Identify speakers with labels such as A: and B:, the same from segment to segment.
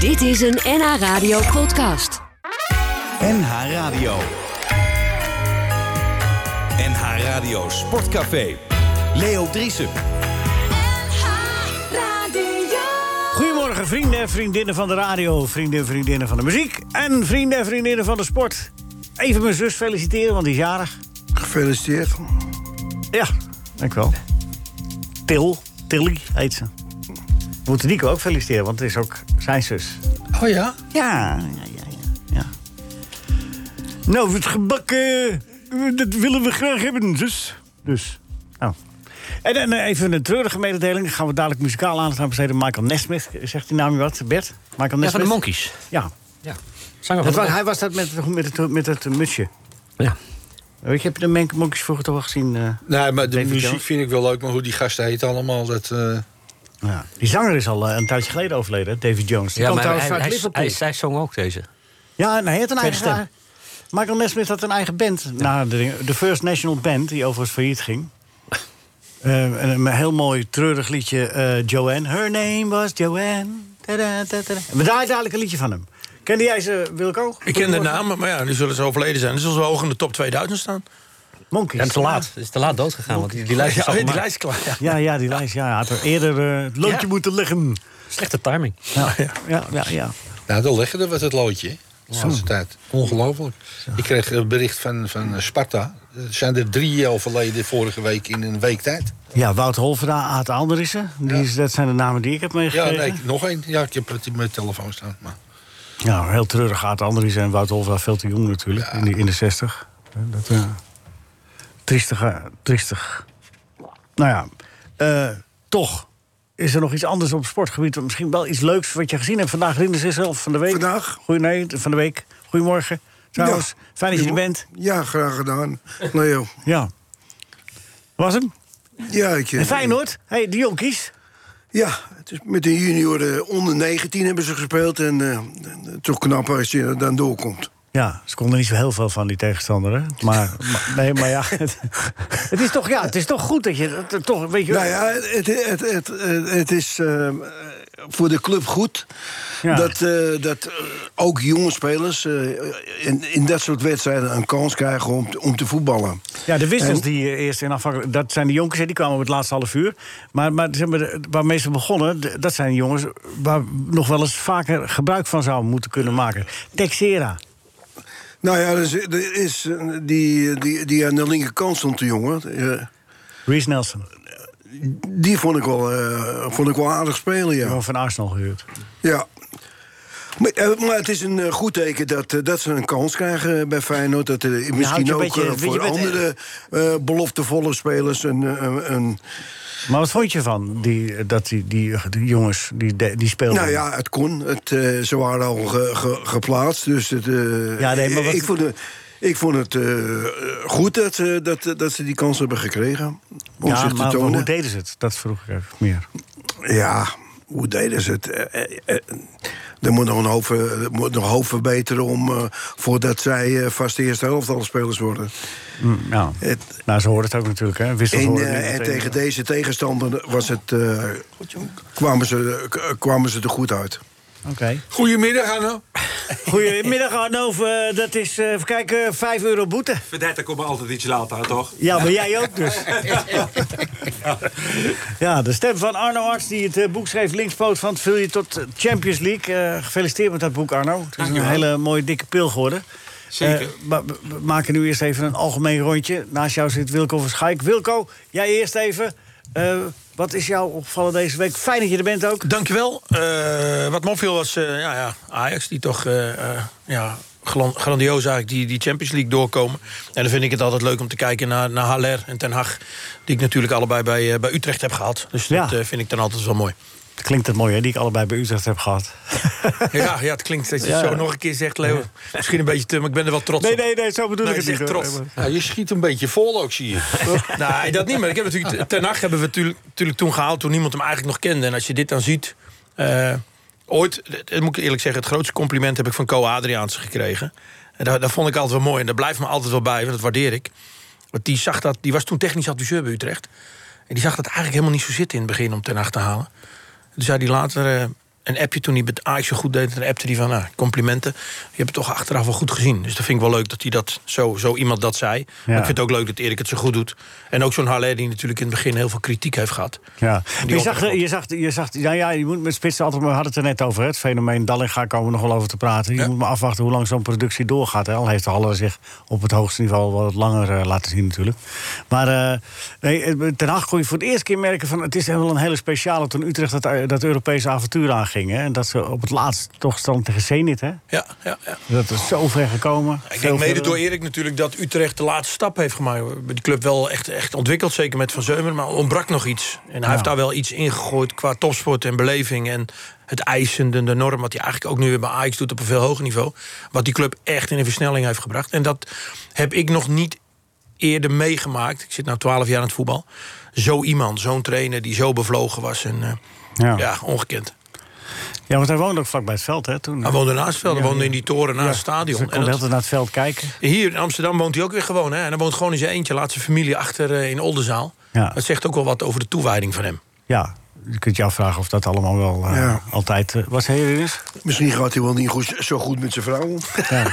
A: Dit is een NH Radio podcast.
B: NH Radio. NH Radio Sportcafé. Leo Driesen.
C: Goedemorgen, vrienden en vriendinnen van de radio, vrienden en vriendinnen van de muziek en vrienden en vriendinnen van de sport. Even mijn zus feliciteren, want die is jarig.
D: Gefeliciteerd.
C: Ja, dankjewel. Til, Tilly heet ze. We moeten Nico ook feliciteren, want het is ook zijn zus.
D: Oh ja?
C: Ja, ja, ja. ja, ja. Nou, het gebak, eh, dat willen we graag hebben, zus. Dus, nou. En, dan, eh, even een treurige mededeling. Daar gaan we dadelijk muzikaal aandacht aan besteden. Michael Nesmith, zegt die naam je wat, Bert? Michael Nesmith?
E: Ja, van de Monkeys.
C: Ja.
E: Ja. Zanger
C: Dat
E: van
C: was,
E: de
C: hij was dat met, Oh, met, het, met het mutsje.
E: Ja.
C: Weet je, heb je de Monk- Monkeys vroeger toch al gezien? eh?
D: Nee, maar de
C: David
D: muziek
C: Jones.
D: vind ik wel leuk, maar hoe die gasten heten allemaal, dat... eh,
C: ja. Die zanger is al eh, een tijdje geleden overleden, hè, David Jones. Die
E: Ja,
C: kwam
E: maar
C: trouwens
E: hij,
C: uit
E: hij,
C: Liverpool.
E: hij- hij zong ook deze.
C: Ja, en hij had een eigen
E: Tweede
C: stem. Michael Nesmith had een eigen band. Na de, ding- de First National Band, die overigens failliet ging. Eh, en een heel mooi, treurig liedje. eh, Joanne. Her name was Joanne. Tada, tada. We draaien dadelijk een liedje van hem. Kende jij ze, Wilco?
F: Ik ken de namen, maar ja, nu zullen ze overleden zijn. Dan zullen ze wel hoog in de top 2000 staan.
C: Monkeys.
E: Ja, te laat. Het is te laat doodgegaan, want die, die lijst is
F: Ja,
E: al
F: die
E: gemaakt.
F: lijst is klaar. Ja.
C: Ja, ja, die lijst. Ja, hij had er eerder eh, het loodje
F: Ja.
C: moeten leggen.
E: Slechte timing.
C: Ja, ja, ja. ja.
D: Nou, dan leggen er wat het loodje. hè, De laatste tijd. Ongelooflijk. Ik kreeg een bericht van, van eh, Sparta. Er zijn er drie overleden vorige week in een week tijd.
C: Ja, Wouter Holverda, Aad Anderissen. Die is, dat zijn de namen die ik heb
D: Ja,
C: meegekregen.
D: nee, nog één. Ja, ik heb het in mijn telefoon staan. Maar.
C: Ja, heel treurig Aad Andries en Wout Holva veel te jong natuurlijk, in, die, in de 60. Eh, Dat, eh triestig, eh, triestig. Nou ja, eh, toch is er nog iets anders op het sportgebied. Misschien wel iets leuks wat je gezien hebt. Vandaag Rinders is zelf van de week.
G: Vandaag?
C: Goeie, nee, van de week. Goedemorgen. Trouwens,
G: Ja.
C: fijn dat je er bent.
G: Ja, graag gedaan. Nou, Leo.
C: Ja. Was hem?
G: Ja, ik, eh,
C: En Feyenoord? hey, de jonkies.
G: Ja, het is met de junioren onder 19 hebben ze gespeeld. En eh, toch knap als je er dan doorkomt.
C: Ja, ze konden niet zo heel veel van die tegenstander, hè? Maar, maar- nee, maar ja, het, het is toch, ja, het is toch goed dat je... dat- dat toch, weet je, wel-
G: Nou ja, het, het, het, het, het is eh, voor de club goed.
C: Ja.
G: Dat, eh, dat eh, ook jonge spelers eh, in, in dat soort wedstrijden een kans krijgen om, te- om te voetballen.
C: Ja, de wissels
G: En-
C: die eh, eerst in afhankelijk... Dat zijn de jonkers, hè, die kwamen op het laatste half uur. Maar, maar, zeg maar de- waarmee ze begonnen, d- dat zijn jongens... waar nog wel eens vaker gebruik van zouden moeten kunnen maken. Texera.
G: Nou ja, er is, er is, eh, die, die, die aan de linkerkant stond, de jongen. eh,
C: Reece Nelson,
G: die vond ik, wel, eh, vond ik wel aardig spelen, ja.
C: gewoon van Arsenal gehuurd.
G: Ja. Maar, eh, maar het is een eh, goed teken dat, eh, dat ze een kans krijgen eh, bij Feyenoord. Dat er
C: houdt
G: misschien
C: je een
G: ook
C: beetje-
G: eh,
C: je
G: voor
C: bent-
G: andere eh, beloftevolle spelers een... eh, een, een-
C: Maar wat vond je van die, eh, dat die, die, die jongens die, de- die speelden?
G: nou ja, het kon. Het, eh, ze waren al ge- ge- geplaatst. Dus het, eh,
C: Ja, nee, maar wat-
G: ik, vond het, ik vond het eh, goed dat, ze- dat, dat ze die kans hebben gekregen. Om
C: Ja,
G: zich
C: maar,
G: te
C: maar
G: tonen.
C: hoe deden ze het? Dat vroeg ik even meer.
G: Ja, hoe deden ze het? Eh, eh, eh, Er moet nog een hoop, eh, er moet nog een hoop verbeteren om, eh, voordat zij eh vast de eerste helft al spelers worden.
C: Mm, nou.
G: Het-
C: nou, ze hoorden het ook natuurlijk, hè? Wissels
G: en
C: hoorden
G: eh,
C: niet
G: en
C: meteen.
G: tegen deze tegenstander was het, eh, kwamen, ze, eh, k- kwamen ze er goed uit.
C: Oké.
F: Goedemiddag, Anno.
C: Goedemiddag, Arno. Eh, Dat is, eh, even kijken, 5 euro boete.
H: Verdette komt altijd iets later, aan, toch?
C: Ja, maar jij ook dus. ja, de stem van Arno Arts, die het eh, boek schreef... Linkspoot van het je tot eh, Champions League. Eh, gefeliciteerd met dat boek, Arno. Het is een
H: Dankjewel.
C: hele mooie dikke pil geworden.
H: Zeker.
C: Eh, maar we we maken nu eerst even een algemeen rondje. Naast jou zit Wilco van Schaik. Wilco, jij eerst even. Eh, wat is jou opgevallen deze week? Fijn dat je er bent ook.
F: Dankjewel. Eh, wat me opviel was eh, ja, ja, Ajax, die toch eh, eh, ja, glan- grandioos eigenlijk die, die Champions League doorkomen. En dan vind ik het altijd leuk om te kijken naar, naar Haller en Ten Hag... die ik natuurlijk allebei bij, eh, bij Utrecht heb gehad. Dus dat
C: Ja.
F: eh, vind ik dan altijd wel mooi.
C: Klinkt het mooi, hè? Die ik allebei bij Utrecht heb gehad.
F: Ja, ja het klinkt dat je
C: Ja.
F: het zo nog een keer zegt, Leo. Misschien een beetje te, maar ik ben er wel trots
C: Nee,
F: op.
C: nee, nee, zo bedoel
F: Nee,
C: ik het
F: je
C: niet.
F: zegt
C: hoor.
F: trots.
D: Ja, je schiet een beetje vol ook, zie je.
F: nee, Nou, dat niet. Maar ik heb natuurlijk, ten nacht hebben we natuurlijk, natuurlijk toen gehaald toen niemand hem eigenlijk nog kende. En als je dit dan ziet. eh, ooit, dat moet ik eerlijk zeggen, het grootste compliment heb ik van Co Adriaans gekregen. En dat, dat vond ik altijd wel mooi. En dat blijft me altijd wel bij, want dat waardeer ik. Want die, zag dat, die was toen technisch adviseur bij Utrecht. En die zag dat eigenlijk helemaal niet zo zitten in het begin om ten nacht te halen. Toen zei die later. eh, een appje toen hij met Ajax zo goed deed. Dan appte hij van, nou, complimenten. Je hebt het toch achteraf wel goed gezien. Dus dat vind ik wel leuk dat hij dat zo, zo iemand dat zei. Maar ik vind het ook leuk dat Erik het zo goed doet. En ook zo'n Haller die natuurlijk in het begin heel veel kritiek heeft gehad.
C: Ja.
F: Die
C: Je zag,
F: opdracht.
C: je zag, je zag, nou ja, je moet met spitsen altijd, we hadden het er net over, hè, het fenomeen Dallinga komen we nog wel over te praten. Je moet maar afwachten hoe lang zo'n productie doorgaat. Hè. Al heeft Haller zich op het hoogste niveau wat langer eh, laten zien natuurlijk. Maar eh, nee, eh, ten acht kon je voor het eerst keer merken van, het is wel een hele speciale toen Utrecht dat, eh, dat Europese avontuur aanging. Hè. En dat ze op het laatst toch stand tegen Zenit, hè.
F: Ja, ja, ja.
C: Dat is zo ver gekomen.
F: Ik
C: Veel
F: denk mede
C: verder.
F: door Erik natuurlijk dat Utrecht de laatste stap heeft gemaakt. Die club wel echt, echt ontwikkeld, zeker met Van Zeumer. Maar ontbrak nog iets. En hij heeft daar wel iets ingegooid qua topsport en beleving. En het eisende, de norm, wat hij eigenlijk ook nu weer bij Ajax doet op een veel hoger niveau. Wat die club echt in een versnelling heeft gebracht. En dat heb ik nog niet eerder meegemaakt. Ik zit nu 12 jaar aan het voetbal. Zo iemand, zo'n trainer die zo bevlogen was. En eh,
C: Ja.
F: ja. ongekend.
C: Ja, want hij woonde ook vlakbij het veld, hè, toen.
F: Hij woonde naast het veld, hij
C: Ja,
F: woonde
C: ja.
F: in die toren naast
C: Ja,
F: het stadion.
C: Dus hij kon
F: En
C: de
F: dat-
C: hele tijd naar het veld kijken.
F: Hier in Amsterdam woont hij ook weer gewoon. Hè? En hij woont gewoon in zijn eentje. Laat zijn familie achter eh, in Oldenzaal.
C: Ja.
F: Dat zegt ook wel wat over de toewijding van hem.
C: Ja, je kunt je afvragen of dat allemaal wel eh,
G: Ja.
C: altijd eh, was. Hé, Rinus?
G: Misschien gaat hij wel niet goed, zo goed met zijn vrouw om.
C: Ja.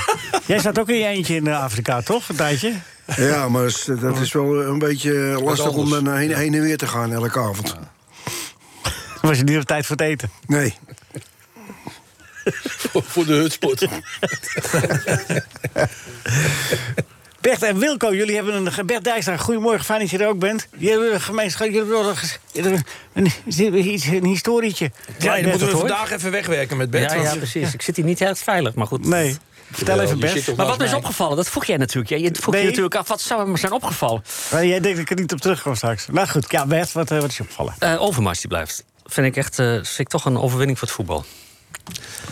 C: Jij zat ook in je eentje in eh, Afrika, toch? Een tijdje?
G: Ja, maar s- dat is wel een beetje eh, lastig om
D: anders.
G: dan heen, heen en weer te gaan elke avond.
C: Was je niet op tijd voor het eten?
G: Nee.
D: voor de hutsport.
C: Bert en Wilco, jullie hebben een... ge- Bert Dijkstra, goedemorgen, fijn dat je er ook bent. Jullie hebben een gemeenschap, jullie hebben wel een ges- een, een, iets- een historietje.
F: Ja, dat
C: Bert,
F: moeten we
C: hoor.
F: vandaag even wegwerken met Bert.
E: Ja, ja, precies. Ik zit hier niet heel veilig, maar goed.
C: Nee, vertel even
D: Je zit
C: Bert.
E: Maar
D: toch naast
E: wat me is
D: mij.
E: opgevallen, dat vroeg jij natuurlijk. Jij- Je vroeg
C: Nee.
E: je natuurlijk af, wat zou hem zijn opgevallen?
C: Maar jij denkt dat ik er niet op terugkom straks. Nou goed, ja, Bert, wat, eh, wat is je opgevallen?
E: Eh Overmars die blijft. Vind ik echt, eh vind ik toch een overwinning voor het voetbal.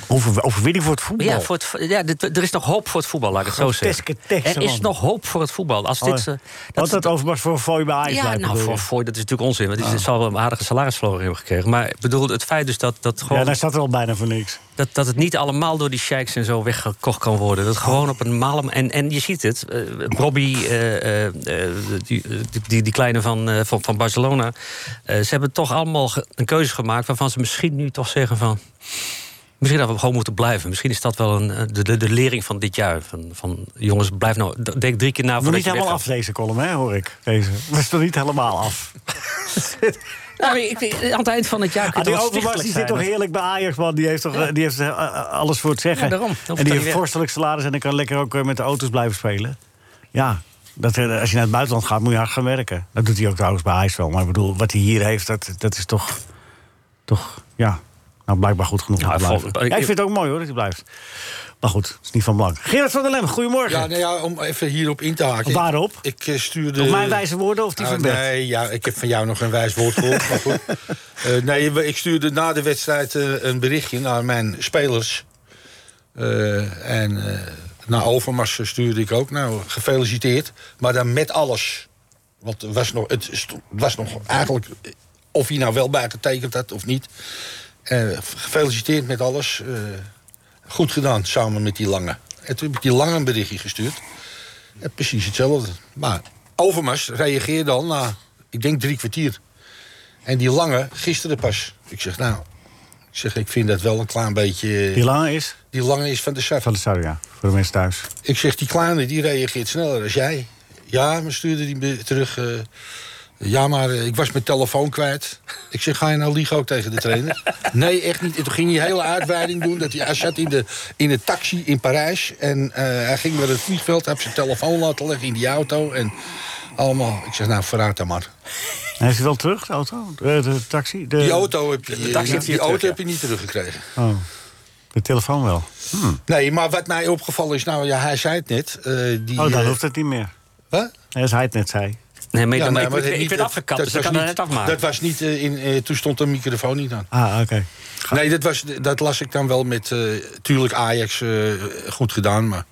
C: Over, overwinning voor het voetbal.
E: Ja, voor het, vo- ja, dit- er is nog hoop voor het voetbal, laat ik het zo
C: Groteske
E: zeggen.
C: teksten,
E: er is
C: man.
E: nog hoop voor het voetbal. Als dit,
C: Oh,
E: eh,
C: Want dat overmars voor Foy bij Ajax
E: ja,
C: blijft,
E: nou,
C: bedoel je? Ah.
E: voor, voor, dat is natuurlijk onzin. Want die die zal wel een aardige salarisverhoging hebben gekregen. Maar ik bedoel, het feit dus dat, dat,
C: Ja,
E: gewoon,
C: daar zat er al bijna voor niks.
E: dat, dat het niet allemaal door die sheiks en zo weggekocht kan worden. Dat gewoon op een malem. En, en je ziet het. eh, Robbie, eh, eh, eh, die, die- die, die kleine van, eh, van, van Barcelona. eh, ze hebben toch allemaal ge- een keuze gemaakt waarvan ze misschien nu toch zeggen van. Misschien dat we gewoon moeten blijven. Misschien is dat wel een, eh, de, de, de lering van dit jaar. Van, van, jongens, blijf nou. d- Denk drie keer na
C: Nog
E: voordat
C: niet
E: je
C: helemaal
E: weggaat.
C: af deze column, hè, hoor ik. Deze. Dat is nog niet helemaal af.
E: Nou, maar ik, ik- aan het eind van het jaar kun
C: Ah,
E: je
C: die
E: toch
C: Overmars
E: stichtelijk
C: die
E: zijn.
C: zit toch heerlijk bij Ajax, man. Die heeft toch eh, die heeft, eh, eh, alles voor het zeggen.
E: Ja, daarom. Dan hoeft
C: En
E: hij
C: die
E: niet
C: heeft
E: weg.
C: vorstelijk salaris en dan kan lekker ook eh, met de auto's blijven spelen. Ja, dat, eh, als je naar het buitenland gaat, moet je hard gaan werken. Dat doet hij ook trouwens bij Ajax wel. Maar ik bedoel, wat hij hier heeft, dat, dat is toch... Toch, ja... Nou, blijkbaar goed genoeg om
E: Ja,
C: te
E: hij
C: blijven.
E: valt-
C: Ja, ik vind het ook mooi hoor, dat hij blijft. Maar goed, het is niet van belang. Gerard van der Lem, goedemorgen.
D: Ja, nou ja, om even hierop in te haken.
C: Waarop?
D: Ik eh, stuurde...
C: Op mijn wijze woorden of die
D: Ah,
C: van Bert?
D: Nee, ja, ik heb van jou nog een wijs woord gehoord. maar goed. Eh, nee, we- ik stuurde na de wedstrijd eh, een berichtje naar mijn spelers. Eh, en eh, naar Overmars stuurde ik ook. Nou, gefeliciteerd. Maar dan met alles. Want er was nog, het sto- was nog eigenlijk eh, of hij nou wel bij getekend had of niet. Eh, gefeliciteerd met alles. Eh, goed gedaan, samen met die lange. En toen heb ik die lange een berichtje gestuurd. Ja, precies hetzelfde. Maar Overmars reageert dan na, ik denk, drie kwartier. En die lange, gisteren pas. Ik zeg, nou, ik, zeg, ik vind dat wel een klein beetje...
C: Die lange is
D: Die lange is van de saf.
C: van de Sarri, ja. Voor de mensen thuis.
D: Ik zeg, die kleine, die reageert sneller als jij. Ja, maar stuurde die me terug... eh, ja, maar eh, ik was mijn telefoon kwijt. Ik zeg, ga je nou liegen ook tegen de trainer? nee, echt niet. En toen ging hij hele uitweiding doen. Dat hij, hij zat in de, in de taxi in Parijs. En eh, hij ging naar het vliegveld. Hij heeft zijn telefoon laten leggen in die auto. En allemaal... Ik zeg, nou, vooruit dan maar.
C: En Heeft hij wel terug, de auto? De, de taxi? De,
D: Die auto heb je,
E: taxi
D: die
E: heeft hij
D: auto
E: terug, ja.
D: heb je niet teruggekregen.
C: Oh, de telefoon wel. Hmm.
D: Nee, maar wat mij opgevallen is... Nou, ja, hij zei het net. eh, die,
C: Oh, dan
D: eh,
C: hoeft het niet meer.
D: wat?
C: Nee, Als hij het net zei.
E: Nee, maar,
D: Ja,
E: maar
D: nee,
E: ik,
D: maar
E: ik-
D: dat
E: ik
D: niet-
E: werd
D: dat-
E: afgekapt,
D: dat
E: dus ik
D: was
E: kan het
D: niet-
E: net afmaken.
D: Dat was niet eh, in. eh, toen stond de microfoon niet aan.
C: Ah, oké.
D: Nee, dat, was, dat las ik dan wel met. eh, tuurlijk Ajax eh, goed gedaan, maar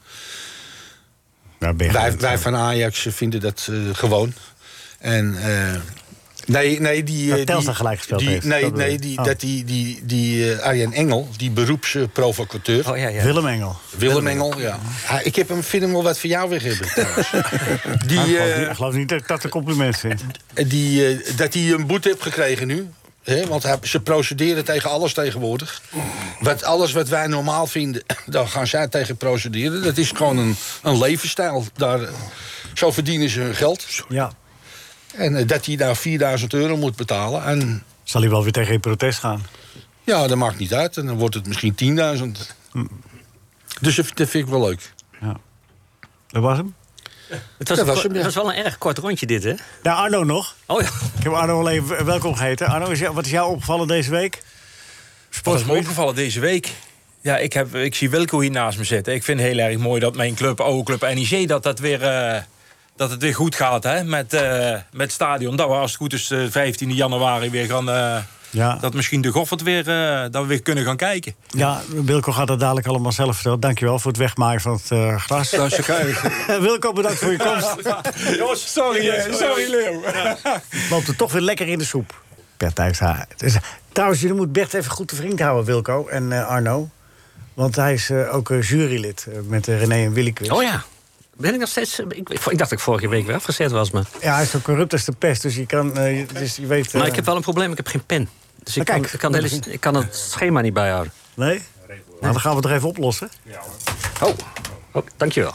C: Daar ben je
D: wij,
C: gewend
D: wij
C: aan.
D: van Ajax vinden dat eh, gewoon. En. eh, Nee, nee, die...
C: Dat
D: eh,
C: Telstar
D: die-
C: gelijk gespeeld
D: die-
C: heeft,
D: Nee,
C: dat bedoel
D: nee
C: je.
D: die,
C: Oh.
D: dat die, die, die eh, Arjen Engel, die beroepsprovocateur...
E: Oh ja, ja.
C: Willem Engel.
D: Willem Engel, ja. Hij- ik heb hem, vind hem wel wat voor jou weg hebben, trouwens. die,
C: Ik geloof
D: eh,
C: niet- ik geloof niet dat ik dat een compliment vind.
D: die, eh, dat hij een boete heeft gekregen nu. Hè, want hij- ze procederen tegen alles tegenwoordig. Wat, alles wat wij normaal vinden, daar gaan zij tegen procederen. Dat is gewoon een, een levensstijl. Daar, eh, zo verdienen ze hun geld.
C: Ja.
D: En eh, dat hij daar 4000 euro moet betalen. En
C: Zal hij wel weer tegen in protest gaan?
D: ja, dat maakt niet uit. En dan wordt het misschien 10.000.
C: Hm.
D: Dus dat dat vind ik wel leuk.
C: Dat was hem.
E: Het was,
D: Dat
E: een
D: was
E: ko-
D: hem, ja.
E: het was wel een erg kort rondje dit, hè?
C: Nou, Arno nog.
E: Oh ja.
C: Ik heb Arno al even welkom geheten. Arno, is jou- wat is jou opgevallen deze week?
I: Wat is me
C: Sportgebied?
I: opgevallen deze week? Ja, ik, heb, ik zie Wilco hier naast me zitten. Ik vind het heel erg mooi dat mijn club, oude club NEC, dat, dat, weer, eh, dat het weer goed gaat hè? Met, eh, met het stadion. Dat we als het goed is eh, 15 januari weer gaan... eh,
C: Ja.
I: Dat misschien de Goffert weer, eh, dat we weer kunnen gaan kijken.
C: Ja, Wilco gaat het dadelijk allemaal zelf vertellen. Dankjewel voor het wegmaaien van het eh, gras. Wilco, bedankt voor je komst.
I: sorry, eh, sorry Leo.
C: Loopt er toch weer lekker in de soep. Bert Dijkstra. Het is- Trouwens, jullie moeten Bert even goed te vriend houden, Wilco en eh, Arno. Want hij is eh, ook eh, jurylid eh, met eh, René en Willy Quiz.
E: Oh ja. Ben ik nog steeds... eh, Ik, ik dacht dat ik vorige week weer afgezet was, maar...
C: Ja, hij is zo corrupt als de pest, dus je, kan, eh, je- dus je weet... eh,
E: Maar ik heb wel een probleem, ik heb geen pen. Dus ik
C: Maar
E: kan,
C: kijk.
E: ik, kan het hele- ik kan het schema niet bijhouden.
C: Nee? Nou, dan gaan we het er even oplossen.
E: Oh, oh dankjewel.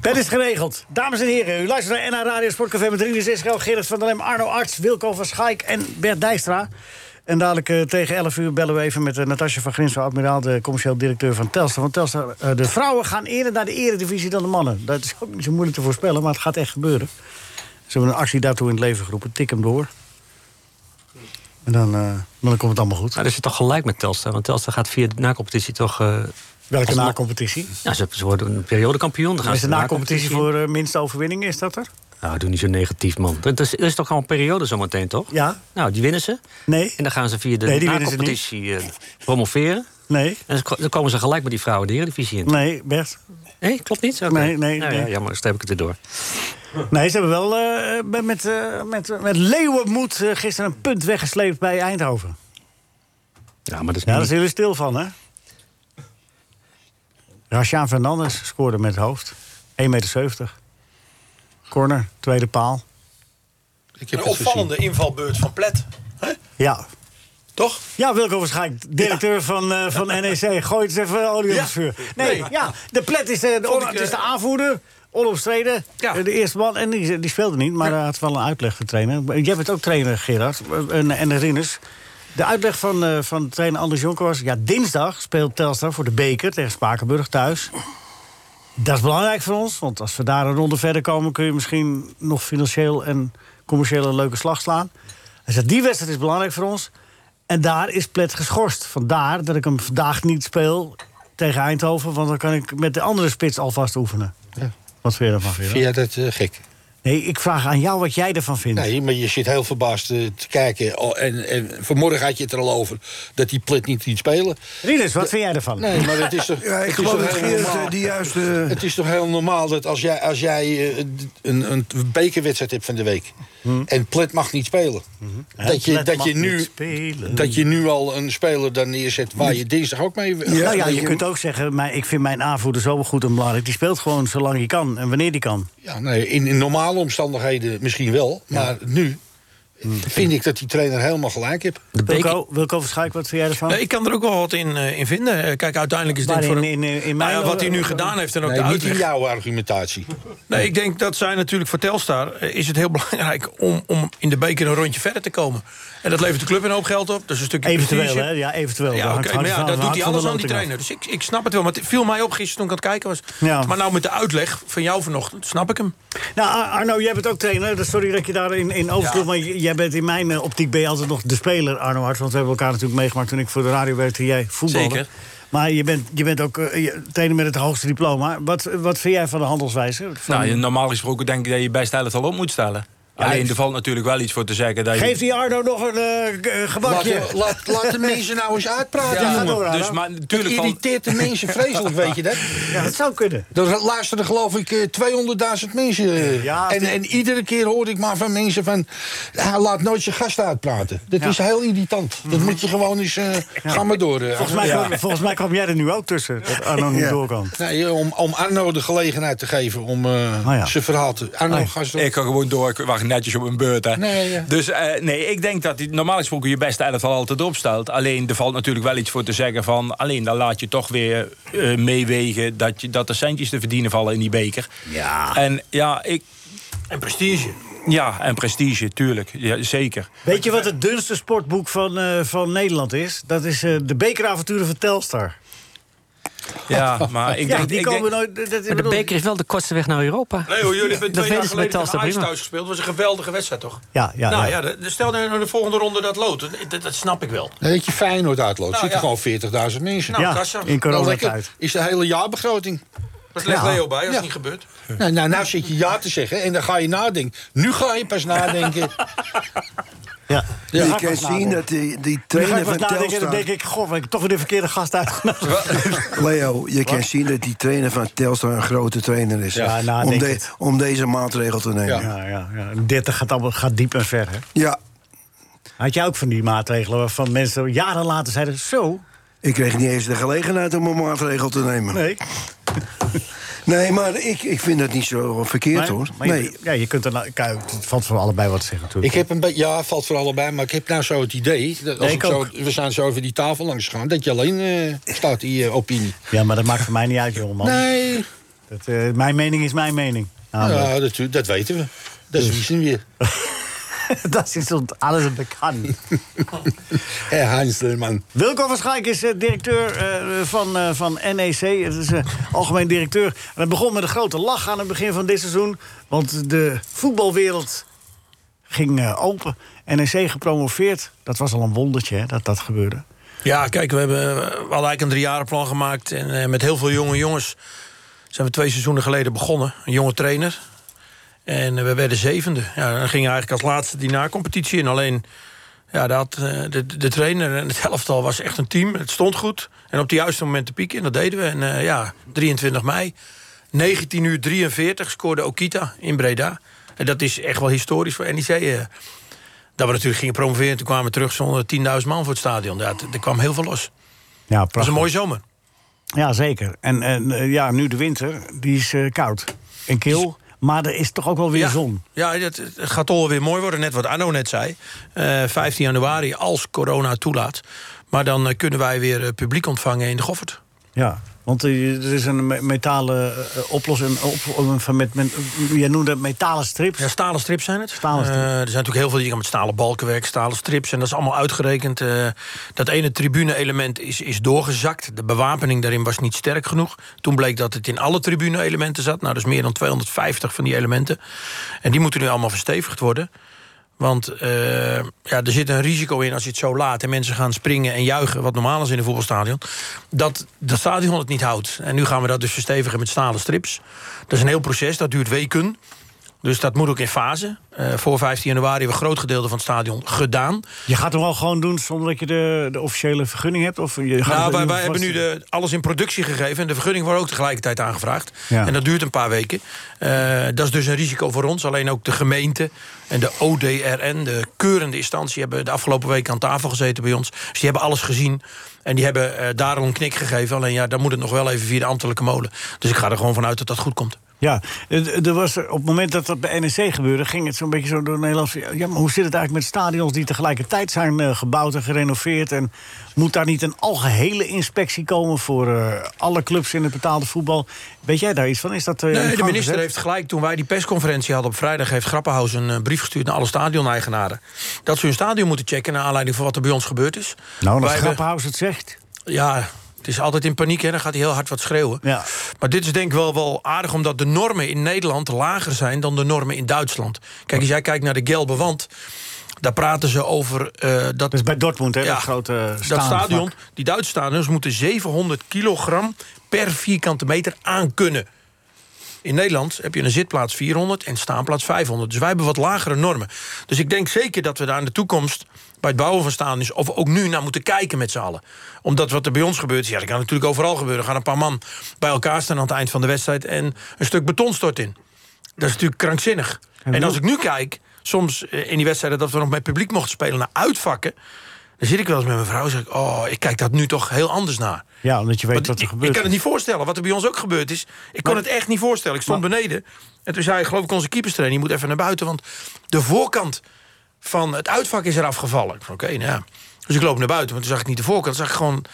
C: Dat is geregeld. Dames en heren, u luistert naar NH Radio Sportcafé met Rinus Israël, Gerrit van der Lem, Arno Arts, Wilco van Schaik en Bert Dijstra. En dadelijk eh, tegen 11 uur bellen we even met eh, Natasja van Grinsel, admiraal, de commercieel directeur van Telstar. Want Telstar, eh, de vrouwen gaan eerder naar de eredivisie dan de mannen. Dat is ook niet zo moeilijk te voorspellen, maar het gaat echt gebeuren. Ze hebben een actie daartoe in het leven geroepen. Tik hem door. En dan, eh, dan komt het allemaal goed.
E: Maar er zit toch gelijk met Telstar, want Telstar gaat via de na-competitie toch... eh,
C: Welke
E: alsnog-
C: na-competitie?
E: Nou, ze, ze worden een periode kampioen. Dan gaan
C: Is
E: ze
C: de
E: de
C: na-competitie voor eh, minste overwinning, is dat er?
E: in. Nou, doe niet zo negatief, man. Dat is, dat is toch gewoon een periode zometeen, toch?
C: Ja.
E: Nou, die winnen ze.
C: Nee?
E: En dan gaan ze via de
C: Nee, die winnen ze
E: na-competitie eh, promoveren.
C: Nee?
E: En dan ko- dan komen ze gelijk met die vrouwen de Eredivisie in.
C: Nee, Bert?
E: Nee, klopt niet? Oké.
C: Nee, nee,
E: Nou ja,
C: nee.
E: jammer, dan heb ik het erdoor.
C: Nee, ze hebben wel eh, met- met, eh, met, met leeuwenmoed eh, gisteren een punt weggesleept bij Eindhoven.
E: Ja, maar dat is
C: Ja,
E: niet...
C: daar zijn jullie stil van, hè? Rashaan Fernandes scoorde met het hoofd. 1,70 meter. Corner, tweede paal.
D: Ik heb
F: Een
D: het gezien.
F: opvallende invalbeurt van Plet.
C: Ja.
F: Toch?
C: Ja, Wilco waarschijnlijk, directeur van, eh, van NEC. Gooi eens even olie op
F: Ja.
C: het vuur. Nee,
F: Nee.
C: ja, de plet is de, de,
F: Vond ik,
C: het is de
F: eh,
C: aanvoerder. Onomstreden,
F: Ja.
C: eh, de eerste man. En die, die speelde niet, maar hij had wel een uitleg getraind. Jij bent ook trainer, Gerard. eh, En, en Rinus. De uitleg van, eh, van trainer Anders Jonker was... Ja, dinsdag speelt Telstar voor de beker tegen Spakenburg thuis. Dat is belangrijk voor ons, want als we daar een ronde verder komen... kun je misschien nog financieel en commercieel een leuke slag slaan. Hij zegt, die wedstrijd is belangrijk voor ons. En daar is Plet geschorst. Vandaar dat ik hem vandaag niet speel tegen Eindhoven... want dan kan ik met de andere spits alvast oefenen.
D: Ja.
C: Wat vind je daarvan, Gerard?
D: Vind jij dat eh, gek?
C: Nee, ik vraag aan jou wat jij ervan vindt.
D: Nee, maar je zit heel verbaasd eh, te kijken. Oh, en, en vanmorgen had je het er al over dat die plit niet liet spelen.
C: Rinus, wat vind jij ervan?
D: Nee, maar het is toch,
G: Ja, ik
D: het is
G: geloof
D: toch
G: dat
D: heel
G: Geert
D: normaal-
G: eh, die juiste...
D: Het is toch heel normaal dat als jij, als jij eh, een, een bekerwedstrijd hebt van de week... en plit mag niet spelen... dat, je,
C: Plet
D: dat,
C: Hm. mag
D: je
C: niet
D: nu,
C: spelen.
D: dat je nu al een speler dan neerzet waar je dinsdag ook mee...
C: nou ja,
D: dat
C: je kunt ook zeggen, maar ik vind mijn aanvoerder zo goed en belangrijk. Die speelt gewoon zolang hij kan en wanneer hij kan.
D: Ja, nee, in, in normale omstandigheden misschien wel, maar nu...
F: Hm.
D: Vind ik dat die trainer helemaal gelijk heeft.
E: De beker,
C: Wilco, Wilco Verschuik, wat vind jij ervan?
F: Nou, ik kan er ook wel wat in, eh, in vinden. Eh, Kijk, uiteindelijk is dit
C: Waarin,
F: voor hem-
C: in, eh, in
F: Nou ja,
C: mijn-
F: wat hij nu gedaan heeft en ook
D: Nee,
F: de
D: niet in
F: uitleg.
D: jouw argumentatie.
F: Nee, ik denk dat zij natuurlijk voor Telstar eh, is het heel belangrijk om, om in de beker een rondje verder te komen. En dat levert de club een hoop geld op. Dus een stukje
C: Eventueel,
F: prestige.
C: hè? Ja, eventueel. Dat
F: Ja,
C: hangt-
F: oké,
C: hangt
F: maar ja,
C: van-
F: dat doet
C: hangt
F: hij
C: van de
F: alles aan die
C: loting
F: trainer. Dus ik, ik snap het wel. Maar het viel mij op gisteren toen ik aan het kijken was.
C: Ja.
F: Maar nou met de uitleg van jou vanochtend, snap ik hem.
C: af. Nou, Ar- Arno, jij bent ook trainer. Dus Sorry dat je daarin in oversloeg.
F: Ja.
C: Maar j- jij bent in mijn eh, optiek ben je altijd nog de speler, Arno Hart. Want we hebben elkaar natuurlijk meegemaakt toen ik voor de radio werkte. en Jij voetbalde.
F: Zeker.
C: Maar je bent, je bent ook eh, je- trainer met het hoogste diploma. Wat, wat vind jij van de handelswijze? Van-
I: Nou, normaal gesproken denk ik dat je bij Stijl het al op moet stellen. Alleen er valt natuurlijk wel iets voor te zeggen. Dat je...
C: Geef die Arno nog een eh, k- eh,
D: Laat,
C: gebakje.
D: laat, laat de mensen nou eens uitpraten,
C: Ja,
D: jongen.
C: ga door, Arno.
I: dus, maar
D: Het
I: natuurlijk valt,
D: irriteert de mensen vreselijk, weet je dat?
C: Ja, dat zou kunnen.
D: Er luisterden geloof ik eh, 200.000 mensen. eh.
C: Ja,
D: en,
C: dit-
D: en iedere keer hoor ik maar van mensen van... Hij laat nooit zijn gast uitpraten. Dat
C: Ja. Mhm.
D: is heel irritant. Dat moet je gewoon eens... eh, Ga maar door. eh,
C: Volgens mij, kwam, volgens mij kwam jij er nu ook tussen. Dat Arno niet
G: Ja.
C: door kan.
D: Nee, om, om Arno de gelegenheid te geven om eh,
C: Ah, ja.
D: zijn verhaal te... Arno, ga eens door.
I: ik ga gewoon door. Ik wacht netjes op een beurt. Hè.
D: Nee, ja.
I: Dus eh, nee, ik denk dat die, normaal gesproken je beste elftal altijd opstelt. Alleen er valt natuurlijk wel iets voor te zeggen van... alleen dan laat je toch weer eh, meewegen dat, je, dat er centjes te verdienen vallen in die beker.
D: Ah.
I: Ja. En ja, ik...
F: En prestige.
I: Ja, en prestige, tuurlijk. Ja, zeker.
C: Weet je wat het dunste sportboek van, eh, van Nederland is? Dat is eh, de bekeravonturen van Telstar.
F: Ah,
I: Ja, maar ik
C: ja,
I: denk...
C: die
I: ik
C: komen
I: denk-
C: nooit... dat- dat- ik
E: Maar de
C: bedoel-
E: beker is wel de kortste weg naar Europa.
F: Nee hoor, jullie hebben
E: Dat
F: twee jaar
E: weten ze met
F: geleden tegen
E: Telstar
F: Ajax
E: prima.
F: thuis gespeeld. Dat was een geweldige wedstrijd, toch?
C: Ja, ja,
F: nou,
C: ja.
F: ja. de- de- stel nou de volgende ronde dat lood. Dat, dat- dat snap ik wel.
D: Nee, dat je Feyenoord uitloopt.
F: Nou,
D: Zitten
F: ja.
D: gewoon 40.000 mensen.
F: Nou,
C: ja,
F: kassa.
C: in
D: Wel
C: corona
D: lekker.
C: tijd.
D: Is de hele jaarbegroting.
F: Dat legt
C: Ja.
F: Leo bij als
D: Ja.
F: het niet gebeurt.
D: Nou, nou, nou zit je ja te zeggen en dan ga je nadenken. Nu ga je pas nadenken.
C: Ja.
G: Je
C: Ja.
G: kan zien dat die, die
C: Nu ga ik
G: trainer
C: wat
G: van
C: nadenken en dan
G: Telstar...
C: denk ik... Goh, ik heb toch weer de verkeerde gast uitgenodigd.
G: Leo, je kan zien dat die trainer van Telstar een grote trainer is.
C: Ja, nou,
G: om,
C: denk
G: de-
C: het.
G: om deze maatregel te nemen. Ja.
C: Ja, ja, ja. 30 gaat, allemaal, gaat diep en ver, hè? Had jij ook van die maatregelen waarvan mensen jaren later zeiden... Zo?
G: ik kreeg niet eens de gelegenheid om een maatregel te nemen. Nee,
C: Nee.
G: maar ik, ik vind dat niet zo verkeerd,
C: Maar-
G: hoor.
C: maar je-
G: nee,
C: ja, je kunt er nou, kijk, het valt voor allebei wat te zeggen,
D: Ik
C: natuurlijk.
D: heb een beetje, ja, valt voor allebei, maar ik heb nou zo het idee. Dat als
C: Nee,
D: ik
C: ik
D: zo, we zijn zo over die tafel langs gegaan, dat je alleen eh, staat in je opinie.
C: Ja, maar dat maakt voor mij niet uit, jongeman.
D: Nee,
C: Dat, eh, mijn mening is mijn mening. Namelijk.
D: ja, dat, dat weten we. Dat is wisten weer.
C: dat is ons alles bekend.
D: Hé, Heinz man.
C: Wilco van Schaik is eh, directeur eh, van, eh, van NEC. Het is eh, algemeen directeur. En het begon met een grote lach aan het begin van dit seizoen. Want de voetbalwereld ging eh, open. NEC gepromoveerd. Dat was al een wondertje hè, dat dat gebeurde.
F: Ja, kijk, we hebben eh, we hadden eigenlijk een driejarenplan gemaakt. En eh, met heel veel jonge jongens zijn we twee seizoenen geleden begonnen. Een jonge trainer. En eh, we werden zevende. Ja, dan ging eigenlijk als laatste die na-competitie in. Alleen, ja, daar had, eh, de, de trainer en het helftal was echt een team. Het stond goed. En op de juiste moment te pieken. En dat deden we. En eh, ja, 23 mei, 19 uur 43 scoorde Okita in Breda. En dat is echt wel historisch voor NEC. eh, dat we natuurlijk gingen promoveren. Toen kwamen we terug zonder 10.000 man voor het stadion. Ja, t- er kwam heel veel los.
C: Ja,
F: Het was
C: prachtig.
F: een mooie zomer.
C: Ja, zeker. En, en eh, ja, nu de winter, die is eh, koud en kil. Maar er is toch ook wel weer
F: ja.
C: zon.
F: Ja, dat het gaat toch wel weer mooi worden. Net wat Arno net zei. Eh, 15 januari, als corona toelaat. Maar dan eh, kunnen wij weer eh, publiek ontvangen in de Goffert.
C: Ja, want eh, er is een me- metalen eh, oplossing. Op, op- van met, met, jij noemde het metalen strips.
F: Ja, stalen strips zijn het.
C: Stalen strips.
F: Eh, er zijn natuurlijk heel veel die gaan met stalen balken werken, stalen strips. En dat is allemaal uitgerekend. eh, dat ene tribune-element is, is doorgezakt. De bewapening daarin was niet sterk genoeg. Toen bleek dat het in alle tribune-elementen zat. Nou, dus meer dan 250 van die elementen. En die moeten nu allemaal verstevigd worden. Want eh, ja, er zit een risico in als je het zo laat en mensen gaan springen en juichen, wat normaal is in een voetbalstadion, dat dat stadion het niet houdt. En nu gaan we dat dus verstevigen met stalen strips. Dat is een heel proces, dat duurt weken. Dus dat moet ook in fase. Eh, voor 15 januari hebben we een groot gedeelte van het stadion gedaan.
C: Je gaat hem wel gewoon doen zonder dat je de, de officiële vergunning hebt? Of je gaat het
F: Nou, wij,
C: in-
F: wij hebben nu de, alles in productie gegeven en de vergunning wordt ook tegelijkertijd aangevraagd.
C: Ja.
F: En dat duurt een paar weken. Eh, dat is dus een risico voor ons. Alleen ook de gemeente en de ODRN, de keurende instantie, hebben de afgelopen week aan tafel gezeten bij ons. Dus die hebben alles gezien. En die hebben eh, daar al een knik gegeven. Alleen ja, dan moet het nog wel even via de ambtelijke molen. Dus ik ga er gewoon vanuit dat dat goed komt.
C: Ja, er- er was, er- op het moment dat dat bij NEC gebeurde... ging het zo'n beetje zo door Nederland. Ja, maar hoe zit het eigenlijk met stadions die tegelijkertijd zijn eh, gebouwd en gerenoveerd? En moet daar niet een algehele inspectie komen... voor eh, alle clubs in het betaalde voetbal? Weet jij daar iets van? Is dat, eh, aan
F: Nee,
C: gang
F: de minister
C: gezet?
F: heeft gelijk. Toen wij die persconferentie hadden op vrijdag... heeft Grappenhaus een eh, brief gestuurd naar alle stadioneigenaren. Dat ze hun stadion moeten checken... naar aanleiding van wat er bij ons gebeurd is.
C: Nou, als
F: Wij hebben-
C: Grappenhaus het zegt...
F: Ja, het is altijd in paniek. Hè? Dan gaat hij heel hard wat schreeuwen.
C: Ja.
F: Maar dit is denk ik wel, wel aardig... omdat de normen in Nederland lager zijn dan de normen in Duitsland. Kijk, als jij kijkt naar de Gelbe Wand... daar praten ze over eh, dat...
C: Dat is bij Dortmund, hè?
F: Ja,
C: dat grote
F: dat
C: staande
F: stadion,
C: vak.
F: die Duitse stadions moeten 700 kilogram per vierkante meter aankunnen. In Nederland heb je een zitplaats 400 en staanplaats 500. Dus wij hebben wat lagere normen. Dus ik denk zeker dat we daar in de toekomst bij het bouwen van stadions... of ook nu naar moeten kijken met z'n allen. Omdat wat er bij ons gebeurt, ja, dat kan natuurlijk overal gebeuren. Er gaan een paar man bij elkaar staan aan het eind van de wedstrijd... en een stuk beton stort in. Dat is natuurlijk krankzinnig. En als ik nu kijk, soms eh, in die wedstrijden... dat we nog met publiek mochten spelen naar uitvakken... Dan zit ik wel eens met mijn vrouw en zeg ik... oh, ik kijk dat nu toch heel anders naar.
C: Ja, omdat je weet
F: Want
C: wat er
F: ik-
C: gebeurt.
F: Ik kan het niet voorstellen. Wat er bij ons ook gebeurd is. Ik kon het echt niet voorstellen. Ik stond beneden. En toen zei, geloof ik, onze keeperstrainer... je moet even naar buiten, want de voorkant van het uitvak is eraf gevallen. Ik vond, oké, nou ja. Dus ik loop naar buiten, want toen zag ik niet de voorkant. Toen zag ik gewoon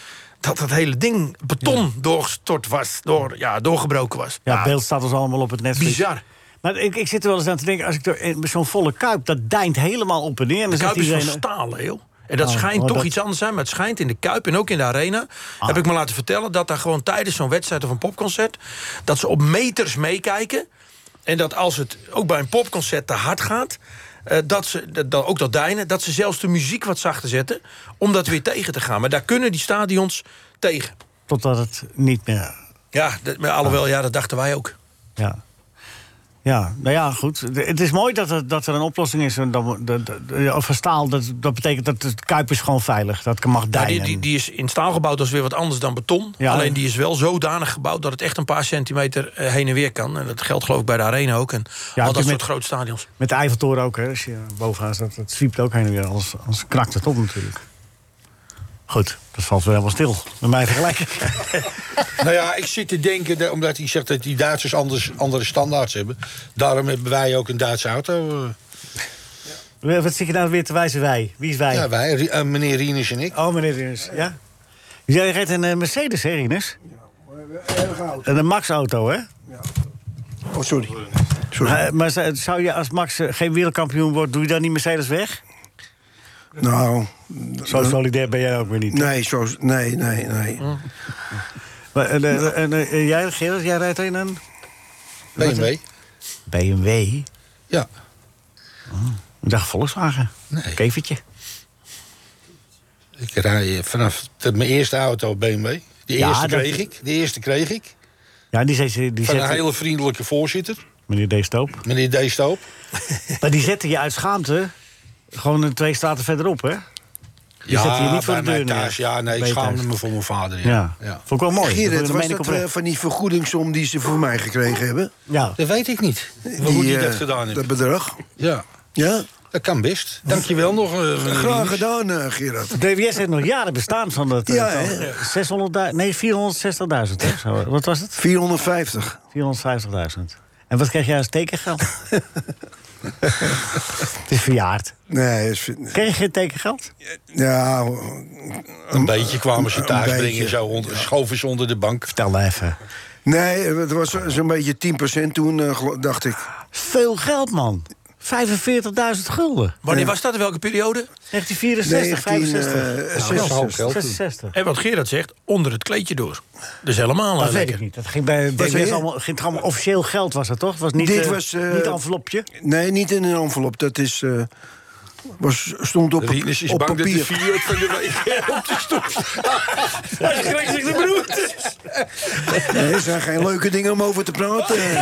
F: dat dat hele ding beton doorgestort was. Door, ja, doorgebroken was.
C: Ja,
F: Nou,
C: het beeld staat ons allemaal op het net.
F: Bizar.
C: Maar ik, ik zit er wel eens aan te denken, als ik door- in zo'n volle kuip, dat deint helemaal op en neer. En dan
F: De
C: zegt
F: Kuip is van
C: iedereen,
F: staal, heel. En dat
C: Oh,
F: schijnt
C: oh,
F: toch
C: dat-
F: iets anders te zijn, maar het schijnt in de Kuip en ook in de Arena... heb ik me laten vertellen dat daar gewoon tijdens zo'n wedstrijd of een popconcert... dat ze op meters meekijken en dat als het ook bij een popconcert te hard gaat... eh, dat ze, dat, dat- ook dat deinen, dat ze zelfs de muziek wat zachter zetten... om dat weer tegen te gaan. Maar daar kunnen die stadions tegen.
C: totdat het niet meer...
F: Ja, dat, maar alhoewel, ja, dat dachten wij ook.
C: Ah. Ja. Ja, nou ja, goed. De- Het is mooi dat er, dat er een oplossing is. En dan, dat- dat- ja, of een staal, dat, dat betekent dat het kuip is gewoon veilig. Dat kan- mag
F: Ja,
C: deinen.
F: die, die, die is in staal gebouwd, dat is weer wat anders dan beton.
C: Ja.
F: Alleen die is wel zodanig gebouwd dat het echt een paar centimeter eh, heen en weer kan. En dat geldt geloof ik bij de Arena ook en
C: Ja,
F: al dat
C: met-
F: soort grote stadions.
C: Met de Eiffeltoren ook, hè. Als je bovenaan staat, dat zwiept ook heen en weer. Anders, anders knakt het op natuurlijk. Goed, dat valt wel helemaal stil. Met mij vergelijken.
D: Nou ja, ik zit te denken, dat- omdat hij zegt dat die Duitsers anders, andere standaards hebben. Daarom hebben wij ook een Duitse auto. eh.
C: Wat zit je nou weer te wijzen wij? Wie is wij?
D: Ja, wij, Ri- eh, meneer Rienus en ik.
C: Oh, meneer Rinus, ja? Jij rijdt een eh, Mercedes, hè, Rinus?
G: eh, Erg oud.
C: Een Max-auto, hè?
G: Oh, sorry.
C: Maar, eh, maar zou- zou je als Max eh, geen wereldkampioen wordt, doe je dan die Mercedes weg?
G: Nou,
C: Zo solidair ben jij ook weer niet. Hm.
G: nee, zo, nee, nee, nee. Nou,
C: Maar, en, eh, en, eh, en jij, Gerrit, jij rijdt in een
D: BMW.
C: BMW?
D: Ja.
C: Oh, Ik dacht Volkswagen.
D: Nee.
C: Kevertje.
D: Ik rij eh, vanaf de- mijn eerste auto BMW. De
C: Ja,
D: eerste
C: dat-
D: kreeg ik. De eerste kreeg ik.
C: Ja, die zette, die
D: Van een
C: zette,
D: hele vriendelijke voorzitter,
C: Meneer D. Stoop.
D: meneer D. Stoop.
C: Maar die zette je uit schaamte gewoon een twee straten verderop, hè? Die zette je niet voor de
D: bij mij
C: deur neer.
D: thuis. Ja, nee, ik
C: Bij je
D: schaamde
C: thuis.
D: me voor mijn vader. Ja.
C: Ja.
D: Ja.
C: Vond ik wel mooi.
G: Gerrit,
C: Dat
G: was
C: meen ik
G: dat eh,
C: oprecht.
G: van die vergoedingssom die ze voor mij gekregen hebben?
C: Ja.
D: Dat weet ik niet. Hoe
G: Die,
D: moet hij
G: eh,
D: dat gedaan hebben?
G: Dat bedrag?
D: Ja,
G: Ja?
D: dat kan best. Dankjewel nog. eh, meneer
G: Graag
D: Rienus.
G: gedaan, eh, Gerard.
C: DWS heeft nog jaren bestaan van dat. eh,
G: Ja,
C: toch?
G: hè?
C: 600.000, nee, 460.000. hè? Zo, Wat was het?
G: 450.
C: 450.000. En wat kreeg jij als tekengeld? het is verjaard.
G: Nee, is, Eh, vind-
C: Kreeg je geen tekengeld?
G: ja,
D: Een beetje kwamen ze
G: Een
D: thuis
G: beetje.
D: brengen. Zo onder, schoven ze onder de bank.
C: Tel even.
G: nee, het was zo'n beetje 10% toen, eh, gelo- dacht ik.
C: Veel geld, man. 45.000 gulden.
F: Wanneer was dat? In welke periode?
C: eh, 1964, 65.
G: eh,
D: dat is een hoop
G: 66.
D: geld.
C: 66.
F: En wat Gerard zegt, onder het kleedje door. Dus helemaal
C: Dat
F: eh,
C: weet
F: lekker.
C: ik niet. Dat ging bij
G: Wat zei
C: DWS
G: je?
C: allemaal, ging het allemaal officieel geld was dat toch? Het was niet,
G: Dit
C: eh,
G: was, eh,
C: niet envelopje.
G: Nee, niet in een envelop. Dat is, eh, was, stond op,
D: Rienus Dus is
G: op
D: bang dat de
G: papier.
D: vier van de week op de stoep staat. Hij schrikt zich de broed.
G: Nee, er zijn geen leuke dingen om over te praten.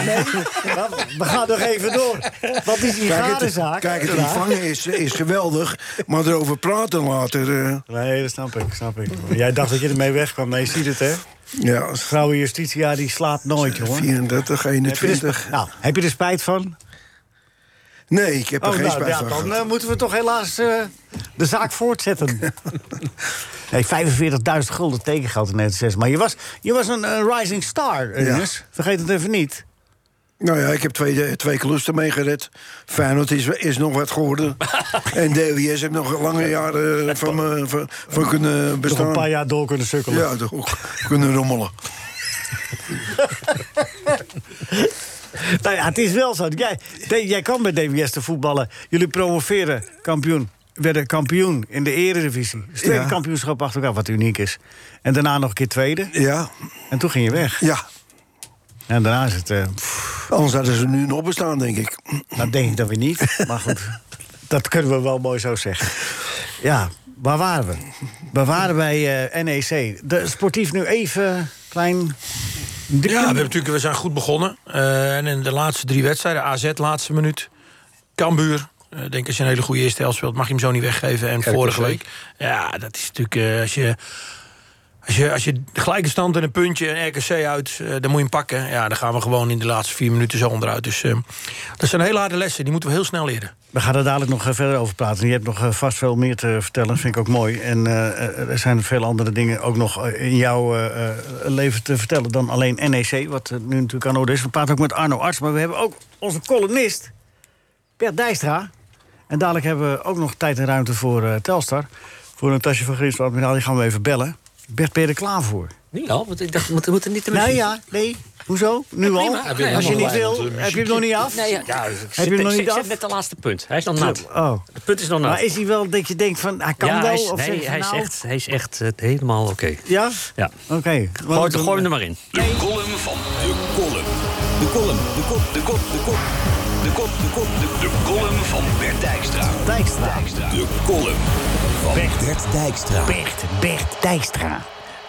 C: We gaan nog even door. Wat is die
G: Kijk, het,
C: garenzaak?
G: kijk, het
C: Ja.
G: ontvangen is, is geweldig, maar erover praten later... eh,
C: Nee, dat snap ik, snap ik. Jij dacht dat je ermee wegkwam. Nee, je ziet het, hè?
G: ja, Eh,
C: Vrouwen Justitia, die slaat nooit, jongen.
G: 34,
C: Heb je er
G: 21...
C: sp- nou, heb je er spijt van?
G: Nee, ik heb er
C: Oh,
G: geen
C: nou,
G: spijt
C: ja,
G: van.
C: dan
G: gehad.
C: eh, moeten we toch helaas eh, de zaak voortzetten. nee, 45.000 gulden tekengeld in 1906. Maar je was, je was een, eh, rising star, Ernest. Vergeet het even niet.
G: Nou ja, ik heb twee, twee klusten meegered. Feyenoord is, is nog wat geworden. en DWS heeft nog lange jaren eh, van, me- van, van kunnen
C: Nog een
G: bestaan.
C: paar jaar door kunnen sukkelen.
G: Ja, toch ook kunnen rommelen.
C: Nou ja, het is wel zo. Jij, de- jij kan bij DWS te voetballen. Jullie promoveren kampioen. Werden kampioen in de eredivisie. Dus tweede
G: Ja.
C: kampioenschap achter elkaar, wat uniek is. En daarna nog een keer tweede.
G: Ja,
C: En toen ging je weg.
G: ja.
C: En daarna is het... eh,
G: Anders hadden ze nu nog bestaan, denk ik.
C: Nou, denk ik dat weer niet. Maar goed, dat kunnen we wel mooi zo zeggen. Ja, waar waren we? We waren bij eh, NEC. De sportief nu even klein...
F: Ja, we, hebben natuurlijk, we zijn goed begonnen. Eh, en in de laatste drie wedstrijden, AZ laatste minuut, Cambuur. eh, Ik denk als je een hele goede eerste helft speelt, mag je hem zo niet weggeven. En vorige
D: twee.
F: week, ja, dat is natuurlijk... eh, als, je, als Als je, als je de gelijke stand en een puntje en RKC uit, eh, dan moet je hem pakken. Ja, dan gaan we gewoon in de laatste vier minuten zo onderuit. Dus eh, dat zijn hele harde lessen, die moeten we heel snel leren.
C: We gaan er dadelijk nog eh, verder over praten. Je hebt nog eh, vast veel meer te vertellen, vind ik ook mooi. En eh, eh, er zijn veel andere dingen ook nog eh, in jouw eh, eh, leven te vertellen dan alleen NEC, wat eh, nu natuurlijk aan de orde is. We praten ook met Arno Arts, maar we hebben ook onze columnist, Bert Dijstra. En dadelijk hebben we ook nog tijd en ruimte voor eh, Telstar. Voor een tasje van Grinsel Admiraal, die gaan we even bellen. Bert, ben je er klaar voor?
E: Niet al, Nou, want ik dacht, we moeten- we moeten niet te
C: Nou
E: muziek.
C: ja, nee. Hoezo? Nu al?
E: prima. Heb je
C: Als je
E: helemaal
C: niet
D: gelijk,
C: wil,
D: want de
C: heb je hem nog niet af?
E: Nee, ja, ja, ik zit-
C: hem nog
E: ik-
C: niet
E: ik zet
C: af?
E: net de laatste punt. Hij is nog nat.
C: Oh.
E: De punt is nog nat.
C: Maar is hij wel dat je denkt van, hij kan
E: ja,
C: wel?
E: hij is,
C: of zeg
E: nee,
C: je
E: hij is
C: nou-
E: echt, hij is echt eh, helemaal oké.
C: Ja?
E: Ja.
C: Oké.
E: Gooi,
C: Want-
E: gooi hem er maar in.
B: De column van de column. De column, de kop, de kop, de kop. De kop, de kop, de De column van Bert Dijkstra.
C: Dijkstra.
B: De column van Bert Dijkstra.
C: Bert, Bert Dijkstra.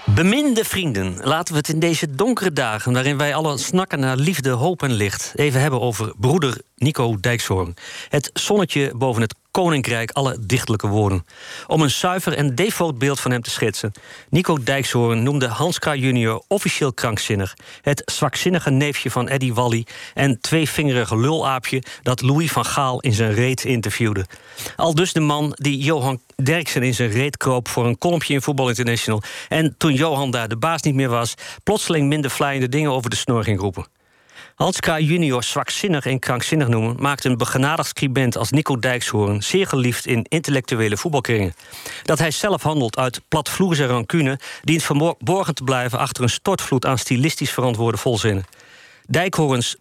E: Beminde vrienden, laten we het in deze donkere dagen... waarin wij alle snakken naar liefde, hoop en licht... even hebben over broeder Nico Dijkshoorn. Het zonnetje boven het koninkrijk alle dichtelijke woorden. Om een zuiver en devoot beeld van hem te schetsen... Nico Dijkshoorn noemde Hans K. junior officieel krankzinnig... het zwakzinnige neefje van Eddie Wally... en tweevingerige lulaapje dat Louis van Gaal in zijn reet interviewde. Al dus de man die Johan Derksen in zijn reet kroop voor een kolompje in Voetbal International. En toen Johan daar de baas niet meer was, plotseling minder vlijende dingen over de snor ging roepen. Hans K. junior zwakzinnig en krankzinnig noemen... maakt een begenadigd scribent als Nico Dijkshoorn... zeer geliefd in intellectuele voetbalkringen. Dat hij zelf handelt uit platvloers en rancune... dient verborgen te blijven achter een stortvloed... aan stilistisch verantwoorde volzinnen. Dijkhoorns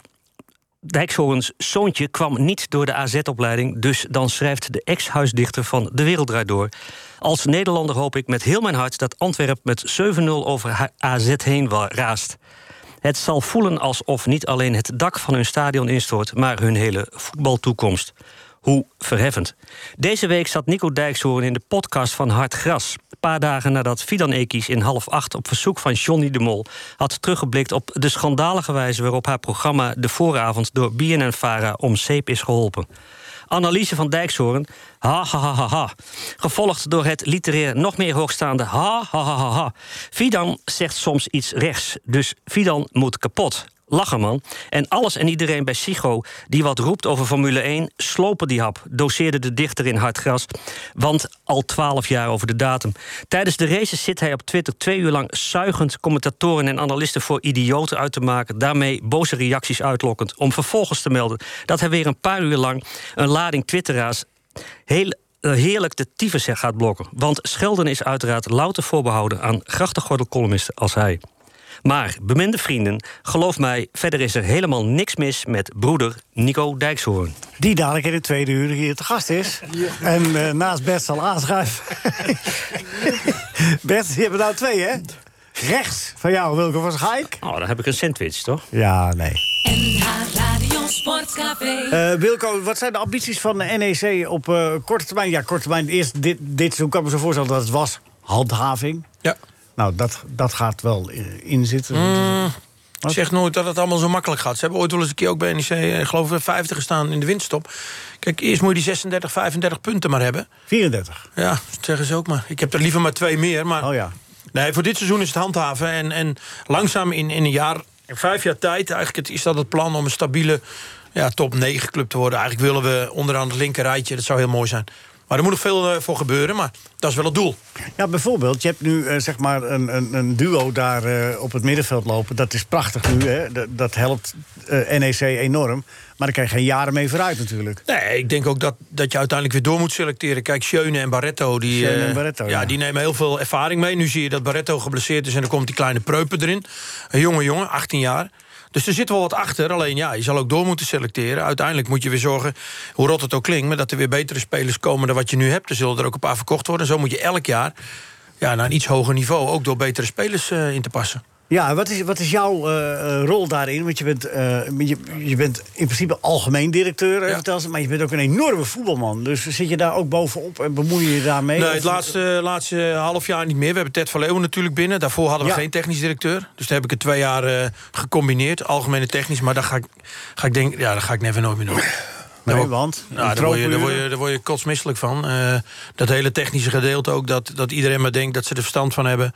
E: Dijkshoorns zoontje kwam niet door de AZ-opleiding... dus dan schrijft de ex-huisdichter van De Wereld Draait Door... als Nederlander hoop ik met heel mijn hart... dat Antwerp met 7-0 over Ha- AZ heen wa- raast. Het zal voelen alsof niet alleen het dak van hun stadion instort... maar hun hele voetbaltoekomst. Hoe verheffend. Deze week zat Nico Dijkshoorn in de podcast van Hard Gras. Een paar dagen nadat Fidan Ekies in half acht op verzoek van Johnny de Mol... had teruggeblikt op de schandalige wijze waarop haar programma... de vooravond door BNN-Vara om zeep is geholpen. Analyse van Dijkshoorn, ha ha ha ha ha. Gevolgd door het literair nog meer hoogstaande ha ha ha ha ha. Fidan zegt soms iets rechts, dus Fidan moet kapot. Lachen man. En alles en iedereen bij Sigo die wat roept over Formule 1... slopen die hap, doseerde de dichter in Hartgras. Want al twaalf jaar over de datum. Tijdens de races zit hij op Twitter twee uur lang zuigend... commentatoren en analisten voor idioten uit te maken... daarmee boze reacties uitlokkend... om vervolgens te melden dat hij weer een paar uur lang... een lading twitteraars heel eh, heerlijk de tyfus gaat blokken. Want schelden is uiteraard louter voorbehouden... aan grachtengordelcolumnisten als hij. Maar, beminde vrienden, geloof mij, verder is er helemaal niks mis met broeder Nico Dijkshoorn.
C: Die dadelijk in de tweede uur hier te gast is. En eh, naast Bert zal aanschuiven. Bert, je hebt er nou twee, hè? Rechts van jou, Wilco van Schaik.
E: Oh, dan heb ik een sandwich, toch?
C: Ja, nee.
A: NH Radio Sportcafé.
C: Eh, Wilco, wat zijn de ambities van de NEC op eh, korte termijn? Ja, korte termijn. Eerst dit, dit seizoen kan ik me zo voorstellen dat het was handhaving.
F: Ja. Mm.
C: Nou, dat, dat gaat wel eh, in zitten.
F: Ik zeg nooit dat het allemaal zo makkelijk gaat. Ze hebben ooit wel eens een keer ook bij NEC, eh, geloof ik, 50 gestaan in de winststop. Kijk, eerst moet je die 36, 35 punten maar hebben.
C: 34.
F: Ja, dat zeggen ze ook maar. Ik heb er liever maar twee meer. Maar
C: Oh ja.
F: Nee, voor dit seizoen is het handhaven. En, en langzaam in, in een jaar, in vijf jaar tijd, eigenlijk het, is dat het plan om een stabiele ja, top 9 club te worden. Eigenlijk willen we onderaan het linker rijtje. Dat zou heel mooi zijn. Maar er moet nog veel eh, voor gebeuren, maar dat is wel het doel.
C: Ja, bijvoorbeeld, je hebt nu eh, zeg maar een, een, een duo daar eh, op het middenveld lopen. Dat is prachtig nu, hè? Dat, dat helpt eh, NEC enorm. Maar daar kan je geen jaren mee vooruit natuurlijk.
F: Nee, ik denk ook dat, dat je uiteindelijk weer door moet selecteren. Kijk, Schöne en Barretto, die,
C: Schöne en
F: eh,
C: Barretto,
F: ja,
C: ja.
F: die nemen heel veel ervaring mee. Nu zie je dat Barretto geblesseerd is en dan komt die kleine Preupen erin. Een jonge jongen, 18 jaar. Dus er zit wel wat achter. Alleen ja, je zal ook door moeten selecteren. Uiteindelijk moet je weer zorgen, hoe rot het ook klinkt... maar dat er weer betere spelers komen dan wat je nu hebt. Er zullen er ook een paar verkocht worden. Zo moet je elk jaar ja, naar een iets hoger niveau... ook door betere spelers eh, in te passen.
C: Ja, wat is, wat is jouw eh, eh, rol daarin? Want je bent, eh, je, je bent in principe algemeen directeur, hè,
F: Ja.
C: vertel ze, maar je bent ook een enorme voetbalman. Dus zit je daar ook bovenop en bemoei je je daarmee?
F: Nee,
C: Of-
F: het laatste, laatste half jaar niet meer. We hebben Ted van Leeuwen natuurlijk binnen. Daarvoor hadden we
C: Ja.
F: geen technisch directeur. Dus daar heb ik het twee jaar eh, gecombineerd. Algemene technisch. Maar daar ga ik, ga ik denk, ja, daar ga ik never nooit meer doen.
C: Nee, want...
F: Nou, daar word, je, daar, word je, daar word je kotsmisselijk van. Eh, dat hele technische gedeelte ook, dat, dat iedereen maar denkt dat ze er verstand van hebben.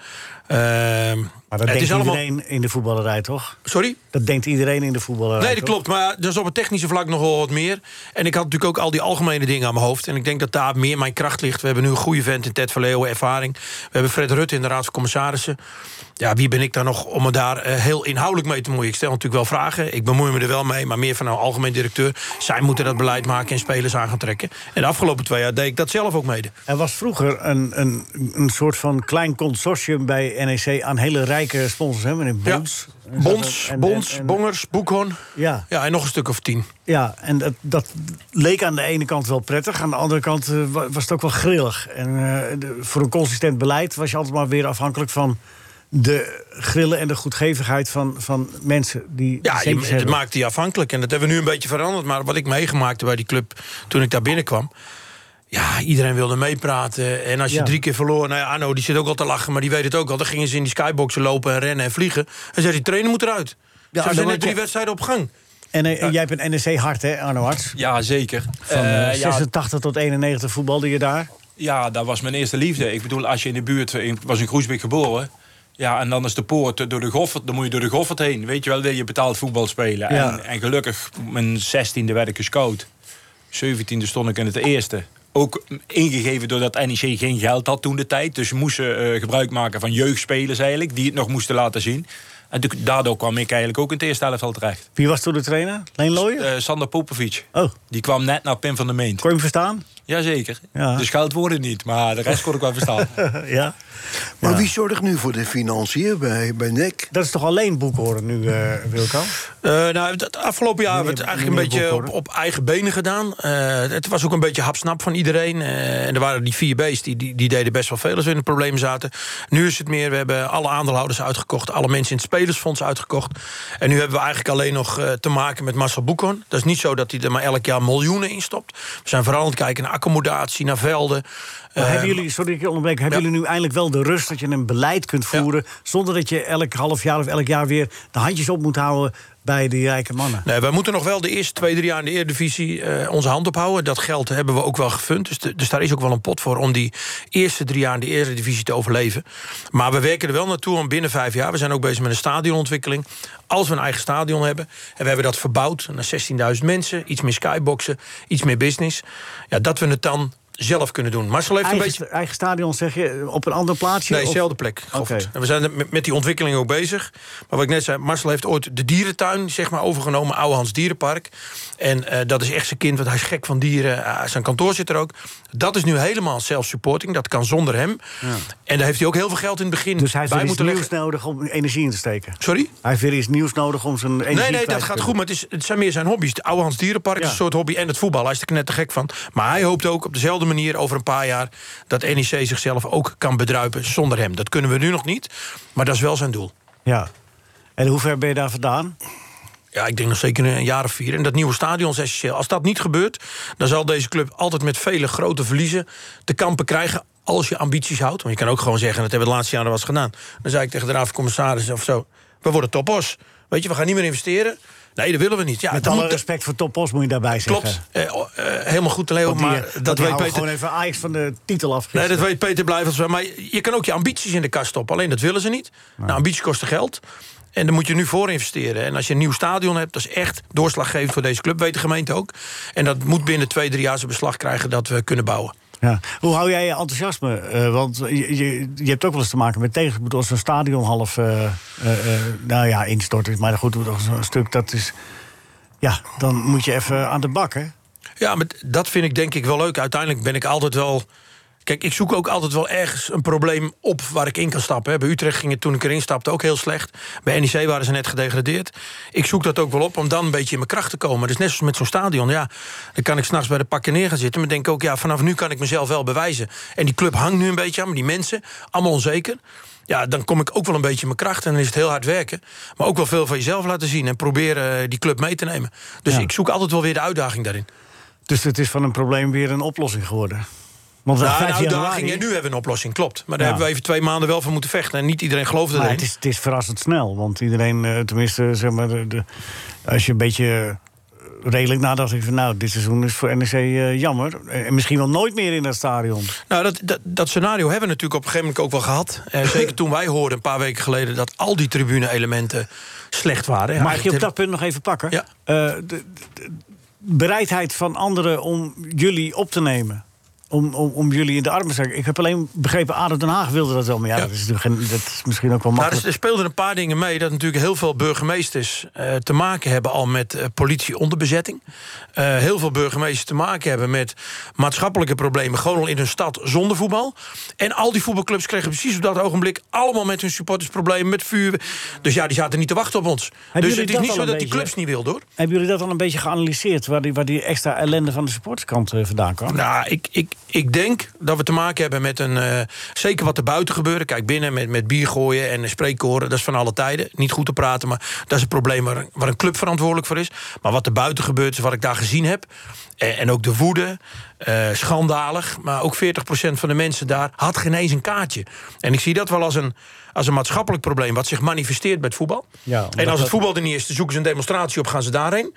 F: Eh,
C: Maar dat
F: het
C: denkt
F: is allemaal...
C: iedereen in de voetballerij, toch?
F: Sorry?
C: Dat denkt iedereen in de voetballerij,
F: Nee, dat
C: toch?
F: klopt. Maar dus op het technische vlak nog wel wat meer. En ik had natuurlijk ook al die algemene dingen aan mijn hoofd. En ik denk dat daar meer mijn kracht ligt. We hebben nu een goede vent in Ted Verleeuwen, ervaring. We hebben Fred Rutte in de Raad van Commissarissen. Ja, wie ben ik dan nog om me daar eh, heel inhoudelijk mee te moeien? Ik stel natuurlijk wel vragen. Ik bemoei me er wel mee. Maar meer van een algemeen directeur. Zij moeten dat beleid maken en spelers aan gaan trekken. En de afgelopen twee jaar deed ik dat zelf ook mede.
C: Er was vroeger een, een, een soort van klein consortium bij NEC... aan hele rijke sponsors, hè, meneer Bonds. En zo-
F: Bonds,
C: en-
F: Bonds,
C: en- en-
F: Bongers, Boekhorn.
C: Ja,
F: Ja, en nog een stuk of tien.
C: ja, en dat, dat leek aan de ene kant wel prettig. Aan de andere kant eh, wa- was het ook wel grillig. En eh, de- voor een consistent beleid was je altijd maar weer afhankelijk van... de grillen en de goedgevigheid van, van mensen die die
F: Ja, je,
C: centjes
F: het
C: hebben.
F: maakt die afhankelijk. En dat hebben we nu een beetje veranderd. Maar wat ik meegemaakt heb bij die club toen ik daar binnenkwam. Ja, iedereen wilde meepraten. En als je
C: Ja.
F: drie keer verloor... Nou ja, Arno, die zit ook al te lachen, maar die weet het ook al. Dan gingen ze in die skyboxen lopen en rennen en vliegen. En zei die trainer moet eruit. Ja,
C: dan
F: ze zijn
C: word
F: net
C: je-
F: drie wedstrijden op gang.
C: En eh, jij hebt een NEC-hart, hè, Arno Harts?
I: Ja, zeker.
C: Van eh,
I: Eh, ja,
C: 86 tot 91 voetbalde je daar.
I: Ja, dat was mijn eerste liefde. Ik bedoel, als je in de buurt... Ik was in Groesbeek geboren. Ja, en dan is de poort door de Goffert... Dan moet je door de Goffert heen. Weet je wel, wil je betaald voetbal spelen.
C: Ja.
I: En, en gelukkig, mijn zestiende werd ik gescout. Zeventiende stond ik in het eerste. Ook ingegeven doordat NEC geen geld had toen de tijd. Dus ze moesten eh, gebruik maken van jeugdspelers eigenlijk... die het nog moesten laten zien. En toen- daardoor kwam ik eigenlijk ook in het eerste helft al terecht.
C: Wie was toen de trainer? Leen Looijen?
I: Eh, Sander Popovic.
C: Oh, kon
I: Die kwam net naar Pim van der Meent.
C: je hem verstaan?
I: Jazeker.
C: Ja.
I: De scheldwoorden niet, maar de rest kon ik wel verstaan.
C: ja.
G: Maar wie zorgt nu voor de financiën bij, E bij NEC?
C: Dat is toch alleen boekhoren nu, eh Wilco?
F: Eh, nou, het afgelopen jaar hebben we het eigenlijk
C: Meneer-
F: een
C: meneer
F: beetje op,
C: Boekhoorn.
F: op eigen benen gedaan. Eh, het was ook een beetje hapsnap van iedereen. Eh, en er waren die vier B's, die, die, die deden best wel veel als we in het probleem zaten. Nu is het meer, we hebben alle aandeelhouders uitgekocht... alle mensen in het spelersfonds uitgekocht. En nu hebben we eigenlijk alleen nog eh, te maken met Marcel Boekhoorn. Dat is niet zo dat hij er maar elk jaar miljoenen in stopt. We zijn vooral aan het kijken naar accommodatie, naar velden.
C: Maar
F: Eh,
C: hebben jullie, sorry dat ik je onderbreek, hebben
F: ja.
C: jullie nu eindelijk wel de rust dat je een beleid kunt voeren... zonder dat je elk half jaar of elk jaar weer de handjes op moet houden bij die rijke mannen?
F: Nee, wij moeten nog wel de eerste twee, drie jaar in de Eredivisie eh, onze hand ophouden. Dat geld hebben we ook wel gefund. Dus, de- dus daar is ook wel een pot voor om die eerste drie jaar in de Eredivisie te overleven. Maar we werken er wel naartoe om binnen vijf jaar. We zijn ook bezig met een stadionontwikkeling. Als we een eigen stadion hebben. En we hebben dat verbouwd naar 16.000 mensen. Iets meer skyboxen, iets meer business. Ja, dat we het dan zelf kunnen doen. Marcel heeft
C: Eigen,
F: een beetje...
C: sta- eigen stadion, zeg je, op een ander plaatsje?
F: Nee,
C: Of-
F: dezelfde plek. Goffert.
C: Oké.
F: En we zijn er met- met die ontwikkeling ook bezig. Maar wat ik net zei, Marcel heeft ooit de dierentuin zeg maar, overgenomen, Oude Hans Dierenpark. En eh, dat is echt zijn kind, want hij is gek van dieren. Eh, zijn kantoor zit er ook. Dat is nu helemaal self-supporting. Dat kan zonder hem. En daar heeft hij ook heel veel geld in het begin
C: Dus hij heeft
F: bij
C: weer iets
F: moeten
C: nieuws
F: leggen.
C: nodig om energie in te steken?
F: Sorry?
C: Hij heeft weer iets nieuws nodig om zijn energie
F: Nee, nee,
C: kwijt te
F: dat gaat
C: kunnen.
F: goed. Maar het, is, het zijn meer zijn hobby's. Het oude Hans Dierenpark
C: Ja.
F: is een soort hobby. En het voetbal. Hij is er net te gek van. Maar hij hoopt ook op dezelfde manier over een paar jaar. dat NEC zichzelf ook kan bedruipen zonder hem. Dat kunnen we nu nog niet. Maar dat is wel zijn doel.
C: Ja. En hoe ver ben je daar vandaan?
F: Ja, ik denk nog zeker een jaar of vier. En dat nieuwe stadion is essentieel. Als dat niet gebeurt, dan zal deze club altijd met vele grote verliezen te kampen krijgen. Als je ambities houdt. Want je kan ook gewoon zeggen: dat hebben we de laatste jaren was gedaan. Dan zei ik tegen de raad van commissarissen of zo: we worden topos. Weet je, we gaan niet meer investeren. Nee, dat willen we niet. Ja,
C: Met
F: dan
C: alle
F: moet-
C: respect voor Topos moet je daarbij zeggen.
F: Klopt. Eh, oh, eh, helemaal goed, Leo.
C: Want die,
F: Maar
C: eh,
F: dat
C: die
F: weet
C: houden
F: Peter.
C: gewoon even Ajax van de titel
F: Nee,
C: af. gisteren.
F: dat weet Peter Blijvels wel. Maar je kan ook je ambities in de kast stoppen. Alleen dat willen ze niet. Nou, ambities kosten geld. En daar moet je nu voor investeren. En als je een nieuw stadion hebt, dat is echt doorslaggevend voor deze club. Weet de gemeente ook. En dat moet binnen twee, drie jaar zijn beslag krijgen dat we kunnen bouwen.
C: Ja. Hoe hou jij je enthousiasme? Eh, want je, je, je hebt ook wel eens te maken met tegengemoed als een stadion half eh, eh, eh, nou ja, instort is. Maar goed, als een stuk dat is. Ja, dan moet je even aan de bak, hè?
F: Ja, maar dat vind ik denk ik wel leuk. Uiteindelijk ben ik altijd wel. Kijk, ik zoek ook altijd wel ergens een probleem op waar ik in kan stappen. hè. Bij Utrecht ging het toen ik erin stapte ook heel slecht. Bij NEC waren ze net gedegradeerd. Ik zoek dat ook wel op om dan een beetje in mijn kracht te komen. Dus net zoals met zo'n stadion, ja, dan kan ik s'nachts bij de pakken neer gaan zitten. Maar denk ook, ja, vanaf nu kan ik mezelf wel bewijzen. En die club hangt nu een beetje aan me, die mensen, allemaal onzeker. Ja, dan kom ik ook wel een beetje in mijn kracht en dan is het heel hard werken. Maar ook wel veel van jezelf laten zien en proberen eh, die club mee te nemen. Dus
C: Ja.
F: ik zoek altijd wel weer de uitdaging daarin.
C: Dus het is van een probleem weer een oplossing geworden. Want
F: Ja,
C: aan
F: een
C: 5
F: uitdaging.
C: januari-
F: En nou, nu hebben we een oplossing, klopt. Maar daar
C: Ja.
F: hebben we even twee maanden wel van moeten vechten. En niet iedereen geloofde
C: Maar
F: erin.
C: het is, het is verrassend snel, want iedereen, eh, tenminste, zeg maar, de, de- als je een beetje eh, redelijk nadat ik van nou, dit seizoen is voor NEC eh, jammer. En misschien wel nooit meer in dat stadion.
F: Nou, dat, dat, dat scenario hebben we natuurlijk op een gegeven moment ook wel gehad. Eh, zeker toen wij hoorden een paar weken geleden dat al die tribune-elementen slecht waren. Ja,
C: Mag ik je op
F: het-
C: dat punt nog even pakken?
F: Ja.
C: Eh, de, de- de bereidheid van anderen om jullie op te nemen. Om, om, om jullie in de armen te zetten. Ik heb alleen begrepen, ADO Den Haag wilde dat wel. Maar ja,
F: Ja.
C: Dat, is natuurlijk geen, dat is misschien ook wel
F: Nou,
C: makkelijk.
F: er, er speelden een paar dingen mee dat natuurlijk heel veel burgemeesters eh, te maken hebben al met eh, politie-onderbezetting. Eh, heel veel burgemeesters te maken hebben met maatschappelijke problemen, gewoon al in hun stad zonder voetbal. En al die voetbalclubs kregen precies op dat ogenblik allemaal met hun supporters problemen, met vuur. Dus ja, die zaten niet te wachten op ons. dus
C: jullie
F: het is
C: dat
F: niet
C: al
F: zo dat die
C: een beetje?
F: clubs niet wilden hoor.
C: Hebben jullie dat al een beetje geanalyseerd? Waar die, waar die extra ellende van de supporterskant eh, vandaan kwam?
F: Nou, ik, ik, ik denk dat we te maken hebben met een. eh, zeker wat er buiten gebeurde. Kijk, binnen met, met bier gooien en spreekkoren. Dat is van alle tijden. Niet goed te praten, maar dat is een probleem waar, waar een club verantwoordelijk voor is. Maar wat er buiten gebeurt, is wat ik daar gezien heb. En, en ook de woede. eh, schandalig. Maar ook 40% van de mensen daar had geen eens een kaartje. En ik zie dat wel als een, als een maatschappelijk probleem. wat zich manifesteert bij het voetbal.
C: Ja,
F: en
C: omdat
F: als het
C: dat-
F: voetbal er niet is, dan zoeken ze een demonstratie op, gaan ze daarheen.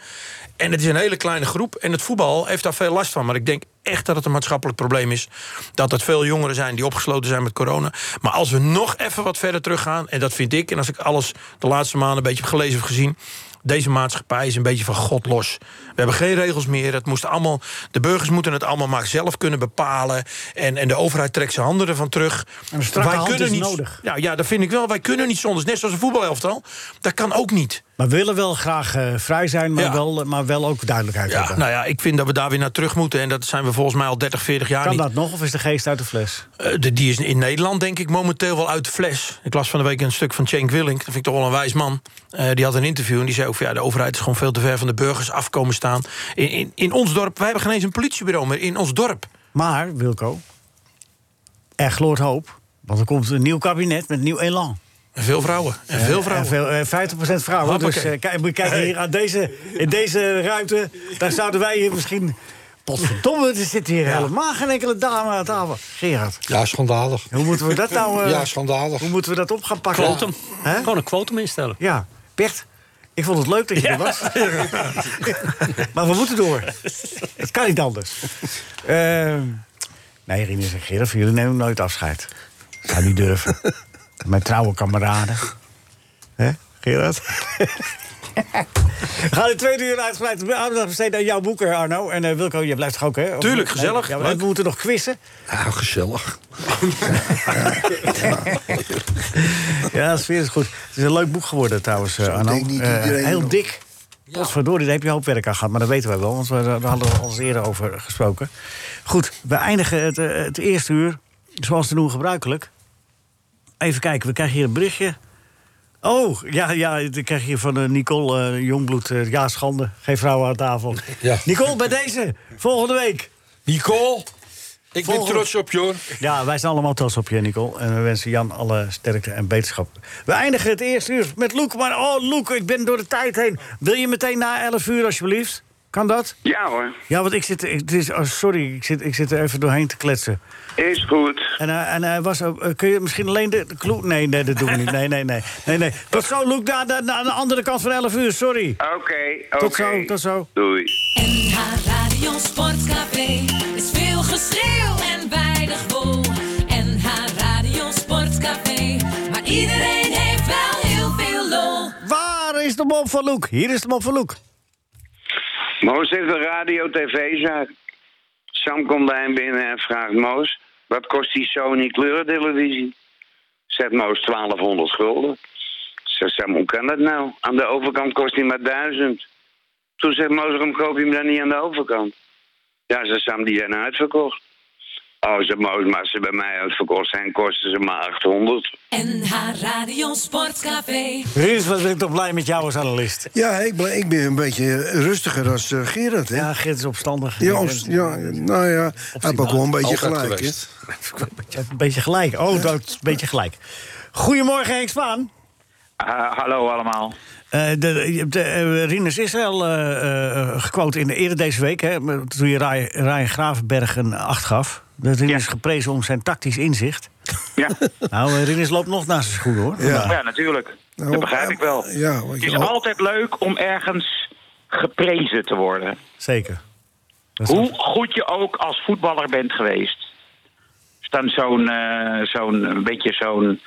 F: En het is een hele kleine groep. En het voetbal heeft daar veel last van. Maar ik denk echt dat het een maatschappelijk probleem is. Dat het veel jongeren zijn die opgesloten zijn met corona. Maar als we nog even wat verder teruggaan, en dat vind ik... en als ik alles de laatste maanden een beetje heb gelezen of gezien... Deze maatschappij is een beetje van God los. We hebben geen regels meer. Het moest allemaal, de burgers moeten het allemaal maar zelf kunnen bepalen. En, en de overheid trekt zijn handen ervan terug.
C: een strakke hand is
F: niet,
C: nodig.
F: Ja, ja, dat vind ik wel. Wij kunnen niet zonder. Net zoals een voetbalelftal. Dat kan ook niet.
C: Maar we willen wel graag eh, vrij zijn, maar,
F: Ja.
C: wel, eh, maar wel ook duidelijkheid
F: Ja,
C: hebben.
F: nou ja, ik vind dat we daar weer naar terug moeten. En dat zijn we volgens mij al 30, 40 jaar
C: kan
F: niet.
C: dat nog of is de geest uit de fles?
F: Eh, de- die is in Nederland denk ik momenteel wel uit de fles. Ik las van de week een stuk van Cenk Willink. Dat vind ik toch wel een wijs man. Eh, die had een interview en die zei ook... van, Ja, de overheid is gewoon veel te ver van de burgers afkomen staan. In, in, in ons dorp, wij hebben geen eens een politiebureau meer. In ons dorp.
C: Maar, Wilco, er gloort hoop. Want er komt een nieuw kabinet met nieuw elan.
F: En veel vrouwen. En veel vrouwen.
C: En veel, eh, 50% vrouwen. Dus
F: Hoppakee.
C: eh, kijk, moet je kijken hier aan deze, in deze ruimte. Daar zouden wij hier misschien... Potverdomme, er zit hier helemaal geen enkele dame aan tafel. Gerard,
D: Ja, schandalig.
C: hoe moeten we dat nou... eh,
D: Ja, schandalig.
C: hoe moeten we dat op gaan pakken?
E: Quotum.
C: Hè?
E: Gewoon een quotum instellen.
C: Ja, Bert, ik vond het leuk dat je er was. maar we moeten door. Het kan niet anders. Ehm, nee, Rinus en Gerard, van jullie nemen nooit afscheid. Ik zou niet durven. Mijn trouwe kameraden. Hè, Gerard? We gaan de tweede uur uitgebreid aandacht besteden aan jouw boeken, Arno. En eh, Wilco, je blijft toch ook, hè? Of-
F: Tuurlijk,
C: Nee,
F: gezellig,
C: ja, maar
F: leuk.
C: we moeten nog quizzen.
D: Ja, ah, gezellig.
C: Ja, de sfeer is goed. Het is een leuk boek geworden trouwens, eh, Arno.
G: denkt niet
C: Eh,
G: iedereen
C: heel
G: nog.
C: dik. Potverdorie, daar heb je een hoop werk aan gehad. Maar dat weten wij wel, want we, daar hadden we al eens eerder over gesproken. Goed, we eindigen het, eh, het eerste uur, zoals te doen gebruikelijk. Even kijken, we krijgen hier een berichtje. Oh, ja, ja, ik krijg hier van eh, Nicole eh, Jongbloed. eh, ja, schande, geen vrouwen aan tafel.
D: Ja.
C: Nicole, bij deze, volgende week.
D: Nicole, ik
C: Volgende.
D: ben trots op je hoor.
C: Ja, wij zijn allemaal trots op je, Nicole. En we wensen Jan alle sterkte en beterschap. We eindigen het eerste uur met Loek. Maar oh, Loek, ik ben door de tijd heen. Wil je meteen na 11 uur, alsjeblieft? Kan dat?
J: Ja hoor,
C: Ja, want ik zit... Ik, het is, oh, sorry, ik zit, ik zit er even doorheen te kletsen.
J: is goed.
C: En, hij- en hij was... ook- eh, kun je misschien alleen de... de kloe- nee, nee, dat doen we niet. Nee, nee, nee. nee, nee. Tot zo, Loek, daar daar- daar aan de andere kant van 11 uur. Sorry.
J: Oké, oké.
C: Tot zo, tot zo.
J: Doei.
A: NH Radio Sportcafé is veel geschreeuw en weinig wol. NH Radio Sportcafé, maar iedereen heeft wel heel veel lol.
C: Waar is de mop van Loek? Hier is de mop van Loek.
J: Moos heeft een radio-tv-zaak. Sam komt bij hem binnen en vraagt Moos... wat kost die Sony kleurentelevisie? Zegt Moos 1200 gulden. Zegt Sam, hoe kan dat nou? Aan de overkant kost hij maar 1000. Toen zegt Moos, waarom koop je hem dan niet aan de overkant? Ja, zegt Sam, die zijn uitverkocht. Oh, zegt Moos, maar als ze bij mij uitverkocht zijn... kosten ze maar 800.
A: NH Radio Sportcafé.
C: Rinus, wat ben ik toch blij met jou als analist.
G: Ja, ik, ble- ik ben een beetje rustiger dan eh, Gerard, hè?
C: Ja, Gert is opstandig.
G: Ja, om- ja, nou ja, hij heeft ook wel een beetje
D: Altijd
G: gelijk. hè.
D: geweest.
C: Je hebt Een beetje gelijk. Oh, dat is een beetje gelijk. Goedemorgen, Henk Spaan.
J: hallo allemaal.
C: Eh, de, de, eh, Rinus Israël eh eh gequote in de eerder deze week. Hè, met- toen je Ryan, Ryan Gravenberg een 8 gaf. Dat Rinus
J: Ja.
C: geprezen om zijn tactisch inzicht.
J: Ja,
C: Nou, eh, Rinus loopt nog naast zijn schoenen hoor.
G: Ja.
J: ja natuurlijk. Dat begrijp ik wel.
G: Ja, want
J: Het is
G: je-
J: altijd leuk om ergens
K: geprezen te worden.
C: Zeker.
K: Hoe goed je ook als voetballer bent geweest. Als dan zo'n, eh, zo'n een beetje zo'n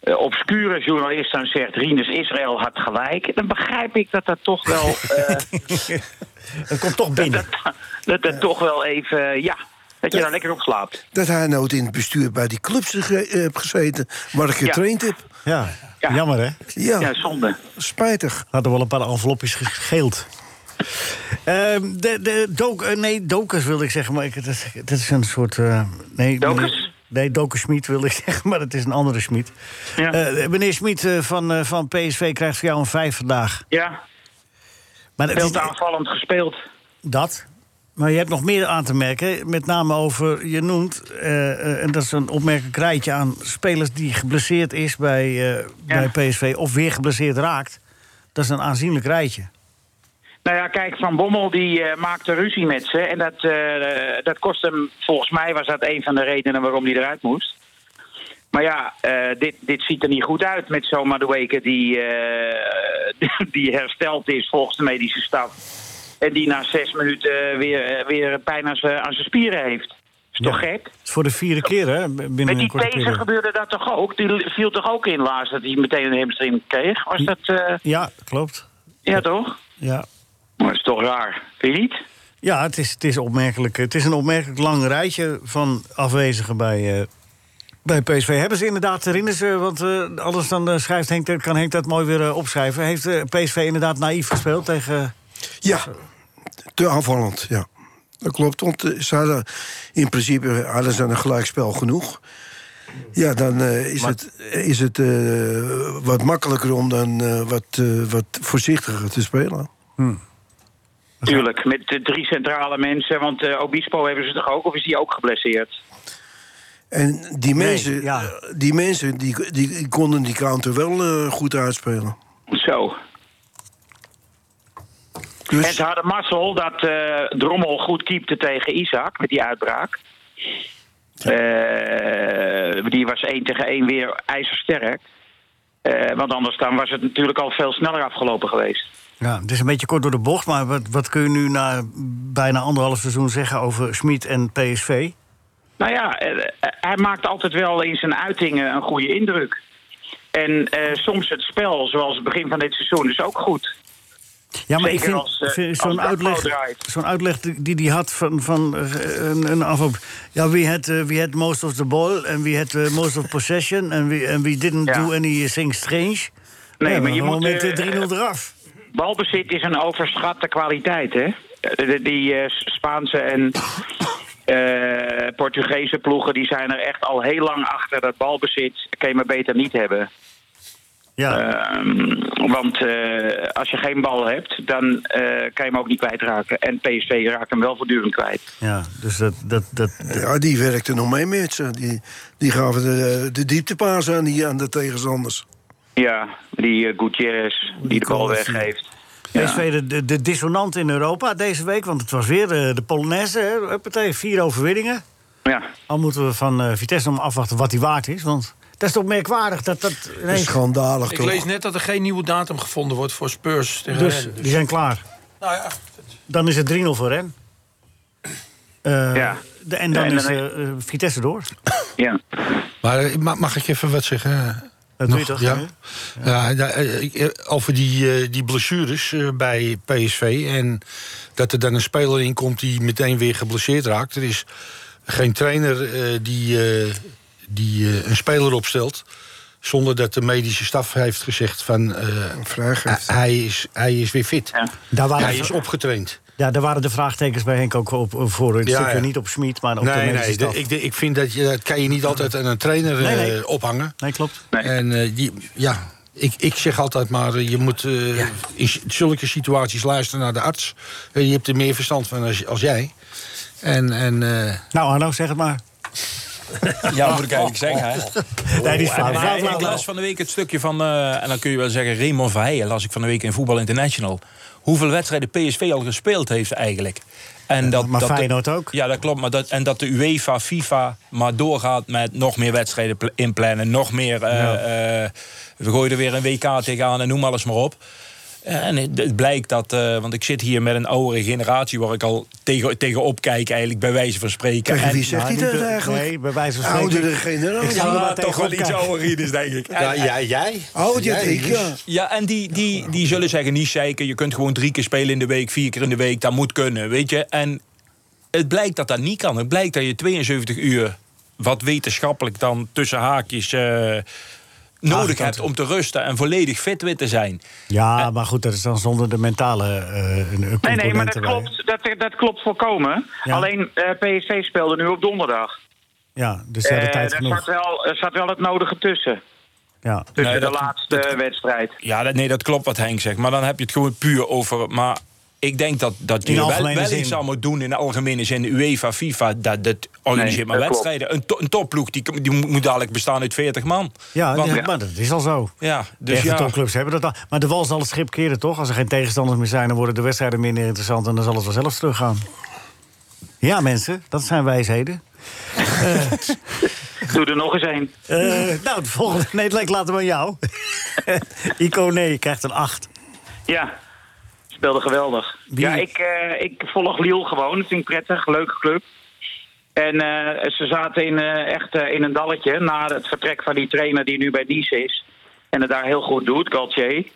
K: eh, obscure journalist dan zegt... Rinus Israël had gelijk, dan begrijp ik dat dat toch wel... eh,
C: het komt toch binnen.
K: Dat dat, dat dat toch wel even, ja, dat je daar lekker op slaapt.
G: Dat hij nooit in het bestuur bij die clubs ge- eh, hebt gezeten waar ik
K: Ja.
G: getraind heb.
C: Ja, jammer hè?
G: Ja.
K: zonde.
G: Spijtig.
C: Hadden wel een paar envelopjes gescheeld. Ehm, de, de dok, eh, nee, dokers wilde ik zeggen, maar ik, dat, dat is een soort... eh, nee,
K: Dokers?
C: Nee, Doker Schmid wilde ik zeggen, maar het is een andere Schmid.
K: Ja.
C: Eh, meneer Schmid eh, van, eh, van PSV krijgt voor jou een vijf vandaag.
K: Ja,
C: Maar het
K: veel
C: is-
K: te aanvallend gespeeld.
C: dat. Maar je hebt nog meer aan te merken. Met name over, je noemt, eh, eh, en dat is een opmerkelijk rijtje aan spelers die geblesseerd is bij, eh, bij PSV of weer geblesseerd raakt. Dat is een aanzienlijk rijtje.
K: Nou ja, kijk, Van Bommel die eh, maakte ruzie met ze. En dat, eh, dat kost hem, volgens mij was dat een van de redenen waarom hij eruit moest. Maar ja, eh, dit, dit ziet er niet goed uit met zo'n Madueke die, eh, die hersteld is volgens de medische staf. En die na zes minuten eh, weer, eh, weer pijn aan zijn aan zijn spieren heeft. Is toch gek?
C: Het is voor de vierde keer, hè? b- Binnen
K: Met
C: een
K: die
C: korte
K: Tezer
C: periode.
K: gebeurde dat toch ook? Die viel toch ook in laatst dat hij meteen een hamstring kreeg? Was dat... eh,
C: Ja, klopt.
K: ja, toch?
C: Ja,
K: Maar dat is toch raar. Vind je niet?
C: ja het, is, het is opmerkelijk. Het is een opmerkelijk lang rijtje van afwezigen bij, eh, bij PSV. Hebben ze inderdaad, herinneren ze, want eh, anders dan eh, schrijft Henk, dat- kan Henk dat mooi weer eh, opschrijven. Heeft eh, PSV inderdaad naïef gespeeld tegen...
G: Ja, te aanvallend, ja. Dat klopt, want eh, ze hadden in principe hadden ze aan een gelijkspel genoeg. Ja, dan eh, is het, is het eh, wat makkelijker om dan eh, wat, eh, wat voorzichtiger te spelen.
C: Hmm.
K: Tuurlijk, met de drie centrale mensen. Want eh, Obispo hebben ze toch ook? Of is die ook geblesseerd?
G: En die
C: Nee,
G: mensen,
C: ja.
G: eh, die, mensen die, die, die konden die counter wel eh, goed uitspelen.
K: Zo.
G: Dus-
K: En ze hadden mazzel dat eh, Drommel goed keepte tegen Isaac met die uitbraak. Eh, die was één tegen één weer ijzersterk. Eh, want anders dan was het natuurlijk al veel sneller afgelopen geweest.
C: Ja, het is een beetje kort door de bocht, maar wat, wat kun je nu na bijna anderhalf seizoen zeggen over Schmid en PSV?
K: Nou ja, eh, eh, hij maakt altijd wel in zijn uitingen een goede indruk. En eh, soms het spel, zoals het begin van dit seizoen, is ook goed.
C: Ja, maar
K: Zeker
C: ik vind,
K: als, eh,
C: vind
K: als
C: zo'n
K: Bakbo
C: uitleg,
K: draait.
C: zo'n uitleg die die die had van, van eh, een, een afloop. Ja, we had, eh, we had most of the ball en we had eh, most of possession en we, and we didn't
K: Ja.
C: do anything strange.
K: Nee,
C: Ja,
K: maar je
C: dan
K: moet,
C: met
K: eh,
C: eh, 3-0 eraf.
K: Balbezit is een overschatte kwaliteit, hè? Eh, de- Die eh, Spaanse en eh, Portugese ploegen die zijn er echt al heel lang achter. Dat balbezit kan je maar beter niet hebben.
C: Ja,
K: Ehm, want eh, als je geen bal hebt, dan eh, kan je hem ook niet kwijtraken. En PSV raakt hem wel voortdurend kwijt.
C: ja dus dat, dat, dat,
G: Ja, die werkte nog mee met ze. Die, die gaven de, de dieptepaas aan, die, aan de tegenstanders.
K: Ja, die eh, Gutierrez die de bal
G: Gutierrez, ja.
K: weggeeft.
C: PSV de, de, de dissonant in Europa deze week, want het was weer eh, de Polonaise. Hè? Huppatee, vier overwinningen.
K: Ja,
C: Al moeten we van eh, Vitesse nog afwachten wat die waard is, want dat is toch merkwaardig dat dat ineens-
G: Schandalig
F: Ik
G: toch?
F: lees net dat er geen nieuwe datum gevonden wordt voor Spurs. Tegen
C: Dus
F: Rennes.
C: die zijn klaar.
F: nou ja,
C: Dan is het 3-0 voor Ren. Eh,
K: Ja.
C: de- en dan
K: Ja, en
C: is
K: dan-
C: eh, eh, Vitesse door.
K: ja.
D: Maar eh, ma- mag ik je even wat zeggen?
C: Dat doe je toch?
D: Ja,
C: hè?
D: ja. ja, eh, ik, eh, over die, eh, die blessures eh, bij PSV. En dat er dan een speler in komt die meteen weer geblesseerd raakt. Er is geen trainer eh, die, eh, die eh, een speler opstelt. Zonder dat de medische staf heeft gezegd van eh,
G: Vrijgeeft.
D: hij- hij, is, hij is weer fit.
K: Ja.
C: Daar, waren
D: Hij
C: de,
D: is opgetraind.
C: ja, daar waren de vraagtekens bij Henk ook op, op voor. Het
D: Ja,
C: stukje
D: ja.
C: niet op Schmid, maar op de
D: Nee,
C: medische
D: nee de-
C: staf.
D: ik, de- ik vind dat je dat kan je niet altijd aan een trainer
C: Nee,
D: eh,
C: nee.
D: ophangen.
C: Nee, klopt.
K: Nee.
D: En eh, die, ja, ik, ik zeg altijd maar, eh, je moet eh, in s- zulke situaties luisteren naar de arts. Eh, je hebt er meer verstand van als, als jij. En, en eh,
C: Nou, Arno, zeg het maar.
I: Ja, moet ik eigenlijk zeggen. Hè.
C: nee, die is flauw.
I: Maar
C: Flauw,
I: ik-
C: flauw,
I: ik
C: flauw.
I: las van de week het stukje van, eh, en dan kun je wel zeggen, Raymond Verheijen las ik van de week in Voetbal International. Hoeveel wedstrijden PSV al gespeeld heeft eigenlijk. En dat,
C: maar
I: dat de-
C: Feyenoord ook.
I: Ja, dat klopt. Maar dat, en dat de UEFA, FIFA maar doorgaat met nog meer wedstrijden pl- inplannen. Nog meer, eh, eh, we gooien er weer een WK tegenaan en noem alles maar op. Eh, En het het blijkt dat, eh, want ik zit hier met een oudere generatie waar ik al tegen, tegenop kijk, eigenlijk bij wijze van spreken.
G: Tegen
I: En-
G: wie zegt
I: Nou,
G: hij
I: niet
G: dat
I: de-
G: eigenlijk?
C: Nee, bij wijze van spreken.
G: Oudere generatie.
I: Ik zou er maar toch wel iets ouder in is, denk ik.
D: Ja, jij- jij?
G: Oh,
D: Jij,
G: dat ik,
D: dus.
G: ja.
I: Ja, en die, die, die zullen zeggen, niet zeker, je kunt gewoon drie keer spelen in de week, vier keer in de week, dat moet kunnen, weet je. En het blijkt dat dat niet kan. Het blijkt dat je 72 uur, wat wetenschappelijk dan tussen haakjes, eh,
G: Ah,
I: nodig
C: Aangetoond.
I: hebt om te rusten en volledig fit weer te zijn.
C: Ja, maar goed, dat is dan zonder de mentale eh component
K: Nee, nee, maar dat
C: erbij.
K: klopt, dat, dat klopt voorkomen.
C: Ja.
K: Alleen eh, PSV speelde nu op donderdag.
C: Ja, dus ze hadden
K: Eh,
C: tijd
K: daar
C: genoeg.
K: zat wel, er zat wel het nodige tussen.
C: Ja.
K: Tussen
I: Nee,
K: de
I: dat-
K: laatste wedstrijd.
I: Ja, dat, nee, dat klopt wat Henk zegt. Maar dan heb je het gewoon puur over. Maar ik denk dat, dat
C: In
I: je wel,
C: algemene
I: wel
C: zin.
I: iets aan moet doen in de algemene zin. UEFA, FIFA, dat, dat organiseert maar
K: dat klopt.
I: wedstrijden. Een, to- een topploeg die, die moet dadelijk bestaan uit 40 man.
C: Ja,
I: Want-
C: ja, maar dat is al zo.
I: ja,
C: De
I: dus
C: echte
I: ja.
C: topclubs hebben dat al. Maar de wal zal het schip keren, toch? Als er geen tegenstanders meer zijn, dan worden de wedstrijden minder interessant... en dan zal het vanzelf teruggaan. Ja, mensen, dat zijn wijsheden.
K: Doe er nog eens een.
C: Eh, nou, de volgende... Nee, het lijkt later bij jou. Ico, nee, je krijgt een 8.
K: Ja, speelde geweldig.
C: Wie-
K: Ja, ik, eh, ik volg Liel gewoon. Het vind ik prettig, leuke club. En eh, ze zaten in, eh, echt eh, in een dalletje na het vertrek van die trainer die nu bij Nice is. En het daar heel goed doet, Galtier.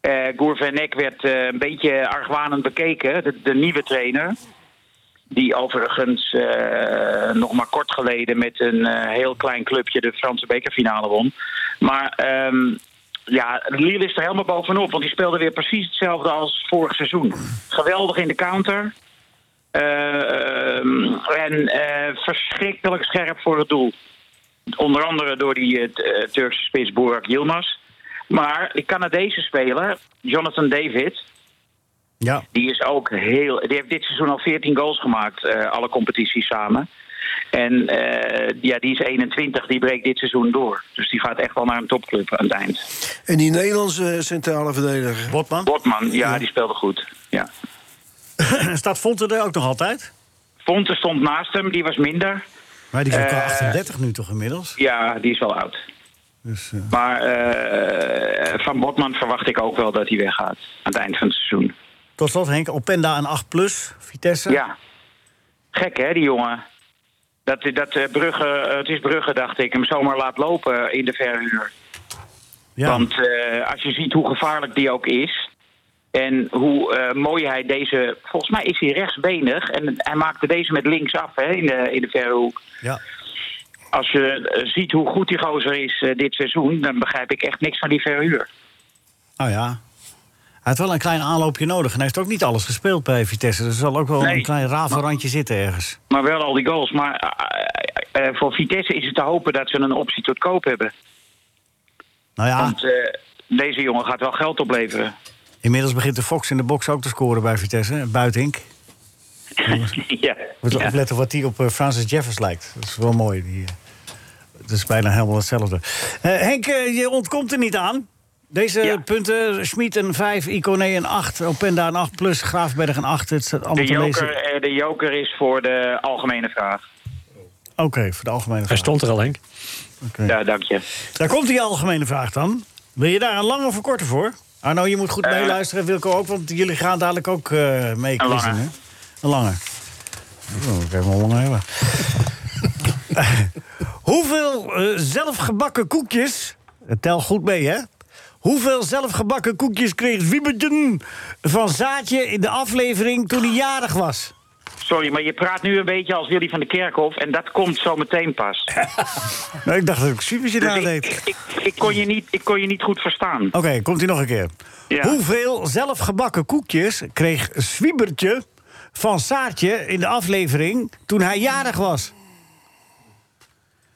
K: Eh Gourvenek werd eh, een beetje argwanend bekeken, de, de nieuwe trainer. Die overigens eh, nog maar kort geleden met een eh, heel klein clubje de Franse bekerfinale won. Maar ehm, ja, Lille is er helemaal bovenop, want die speelde weer precies hetzelfde als vorig seizoen. Geweldig in de counter. Eh, ehm, en eh, verschrikkelijk scherp voor het doel. Onder andere door die eh, t- eh, Turkse spits Burak Yilmaz. Maar die Canadese speler, Jonathan David,
C: Ja,
K: die is ook heel. Die heeft dit seizoen al 14 goals gemaakt, eh, alle competities samen. En eh, ja, die is 21, die breekt dit seizoen door. Dus die gaat echt wel naar een topclub aan het eind.
G: En die Nederlandse eh, centrale verdediger.
C: Botman.
K: Botman, ja, die speelde goed. Ja.
C: Staat Fonte er ook nog altijd?
K: Fonte stond naast hem, die was minder.
C: Maar die is ook al
K: Eh,
C: 38 nu toch inmiddels?
K: Ja, die is wel oud.
C: Dus, eh,
K: Maar eh, van Botman verwacht ik ook wel dat hij weggaat aan het eind van het seizoen.
C: tot slot, Henk, Openda een 8 plus, Vitesse.
K: Ja. Gek, hè, die jongen. Dat, dat eh, Brugge, eh, het is Brugge, dacht ik, hem zomaar laat lopen in de verhuur.
C: Ja.
K: Want eh, als je ziet hoe gevaarlijk die ook is... en hoe eh, mooi hij deze... Volgens mij is hij rechtsbenig en hij maakte deze met links af hè, in, de, in de verre hoek.
C: ja.
K: Als je eh, ziet hoe goed die gozer is eh, dit seizoen... dan begrijp ik echt niks van die verhuur.
C: Nou ja. Hij heeft wel een klein aanloopje nodig. En hij heeft ook niet alles gespeeld bij Vitesse. Dus er zal ook wel
K: Nee.
C: een klein ravenrandje zitten ergens.
K: Maar wel al die goals. Maar eh, eh, eh, voor Vitesse is het te hopen dat ze een optie tot koop hebben.
C: Nou ja,
K: Want eh, deze jongen gaat wel geld opleveren.
C: inmiddels begint de Fox in de box ook te scoren bij Vitesse. hè, Buitink.
K: ja.
C: Moet
K: ja.
C: opletten wat die op eh, Francis Jeffers lijkt. Dat is wel mooi. Die, eh, het is bijna helemaal hetzelfde. Eh, Henk, eh, je ontkomt er niet aan. Deze
K: Ja.
C: punten, Schmid een 5, Icone een 8, Openda een 8 plus, Graafberg een 8. Het staat
K: De
C: allemaal te lezen.
K: joker, eh, de joker is voor de algemene vraag.
C: Oké, voor de algemene
E: Hij
C: vraag.
E: stond er al, Henk.
C: Oké.
K: Ja, dank je.
C: Daar komt die algemene vraag dan. Wil je daar een lange of een korte voor? Arno, je moet goed
K: Eh.
C: meeluisteren, Wilco ook, want jullie gaan dadelijk ook eh mee
K: Een
C: quizzen,
K: lange.
C: hè? Een lange. Oh, ik heb hem al lang hebben. Hoeveel eh, zelfgebakken koekjes... eh, Tel goed mee, hè? Hoeveel zelfgebakken koekjes kreeg Wieberden van Zaatje... in de aflevering toen hij jarig was?
K: Sorry, maar je praat nu een beetje als Willy van de Kerkhof... en dat komt zo meteen pas.
C: Nou, ik dacht dat ik super
K: Dus
C: deed.
K: ik, ik, ik- ik kon je niet, ik kon je niet goed verstaan.
C: Oké, komt ie nog een keer.
K: Ja.
C: Hoeveel zelfgebakken koekjes kreeg Swiebertje van Saartje in de aflevering toen hij jarig was?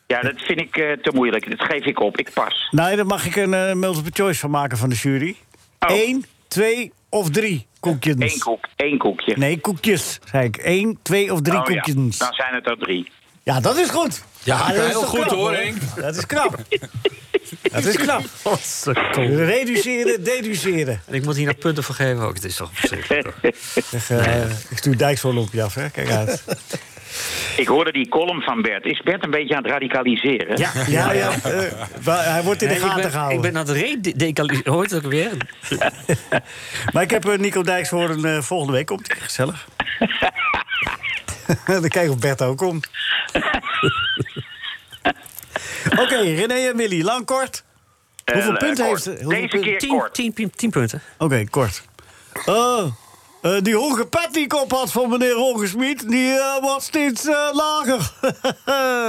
K: Ja, dat vind ik eh, te moeilijk. Dat geef ik op. Ik pas.
C: Nou, daar mag ik een eh, multiple choice van maken van de jury.
K: Oh.
C: Eén, twee of drie koekjes.
K: Eén koek, één koekje.
C: Nee, koekjes, zei ik. Eén, twee of drie
K: Oh ja,
C: koekjes.
K: Dan zijn het er drie.
C: Ja, dat is goed.
I: Ja, heel
C: toch
I: goed, hoor, Henk.
C: Dat is knap. dat is knap. Reduceren, deduceren.
E: En ik moet hier nog punten voor geven ook. Het is toch verschrikkelijk.
C: Zeg, eh, ik stuur Dijksvoorn op je af, hè? Kijk uit.
K: Ik hoorde die column van Bert. Is Bert een beetje aan het radicaliseren?
C: Ja, ja, ja. eh, wel, hij wordt in de
E: Nee, ik
C: gaten
E: ben-
C: gehouden.
E: Ik ben aan het redecaliseren. Hoort het ook weer?
C: Maar ik heb eh, Nico Dijkshoorn eh, volgende week. Komt hij gezellig? Dan kijken of Bert ook komt. Oké, René en Willy, lang kort.
E: Eh,
C: hoeveel
E: eh,
C: punten
E: kort.
C: heeft
E: Deze keer Tien- kort. Tien, punten.
C: Oké, kort. Oh, eh, die hoge pet die ik op had van meneer Hongesmied... die eh, wordt steeds eh, lager.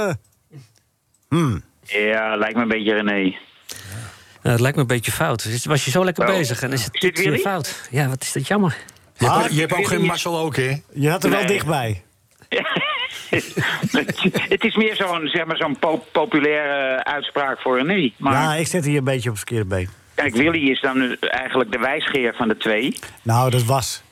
D: Hmm.
K: Ja, lijkt me een beetje René.
E: Nou, het lijkt me een beetje fout. Dus Was je zo lekker
K: Oh.
E: bezig en is het
K: Is
E: dit
K: dit
E: weer
K: Willy?
E: fout? Ja, wat is dat jammer.
D: Je hebt, je hebt ook geen mazzel ook, hè?
C: Ah, Je had er wel
K: Ah, Nee.
C: dichtbij.
K: het is meer zo'n zeg maar, zo'n po- populaire uitspraak voor René. Maar
C: Ja, ik zet hier een beetje op het verkeerde been.
K: kijk, Willy is dan eigenlijk de wijsgeer van de twee.
C: Nou, dat was.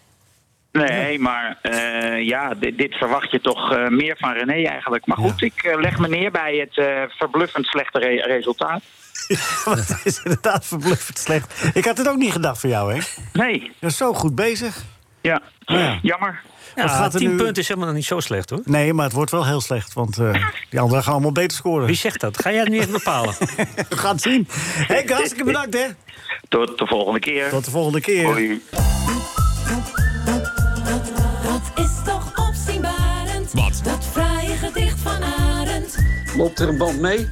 K: Nee, maar eh, ja, dit, dit verwacht je toch eh, meer van René eigenlijk. Maar goed, ik eh, leg me neer bij het eh, verbluffend slechte re- resultaat.
C: Want het is inderdaad verbluffend slecht. Ik had het ook niet gedacht van jou, hè?
K: Nee.
C: Je was zo goed bezig.
K: Ja,
C: Nou ja.
K: jammer.
E: Ja,
C: Wat gaat er
E: tien
C: nu-
E: punten is helemaal niet zo slecht hoor.
C: Nee, maar het wordt wel heel slecht, want eh, die anderen gaan allemaal beter scoren.
E: Wie zegt dat? Ga jij het nu even bepalen?
C: We gaan het zien. Henk, hartstikke bedankt, hè?
K: Tot de volgende keer.
C: Tot de volgende keer.
K: Hoi.
A: Dat is toch opzienbarend. Wat? Dat fraaie gedicht van Arend.
L: Loopt er een band mee?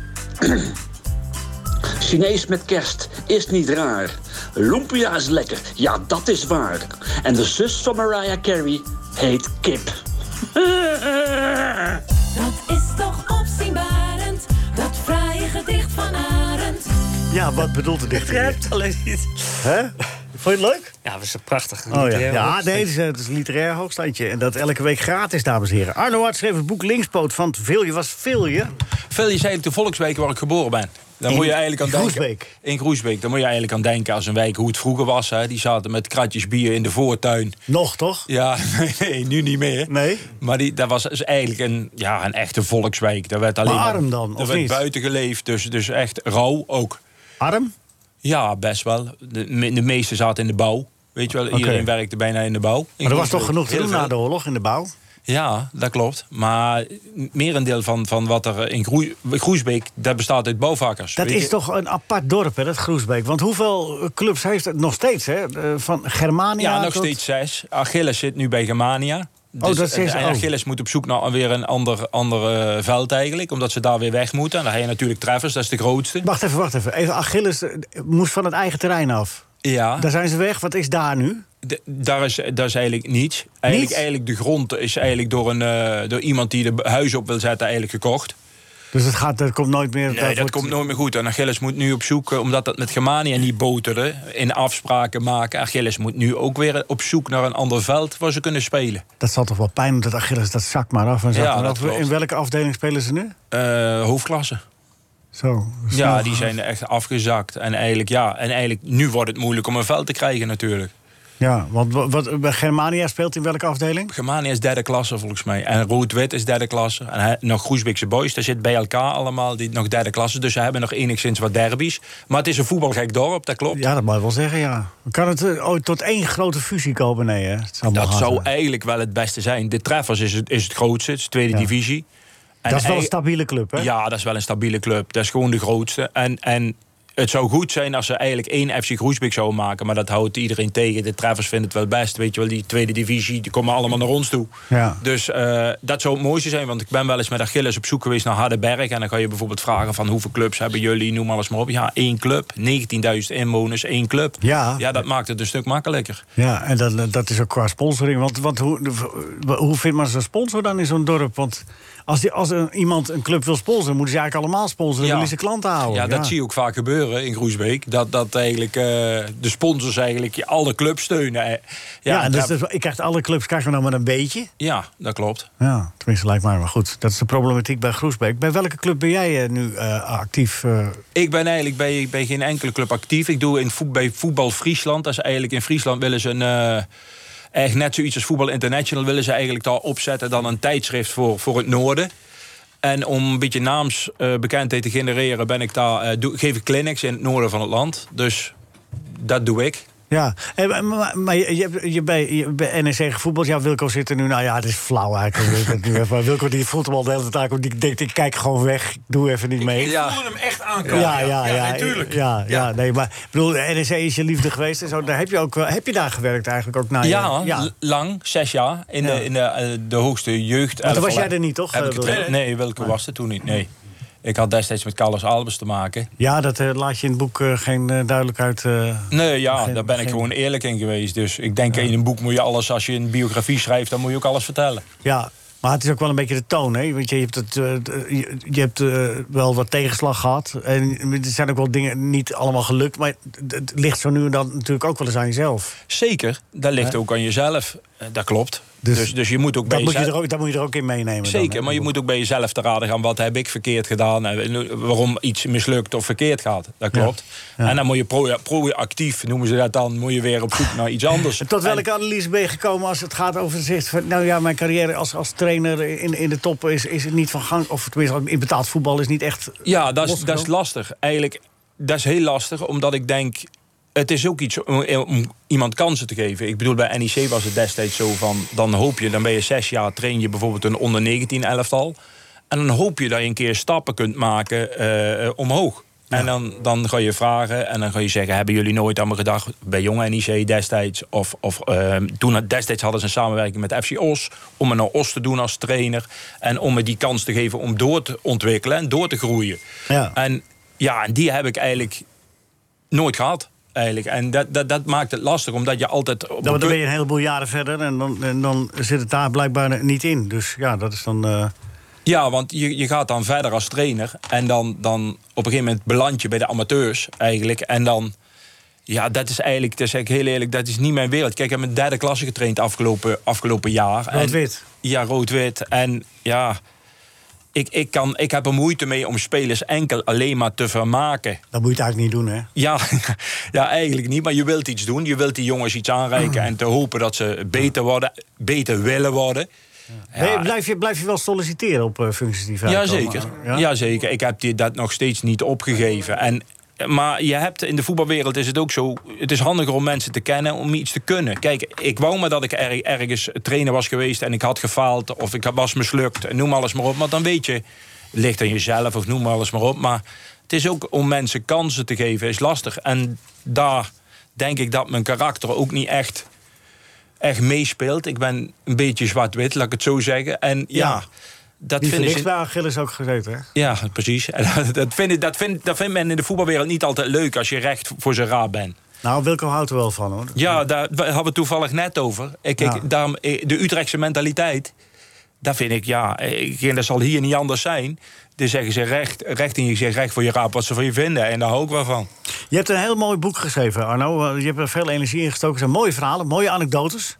L: Chinees met kerst is niet raar. Lumpia is lekker, ja dat is waar. En de zus van Mariah Carey heet Kip.
A: Dat is toch opzienbarend. Dat fraaie gedicht van Arend.
C: Ja, wat bedoelt de dichter? hier?
E: het alleen niet.
C: Hè? Vond je het leuk?
E: Ja, dat is een prachtig.
C: Oh ja,
E: literair
C: ja
E: hoofdstuk.
C: nee, het is, het is een literair hoogstandje. En dat elke week gratis, dames en heren. Arno Hart schreef het boek Linkspoot van Vilje. Was Vilje?
I: Veel is eigenlijk de volkswijk waar ik geboren ben. Dan
C: In
I: moet je eigenlijk aan denken.
C: Groesbeek.
I: In Groesbeek. Dan moet je eigenlijk aan denken als een wijk hoe het vroeger was. Hè. Die zaten met kratjes bier in de voortuin.
C: Nog, toch?
I: Ja, nee, nee, nu niet meer.
C: Nee?
I: Maar die, dat was dus eigenlijk een, ja, een echte volkswijk. Daar werd alleen
C: Maar arm dan,
I: daar
C: of
I: werd
C: niet?
I: buiten geleefd, dus, dus echt rauw ook.
C: Arm?
I: Ja, best wel. De, me- de meeste zaten in de bouw. Weet je wel, iedereen werkte bijna in de bouw.
C: Maar er was toch genoeg te
I: Heel
C: doen
I: veel.
C: na de oorlog in de bouw?
I: Ja, dat klopt. Maar merendeel van, van wat er in Groe- Groesbeek... dat bestaat uit bouwvakkers.
C: Dat
I: weet
C: is
I: je.
C: toch een apart dorp, hè, dat Groesbeek? Want hoeveel eh, clubs heeft het nog steeds, hè? Eh, Van Germania
I: Ja, nog
C: tot-
I: steeds zes. Achilles zit nu bij Germania. Dus,
C: dat zes-
I: en
C: oh.
I: Achilles moet op zoek naar weer een ander, ander eh, veld eigenlijk. Omdat ze daar weer weg moeten. En dan heb je natuurlijk Treffers, dat is de grootste.
C: Wacht even, wacht even. Even Achilles eh, moest van het eigen terrein af.
I: Ja,
C: Daar zijn ze weg. Wat is daar nu?
I: d- daar, is, daar is eigenlijk niets. Eigenlijk,
C: Niets?
I: eigenlijk de grond is eigenlijk door, een, eh, door iemand die de b- huis op wil zetten eigenlijk gekocht.
C: Dus het gaat, dat komt nooit meer.
I: Nee, dat
C: wordt-
I: komt nooit meer goed. En Achilles moet nu op zoek, eh, omdat dat met Germania niet boterde... in afspraken maken. Achilles moet nu ook weer op zoek naar een ander veld waar ze kunnen spelen.
C: Dat zal toch wel pijn doen dat Achilles dat zak maar af en zak
I: Ja,
C: maar
I: dat
C: af.
I: klopt.
C: In welke afdeling spelen ze nu?
I: Eh hoofdklasse.
C: Zo.
I: Ja,
C: snel.
I: die zijn echt afgezakt. En eigenlijk, ja, en eigenlijk nu wordt het moeilijk om een veld te krijgen natuurlijk.
C: Ja, want wa- wat, bij Germania speelt in welke afdeling?
I: Germania is derde klasse volgens mij. En Rood-Wit is derde klasse. En hij- nog Groesbeekse Boys, daar zit bij elkaar allemaal die nog derde klasse. Dus ze hebben nog enigszins wat derbies. Maar het is een voetbalgek dorp, dat klopt.
C: Ja, dat mag je wel zeggen, ja. Kan het eh, ooit tot één grote fusie komen? Nee, hè? Het allemaal
I: Dat
C: hard,
I: zou
C: hè?
I: eigenlijk wel het beste zijn. De Treffers is het, is het grootste, het is de tweede divisie. En
C: Dat is wel een
I: ei-
C: stabiele club, hè?
I: Ja, dat is wel een stabiele club. Dat is gewoon de grootste. En, en het zou goed zijn als ze eigenlijk één FC Groesbeek zouden maken. Maar dat houdt iedereen tegen. De Travers vinden het wel best. Weet je wel, die tweede divisie, die komen allemaal naar ons toe.
C: Ja.
I: Dus eh, dat zou het mooiste zijn. Want ik ben wel eens met Achilles op zoek geweest naar Hardenberg. En dan ga je bijvoorbeeld vragen van hoeveel clubs hebben jullie, noem alles maar op. Ja, één club. 19.000 inwoners, één club.
C: Ja.
I: ja, dat maakt het een stuk makkelijker.
C: Ja, en dat, dat is ook qua sponsoring. Want, want hoe, eh, hoe vindt man zo'n sponsor dan in zo'n dorp? Want als, die, als een- iemand een club wil sponsoren, moeten ze eigenlijk allemaal sponsoren.
I: Ja.
C: willen ze klanten houden.
I: Ja, dat zie je ook vaak gebeuren in Groesbeek. Dat, dat eigenlijk eh, de sponsors eigenlijk je alle clubs steunen. Eh, Ja,
C: Ja, en dus,
I: dat-
C: dus ik krijg alle clubs krijgen we nou maar een beetje.
I: ja, dat klopt.
C: Ja, tenminste lijkt mij. Maar goed, dat is de problematiek bij Groesbeek. Bij welke club ben jij eh, nu eh, actief? eh?
I: Ik ben eigenlijk bij, bij geen enkele club actief. Ik doe in voet, bij voetbal Friesland. Dat is eigenlijk in Friesland willen ze een. eh, echt net zoiets als Voetbal International willen ze eigenlijk daar opzetten dan een tijdschrift voor, voor het noorden. En om een beetje naamsbekendheid eh, te genereren, ben ik daar, eh, doe- geef ik clinics in het noorden van het land. Dus dat doe ik.
C: Ja, Hey, maar, maar- maar je, je, hebt- je, bij, je bij NEC gevoetbald. Ja, Wilco zit er nu. Nou ja, het is flauw eigenlijk. Ik weet het nu even. Maar Wilco die voelt hem al de hele tijd. aan. Die denkt, ik kijk gewoon weg. Ik Doe even niet mee.
F: Ik voelde hem echt aankomen.
C: Ja, ja, ja.
F: nee, tuurlijk.
C: Ja, ja, nee, maar ik bedoel, de NEC is je liefde geweest en zo. Daar heb je ook wel, heb je daar gewerkt eigenlijk ook na? je-
I: ja, hoor,
C: Nou, ja.
I: l- lang, zes jaar. In,
C: Ja.
I: de, in de, eh, de hoogste jeugd.
C: Maar toen was
I: elftal.
C: jij er niet, toch,
I: Heb
C: eh,
I: ik het-
C: Wilco?
I: nee, welke was het toen niet? Nee. Ik had destijds met Carlos Albers te maken.
C: Ja, dat eh, laat je in het boek eh, geen eh, duidelijkheid. eh,
I: Nee, ja,
C: Geen-
I: daar ben ik
C: geen-
I: gewoon eerlijk in geweest. Dus ik denk in een boek moet je alles, als je een biografie schrijft, dan moet je ook alles vertellen.
C: ja, maar het is ook wel een beetje de toon, hè? Want je hebt, het, eh, d- je, je hebt eh, wel wat tegenslag gehad. En er zijn ook wel dingen niet allemaal gelukt. Maar het, het ligt zo nu en dan natuurlijk ook wel eens aan jezelf.
I: Zeker, dat ligt
C: Ja.
I: ook aan jezelf. Eh, Dat klopt.
C: Dus
I: Dus, dus, je moet ook bij
C: Dat moet, je
I: jezelf-
C: er ook, dat moet je er ook in meenemen. dan,
I: Zeker,
C: hè?
I: maar je moet ook bij jezelf te raden gaan. Wat heb ik verkeerd gedaan? En eh, waarom iets mislukt of verkeerd gaat? Dat
C: Ja.
I: klopt.
C: Ja.
I: En dan moet je pro- proactief, noemen ze dat dan, moet je weer op zoek naar iets anders.
C: En Tot
I: En-
C: welke analyse ben je gekomen als het gaat over zicht van... nou ja, mijn carrière als, als trainer in, in de top is, is het niet van gang... of tenminste, in betaald voetbal is niet echt...
I: Ja, dat is, dat is
C: losgenomen?
I: lastig. Eigenlijk, dat is heel lastig, omdat ik denk... Het is ook iets om, eh, om iemand kansen te geven. Ik bedoel, bij NEC was het destijds zo van... dan hoop je, dan ben je zes jaar, train je bijvoorbeeld een onder-19-elftal... en dan hoop je dat je een keer stappen kunt maken eh, omhoog. En dan, dan ga je vragen en dan ga je zeggen... hebben jullie nooit aan me gedacht bij jong NEC destijds? Of, of eh, toen had- destijds hadden ze een samenwerking met FC Os... om me naar Os te doen als trainer... en om me die kans te geven om door te ontwikkelen en door te groeien.
C: Ja.
I: En ja, en die heb ik eigenlijk nooit gehad. Eigenlijk. En dat, dat, dat maakt het lastig, omdat je altijd... Op
C: Ja,
I: een
C: want dan ben
I: punt-
C: je een heleboel jaren verder en dan, en dan zit het daar blijkbaar niet in. Dus ja, dat is dan... eh,
I: Ja, want je, je gaat dan verder als trainer. En dan, dan op een gegeven moment beland je bij de amateurs eigenlijk. En dan... Ja, dat is eigenlijk, dat zeg ik heel eerlijk, dat is niet mijn wereld. Kijk, ik heb een derde klasse getraind afgelopen, afgelopen jaar. En-
C: Rood-wit.
I: Ja, rood-wit. En ja, ik, ik, kan, ik heb er moeite mee om spelers enkel alleen maar te vermaken.
C: Dat moet je het eigenlijk niet doen, hè?
I: Ja, ja, eigenlijk niet. Maar je wilt iets doen. Je wilt die jongens iets aanreiken. En te hopen dat ze beter worden. Beter willen worden.
C: Ben je- blijf, je, blijf je wel solliciteren op eh, functies die vrijkomen?
I: Jazeker.
C: Ja?
I: Jazeker. Ik heb die, dat nog steeds niet opgegeven. En, maar je hebt, in de voetbalwereld is het ook zo... het is handiger om mensen te kennen om iets te kunnen. Kijk, ik wou maar dat ik er- ergens trainer was geweest... en ik had gefaald of ik was mislukt. en Noem alles maar op. Maar dan weet je, het ligt aan jezelf of noem alles maar op. Maar het is ook om mensen kansen te geven, is lastig. En daar denk ik dat mijn karakter ook niet echt... Echt meespeelt. Ik ben een beetje zwart-wit, laat ik het zo zeggen. En ja,
C: Ja.
I: dat
C: Die
I: vinden
C: vind ik
I: ze.
C: bij Achilles ook gezeten, hè?
I: Ja, precies. En dat, vind ik, dat, vind, dat vindt men in de voetbalwereld niet altijd leuk als je recht voor zijn raad bent.
C: Nou, Wilco houdt er wel van, hoor.
I: Ja, daar we hadden we het toevallig net over. Ik, ik,
C: Ja.
I: daarom, eh, de Utrechtse mentaliteit, daar vind ik, ja, ik, en dat zal hier niet anders zijn. Dan zeggen ze recht, recht in je gezicht, recht voor je raad wat ze van je vinden. En daar hou ik wel van.
C: Je hebt een heel mooi boek geschreven, Arno. Eh, Je hebt er veel energie in gestoken. Het zijn mooie verhalen, mooie anekdotes.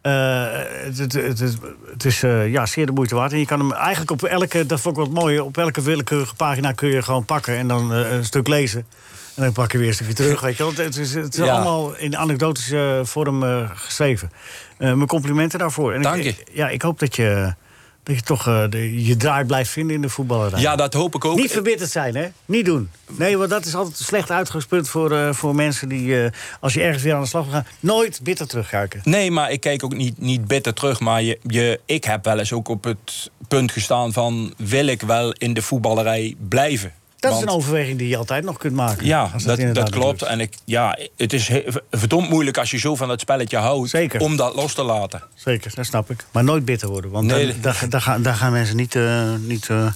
C: Eh, het, het, het, het- het is eh, ja, zeer de moeite waard. En je kan hem eigenlijk op elke, dat vond ik wat mooier, op elke willekeurige pagina kun je gewoon pakken en dan eh, een stuk lezen. En dan pak je weer een stukje terug. Weet je. wel. Het, het is, het is
I: Ja.
C: allemaal in anekdotische vorm eh, geschreven. Eh, mijn complimenten daarvoor. En ik-
I: Dank je.
C: ja, ik hoop dat je, dat je toch eh, de- je draai blijft vinden in de voetballerij.
I: Ja, dat hoop ik ook.
C: Niet verbitterd zijn, hè? Niet doen. Nee, want dat is altijd een slecht uitgangspunt voor, eh, voor mensen die, eh, als je ergens weer aan de slag wil gaan, nooit bitter terugkijken.
I: Nee, maar ik kijk ook niet, niet bitter terug. Maar je, je, ik heb wel eens ook op het punt gestaan van... wil ik wel in de voetballerij blijven?
C: Dat
I: Want-
C: is een overweging die je altijd nog kunt maken.
I: Ja,
C: als
I: dat, dat,
C: inderdaad
I: klopt.
C: lukt.
I: En ik, ja, het is he- verdomd moeilijk als je zo van dat spelletje houdt
C: Zeker.
I: om dat los te laten.
C: Zeker, dat snap ik. Maar nooit bitter worden, want
I: Nee,
C: dan,
I: dat-
C: daar, daar gaan, daar gaan mensen niet... eh, niet eh,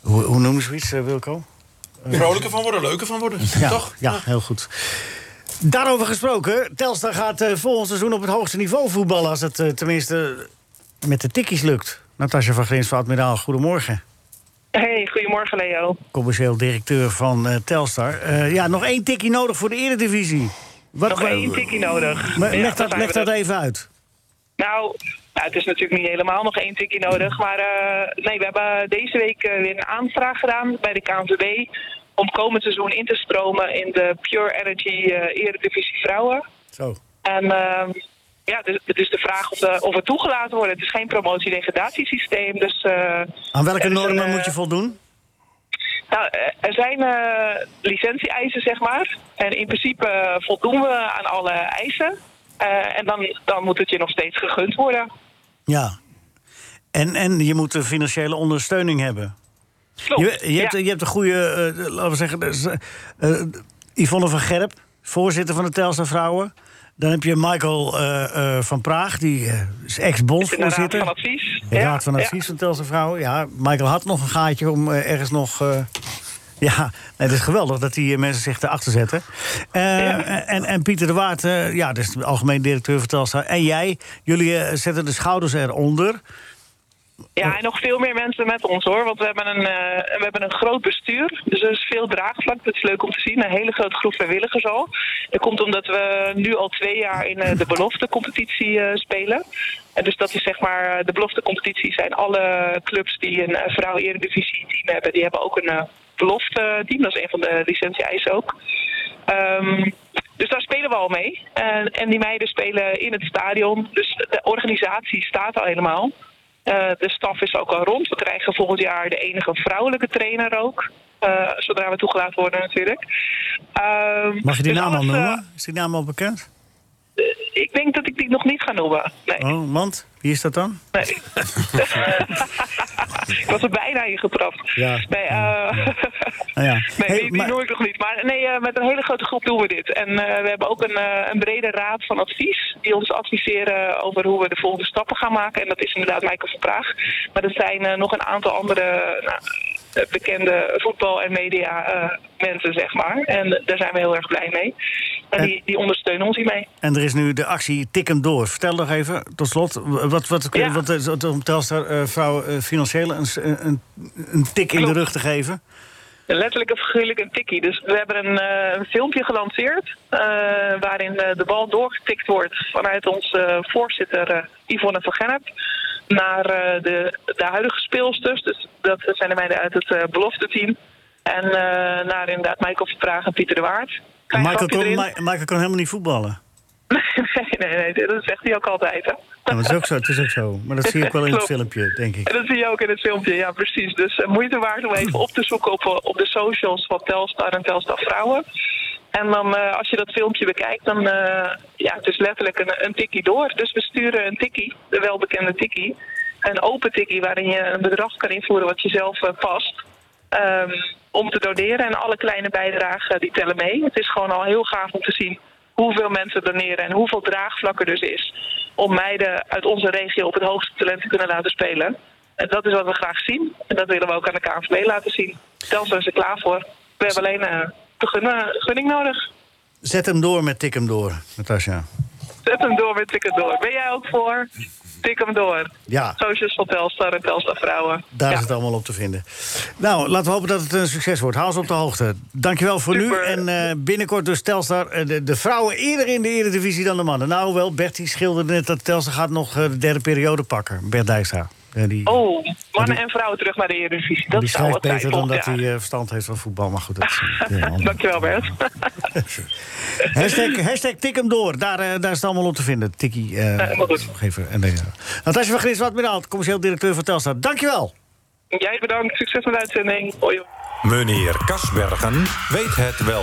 C: hoe, hoe noemen ze iets, eh, Wilco?
F: Vrolijker van worden, leuker van worden.
C: Ja,
F: Toch?
C: ja, heel goed. Daarover gesproken, Telstar gaat eh, volgend seizoen op het hoogste niveau voetballen... als het eh, tenminste met de tikkies lukt. Natasja van Grins van Admiraal, goedemorgen.
M: Hey, goedemorgen Leo.
C: commercieel directeur van eh, Telstar. Eh, ja, nog één tikkie nodig voor de Eredivisie. Wat,
M: Nog één tikkie nodig.
C: Maar
M: Ja,
C: leg
M: daar
C: dat,
M: zijn
C: leg
M: we
C: dat
M: dan.
C: even uit.
M: Nou, nou, het is natuurlijk niet helemaal nog één tikkie nodig. Maar eh, nee, we hebben deze week eh, weer een aanvraag gedaan bij de KNVB... om komend seizoen in te stromen in de Pure Energy eh, Eredivisie Vrouwen.
C: Zo.
M: En ehm, ja, dus, het is de vraag of, de, of we toegelaten worden. Het is geen promotie-degradatiesysteem, dus... eh,
C: Aan welke
M: er is een,
C: normen
M: eh,
C: moet je voldoen?
M: Nou, eh, er zijn eh licentie-eisen, zeg maar. En in principe eh, voldoen we aan alle eisen. Eh, en dan, dan moet het je nog steeds gegund worden.
C: Ja. En, en je moet de financiële ondersteuning hebben. je, je, hebt,
M: ja.
C: je hebt een goede, eh, laten we zeggen, dus, eh, eh, Yvonne van Gerp, voorzitter van de Telstra Vrouwen. Dan heb je Michael eh, eh, van Praag, die eh, is
M: Raad
C: ex-bondsvoorzitter.
M: van advies.
C: De Raad van Advies van Telstra Vrouwen. Ja, Michael had nog een gaatje om eh, ergens nog... eh, ja, nee, het is geweldig dat die eh, mensen zich erachter zetten. Eh, en, en Pieter de Waard, eh, ja, dat is de algemeen directeur van Telstra. En jij, jullie eh, zetten de schouders eronder.
M: Ja, en nog veel meer mensen met ons hoor. Want we hebben een, eh, we hebben een groot bestuur. Dus er is veel draagvlak. Dat is leuk om te zien. Een hele grote groep vrijwilligers al. Dat komt omdat we nu al twee jaar in eh, de beloftecompetitie eh, spelen. En dus dat is zeg maar, eh, de beloftecompetitie zijn alle clubs die een eh, vrouw eredivisie team hebben. Die hebben ook een eh, belofte team. Dat is een van de licentie-eisen ook. Ehm, dus daar spelen we al mee. En, en die meiden spelen in het stadion. Dus de organisatie staat al helemaal. Eh, de staf is ook al rond. We krijgen volgend jaar de enige vrouwelijke trainer ook. Eh, zodra we toegelaten worden natuurlijk. Ehm,
C: Mag je die
M: dus
C: naam al
M: alles, eh,
C: noemen? Is die naam al bekend?
M: ik denk dat ik die nog niet ga noemen. Nee.
C: Oh, want? Wie is dat dan?
M: nee. ik was er bijna in getrapt.
C: Ja.
M: Nee, eh,
C: Nou ja.
M: Nee, die, die noem ik nog niet. Maar nee, eh, met een hele grote groep doen we dit. En eh, we hebben ook een, eh, een brede raad van advies die ons adviseren over hoe we de volgende stappen gaan maken. En dat is inderdaad Michael van Praag. Maar er zijn eh, nog een aantal andere nou, eh, bekende voetbal- en media eh, mensen, zeg maar. En daar zijn we heel erg blij mee. En die, die ondersteunen ons hiermee.
C: En er is nu de actie Tik hem door. Vertel nog even, tot slot, wat, wat,
M: Ja.
C: wat is het om Telstra eh, vrouwen eh, financieel een, s- een, een tik in de rug te geven?
M: Letterlijk en figuurlijk een tikkie. Dus we hebben een eh, een filmpje gelanceerd. eh, waarin eh, de bal doorgetikt wordt vanuit onze eh, voorzitter eh, Yvonne van Gennep. Naar eh, de, de huidige speelsters. Dus dat zijn de meiden uit het eh, belofte-team. En eh, naar inderdaad Michael Verpraag en Pieter de Waard. Klein
C: Michael
M: grapje
C: kon,
M: erin.
C: Mi- Michael kon helemaal niet voetballen.
M: nee, nee, nee, dat zegt hij ook altijd. Hè?
C: Ja, maar dat is ook zo, het is ook zo. Maar dat zie je ook wel in het
M: Klopt.
C: filmpje, denk ik.
M: En dat zie je ook in het filmpje, ja precies. Dus eh, moeite waard om even op te zoeken op, eh, op de socials van Telstar en Telstar Vrouwen. En dan eh, als je dat filmpje bekijkt, dan eh, ja, het is letterlijk een, een tikkie door. Dus we sturen een tikkie, de welbekende tikkie. Een open tikkie waarin je een bedrag kan invoeren wat je zelf eh, past. ehm, om te doneren en alle kleine bijdragen eh, die tellen mee. Het is gewoon al heel gaaf om te zien hoeveel mensen doneren en hoeveel draagvlak er dus is om meiden uit onze regio op het hoogste talent te kunnen laten spelen. En dat is wat we graag zien. En dat willen we ook aan de KNVB laten zien. Telstra is er klaar voor. We hebben alleen eh, de gun- gunning nodig.
C: Zet hem door met Tik hem door, Natasja.
M: Zet hem door met Tik hem door. Ben jij ook voor? Tik hem door.
C: Ja.
M: Socials van Telstar en Telstar Vrouwen.
C: Daar
M: Ja.
C: is het allemaal op te vinden. Nou, laten we hopen dat het een succes wordt. Hou ons op de hoogte. Dankjewel voor nu. En eh, binnenkort dus Telstar. eh, de, de vrouwen eerder in de Eredivisie dan de mannen. Nou wel, Bertie schilderde net dat Telstar gaat nog eh, de derde periode pakken. Bert Dijkstra. Eh, die,
M: Oh, mannen en vrouwen terug naar de Eredivisie. Dat
C: die
M: zou
C: schrijft
M: wat zijn
C: beter dan dat
M: volgend
C: hij
M: jaar.
C: eh, verstand heeft van voetbal. Maar goed, dat is eh, heel anders.
M: Dankjewel Bert.
C: Hashtag, hashtag tik hem door. Daar, eh, daar is het allemaal op te vinden. Tikkie. eh geven. En, eh, Natasja van Gris, wat meer commercieel directeur van Telstar. Dankjewel.
M: Jij bedankt. Succes met de uitzending. Hoi.
H: Meneer Kasbergen weet het wel.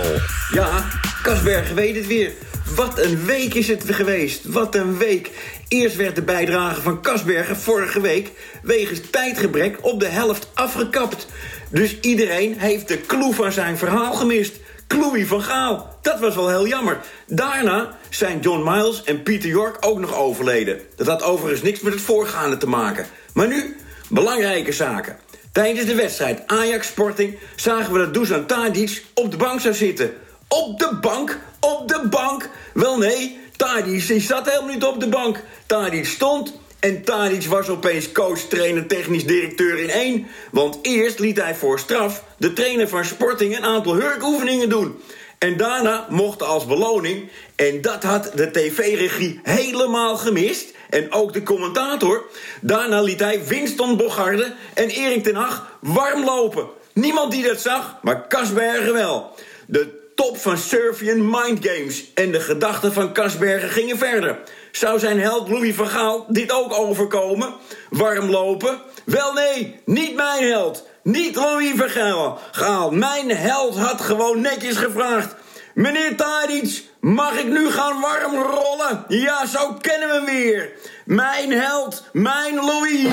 N: Ja, Kasberg weet het weer. Wat een week is het geweest. Wat een week. Eerst werd de bijdrage van Kasbergen vorige week wegens tijdgebrek op de helft afgekapt. Dus iedereen heeft de clue van zijn verhaal gemist. Cloei van Gaal. Dat was wel heel jammer. Daarna zijn John Miles en Pieter York ook nog overleden. Dat had overigens niks met het voorgaande te maken. Maar nu, belangrijke zaken. Tijdens de wedstrijd Ajax-Sporting zagen we dat Dusan Tadic op de bank zou zitten. Op de bank? Op de bank? Wel nee, Tadic die zat helemaal niet op de bank. Tadic stond en Tadic was opeens coach, trainer, technisch directeur in één. Want eerst liet hij voor straf de trainer van Sporting een aantal hurkoefeningen doen. En daarna mocht als beloning, en dat had de tv-regie helemaal gemist... en ook de commentator, daarna liet hij Winston Bogarde en Erik ten Hag warm lopen. Niemand die dat zag, maar Kasbergen wel. De top van Servian Mind Games. En de gedachten van Kasbergen gingen verder. Zou zijn held Louis van Gaal dit ook overkomen? Warm lopen? Wel nee, niet mijn held. Niet Louis van Gaal. Gaal, mijn held had gewoon netjes gevraagd. Meneer Tadic, mag ik nu gaan warm rollen? Ja, zo kennen we hem weer. Mijn held, mijn Louis.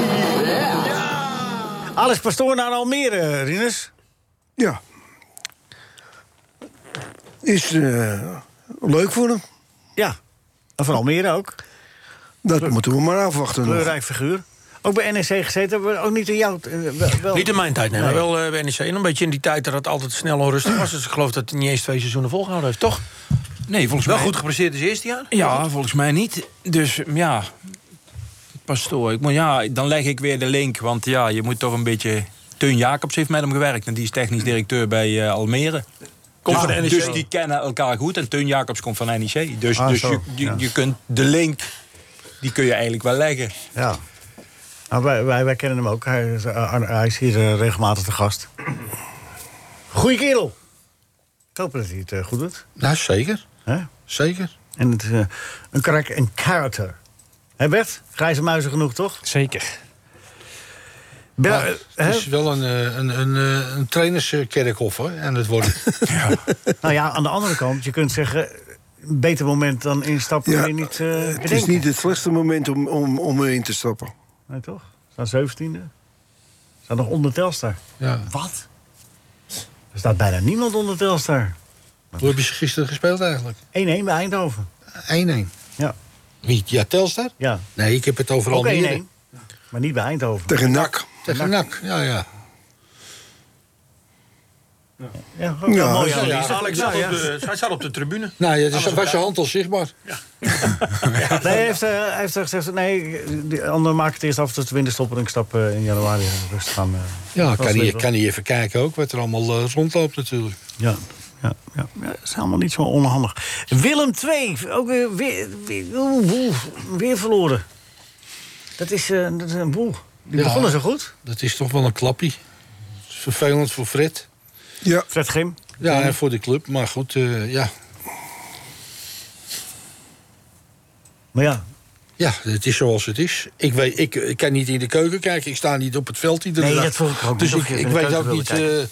C: Alex Pastoor Oh, naar Almere, Rinus.
G: Ja. Is eh, leuk voor hem.
C: Ja, en van Almere ook.
G: Dat moeten we maar afwachten. nog.
C: Kleurrijk figuur. Ook bij NEC gezeten, maar ook niet in jouw... eh, wel- wel-
F: Niet in mijn tijd, nee, maar
C: Nee.
F: wel eh, bij NEC. En een beetje in die tijd dat het altijd snel onrustig was. Dus ik geloof dat hij niet eens twee seizoenen volgehouden heeft, toch?
I: Nee, volgens
F: wel
I: mij-
F: goed gepresteerd is eerste jaar.
I: Ja, volgens mij niet. Dus ja, pastoor. Ik, moet- ja, dan leg ik weer de link. Want ja, je moet toch een beetje... Teun Jacobs heeft met hem gewerkt. En die is technisch directeur bij eh, Almere.
F: Komt
I: dus,
F: van de
C: E
F: NEC.
I: dus die kennen elkaar goed. En Teun Jacobs komt van NEC. Dus,
C: Ah,
I: dus
C: zo,
I: je, je,
C: ja.
I: je kunt de link... Die kun je eigenlijk wel leggen.
C: Ja. Nou, wij, wij, wij kennen hem ook. Hij, is, eh, Ar- hij is hier eh, regelmatig te gast. Goeie kerel. Ik hoop dat hij het eh, goed doet.
D: Nou, zeker.
C: Hè?
D: Zeker.
C: En het is eh, een, karak een character. Hé Bert, grijze muizen genoeg, toch?
E: Zeker.
D: Maar het is wel een, eh, een, een, eh, een trainerskerkhof hoor, en het worden.
C: nou ja, aan de andere kant, je kunt zeggen... een beter moment dan instappen
G: Ja,
C: kun je niet eh
G: Het is
C: bedenken.
G: niet het slechtste moment om, om, om erin te stappen.
C: Nee, toch? Staan zeventiende. Staan nog onder Telstar.
D: Ja.
C: Wat? Er staat bijna niemand onder Telstar.
D: Hoe hebben ze gisteren gespeeld eigenlijk?
C: 1-1 bij Eindhoven.
D: 1-1.
C: Ja.
D: Wie? Ja, Telstar?
C: Ja.
D: Nee, ik heb het overal
C: Ook 1-1.
D: Almere.
C: Maar niet bij Eindhoven.
G: Tegen NAC.
D: Tegen NAC, ja, ja.
C: Ja,
G: ook Ja, een mooie
D: ja, analyse.
F: Alex zat op de, hij zat op de tribune.
D: Nou, ja,
F: Alles
D: dus was je hand al zichtbaar.
C: Nee, hij heeft, eh, hij heeft gezegd, nee, de anderen maken het eerst af tot de winterstop... en ik stap eh, in januari rustig aan. eh,
D: Ja,
C: als
D: kan hij,
C: Liverpool.
D: kan hij even kijken ook wat er allemaal eh, rondloopt natuurlijk.
C: Ja, ja, ja, ja, dat is allemaal niet zo onhandig. Willem II, ook weer, weer, weer, oeh, oeh, weer verloren. Dat is, eh, dat is een boel. Die
D: Ja.
C: begonnen zo goed.
D: Dat is toch wel een klappie. Dat is vervelend voor Fred.
G: Ja,
C: Fred Grim.
D: Ja, en voor de club. Maar goed, eh, ja.
C: Maar ja,
D: ja, het is zoals het is. Ik, weet, ik, ik kan niet in de keuken kijken. Ik sta niet op het veld iedere
C: Nee,
D: dag.
C: dat vroeg ik ook
D: Dus
C: niet
D: ik,
C: of je
D: ik
C: in de
D: weet
C: keuken
D: ook
C: wilde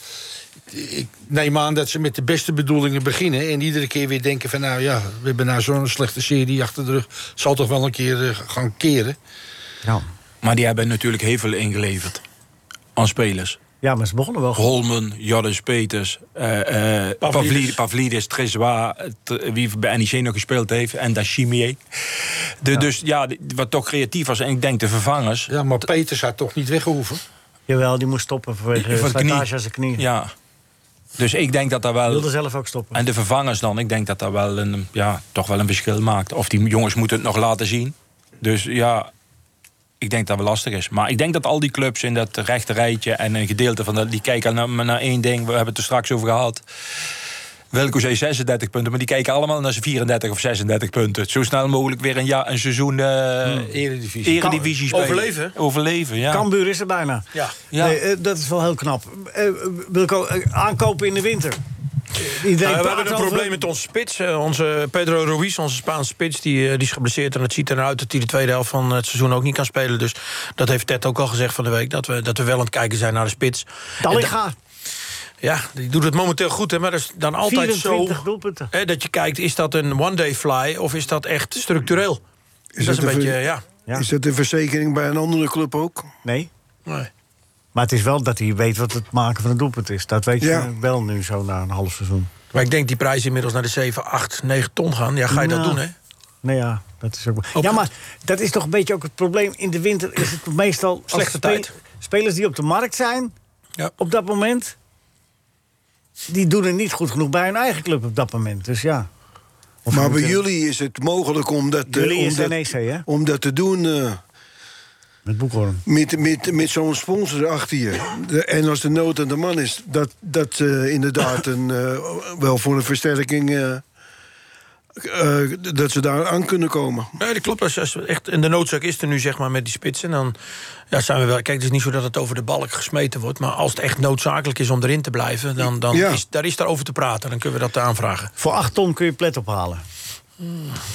D: niet... eh, ik neem aan dat ze met de beste bedoelingen beginnen... en iedere keer weer denken van... nou ja, we hebben nou zo'n slechte serie achter de rug. Zal toch wel een keer eh, gaan keren.
I: Maar die hebben natuurlijk heel veel ingeleverd. Aan spelers.
C: ja, maar ze begonnen wel goed.
I: Holmen, Joris Peters, eh, eh, Pavlidis, Pavlidis Treswa, wie bij NEC nog gespeeld heeft, en Dachimier. De, Dus ja, die- wat toch creatief was. En ik denk de vervangers.
D: Ja, maar Peters had toch niet weggehoeven?
C: Jawel, die moest stoppen eh,
I: Van
C: vanwege
I: de knie.
C: slijtage aan zijn knie.
I: Ja. Dus ik denk dat daar
C: Hij
I: wel.
C: wilde zelf ook stoppen.
I: En de vervangers dan, ik denk dat daar wel een, ja, toch wel een verschil maakt. Of die jongens moeten het nog laten zien. Dus ja, ik denk dat wel lastig is. Maar ik denk dat al die clubs in dat rechte rijtje en een gedeelte van dat, die kijken naar, maar naar één ding, we hebben het er straks over gehad. Welke zei 36 punten, maar die kijken allemaal naar zijn 34 of 36 punten. Zo snel mogelijk weer een, ja, een seizoen eh
D: Eredivisie.
I: eredivisie spelen.
F: Overleven.
I: Overleven, ja.
C: Kambuur is er bijna.
F: Ja.
I: Ja.
C: Nee, eh, dat is wel heel knap. Eh, Wilco, eh, aankopen in de winter. Eh,
F: Nou,
C: Iedereen
F: we
C: praat
F: hebben een
C: over-
F: probleem met onze spits. Eh, onze Pedro Ruiz, onze Spaanse spits, die, eh, die is geblesseerd. En het ziet eruit dat hij de tweede helft van het seizoen ook niet kan spelen. Dus dat heeft Ted ook al gezegd van de week. Dat we, dat we wel aan het kijken zijn naar de spits. En
C: Dallinga,
F: da- ja, die doet het momenteel goed. Hè, maar dat is dan altijd
C: 24
F: zo
C: doelpunten.
F: hè, dat je kijkt, is dat een one-day fly of is dat echt structureel?
G: Is
F: dat is
G: het
F: een
G: een
F: beetje,
G: ver-
F: ja.
C: Ja.
G: Is dat een verzekering bij een andere club ook?
C: Nee,
F: Nee.
C: maar het is wel dat hij weet wat het maken van een doelpunt is. Dat weet
G: Ja.
C: je wel nu zo na een half seizoen.
F: Maar ik denk die prijzen inmiddels naar de 7, 8, 9 ton gaan. Ja, ga je dat
C: Nou.
F: doen, hè?
C: Nou ja, dat is ook.
F: Ook-
C: Ja, maar dat is toch een beetje ook het probleem. In de winter is het meestal. als
F: Slechte
C: spe-
F: tijd.
C: Spelers die op de markt zijn.
F: Ja.
C: op dat moment. die doen er niet goed genoeg bij hun eigen club op dat moment. Dus ja. Of
G: Maar
C: moet
G: bij
C: je-
G: jullie is het mogelijk om dat, eh,
C: Jullie
G: om
C: is
G: dat,
C: NEC, hè?
G: om dat te doen eh,
C: Met Boekhoorn.
G: met, met, met zo'n sponsor achter je. De- en als de nood aan de man is, dat, dat eh, inderdaad een, eh, wel voor een versterking... eh, eh, dat ze daar aan kunnen komen.
F: Nee, dat klopt. Als, als we echt, en de noodzaak is er nu, zeg maar, met die spitsen. Dan ja, zijn we wel. Kijk, het is niet zo dat het over de balk gesmeten wordt. Maar als het echt noodzakelijk is om erin te blijven, dan, dan
G: Ja.
F: is, daar is daarover te praten. Dan kunnen we dat aanvragen.
C: Voor 8 ton kun je plet ophalen.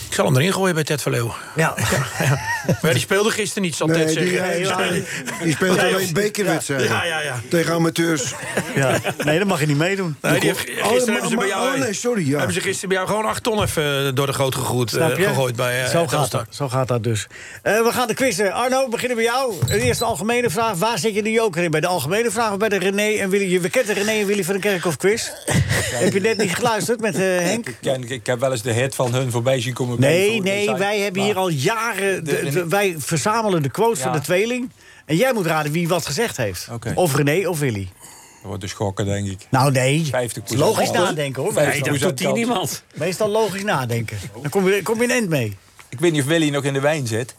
F: Ik zal hem erin gooien bij Ted van Leeuwen.
O: Ja.
F: Maar die speelde gisteren niet, zal Ted
G: Nee, die,
F: zeggen.
G: die- die speelt
F: Ja,
G: alleen bekerwedstrijden.
F: Ja, ja, ja.
G: Tegen amateurs.
C: Ja. Nee, dat mag je niet meedoen.
F: Nee, die heeft, gisteren
G: Oh,
F: hebben ze
G: maar-
F: bij jou,
G: oh, nee, sorry, ja.
F: hebben ze gisteren bij jou gewoon 8 ton even door de goot gegooid, eh,
C: Snap je?
F: gegooid bij eh,
C: zo, gaat
F: Telstar.
C: dat, zo gaat dat dus. Eh, we gaan de quizzen. Arno, we beginnen bij jou. Eerst de algemene vraag. Waar zit je de joker in? Bij de algemene vraag of bij de René en Willy? Je we kent de René en Willy van de Kerkhof quiz. Heb je net niet geluisterd met eh, Henk?
I: Ik, ken- ik heb wel eens de hit van hun voorbij zien komen.
C: Nee,
I: Voor de
C: nee,
I: site.
C: wij hebben hier
I: Maar-
C: al jaren... de-
I: de-
C: de- wij verzamelen de quotes
I: Ja.
C: van de tweeling. En jij moet raden wie wat gezegd heeft.
I: Oké.
C: Of René of Willy.
I: Dat wordt dus gokken, denk ik.
C: Nou, nee.
I: 50
C: Logisch nadenken, hoor.
I: Nee, dat doet hij
E: niemand.
C: Meestal logisch nadenken. Dan kom je, kom je een eind mee.
I: Ik weet niet of Willy nog in de wijn zit.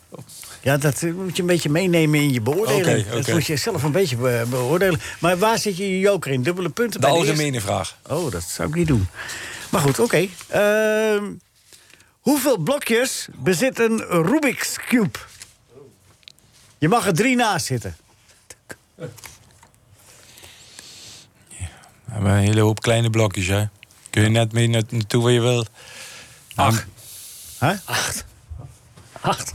C: Ja, dat eh, moet je een beetje meenemen in je beoordeling.
I: Oké,
C: Dat
I: oké.
C: moet je zelf een beetje be- beoordelen. Maar waar zit je je joker in? Dubbele punten
I: De
C: bij de
I: algemene
C: eerste?
I: vraag.
C: Oh, dat zou ik niet doen. Maar goed, oké. Ehm, hoeveel blokjes bezit een Rubik's Cube? Je mag er drie naast zitten.
I: We hebben een hele hoop kleine blokjes, hè. Kun je net mee na- naartoe waar je wil. Nou, Acht.
C: Hè?
I: Acht.
E: Acht.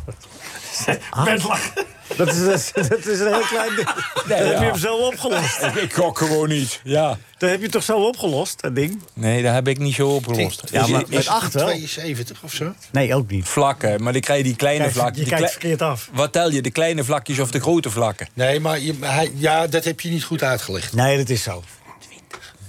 C: Dat is, dat, is, dat is een heel klein ding. Dan heb je
I: ja.
C: hem zo opgelost.
I: Ik gok gewoon niet, ja.
C: Dat heb je toch zo opgelost, dat ding?
I: Nee, dat heb ik niet zo opgelost.
C: Ja, maar met acht wel.
D: 72 of zo?
C: Nee, ook niet.
I: Vlakken, maar dan krijg je die kleine
C: Kijk,
I: vlakken.
C: je
I: die
C: kijkt
I: klei-
C: verkeerd af.
I: Wat tel je, de kleine vlakjes of de grote vlakken?
D: Nee, maar je, hij, ja, dat heb je niet goed uitgelegd.
C: Nee, dat is zo.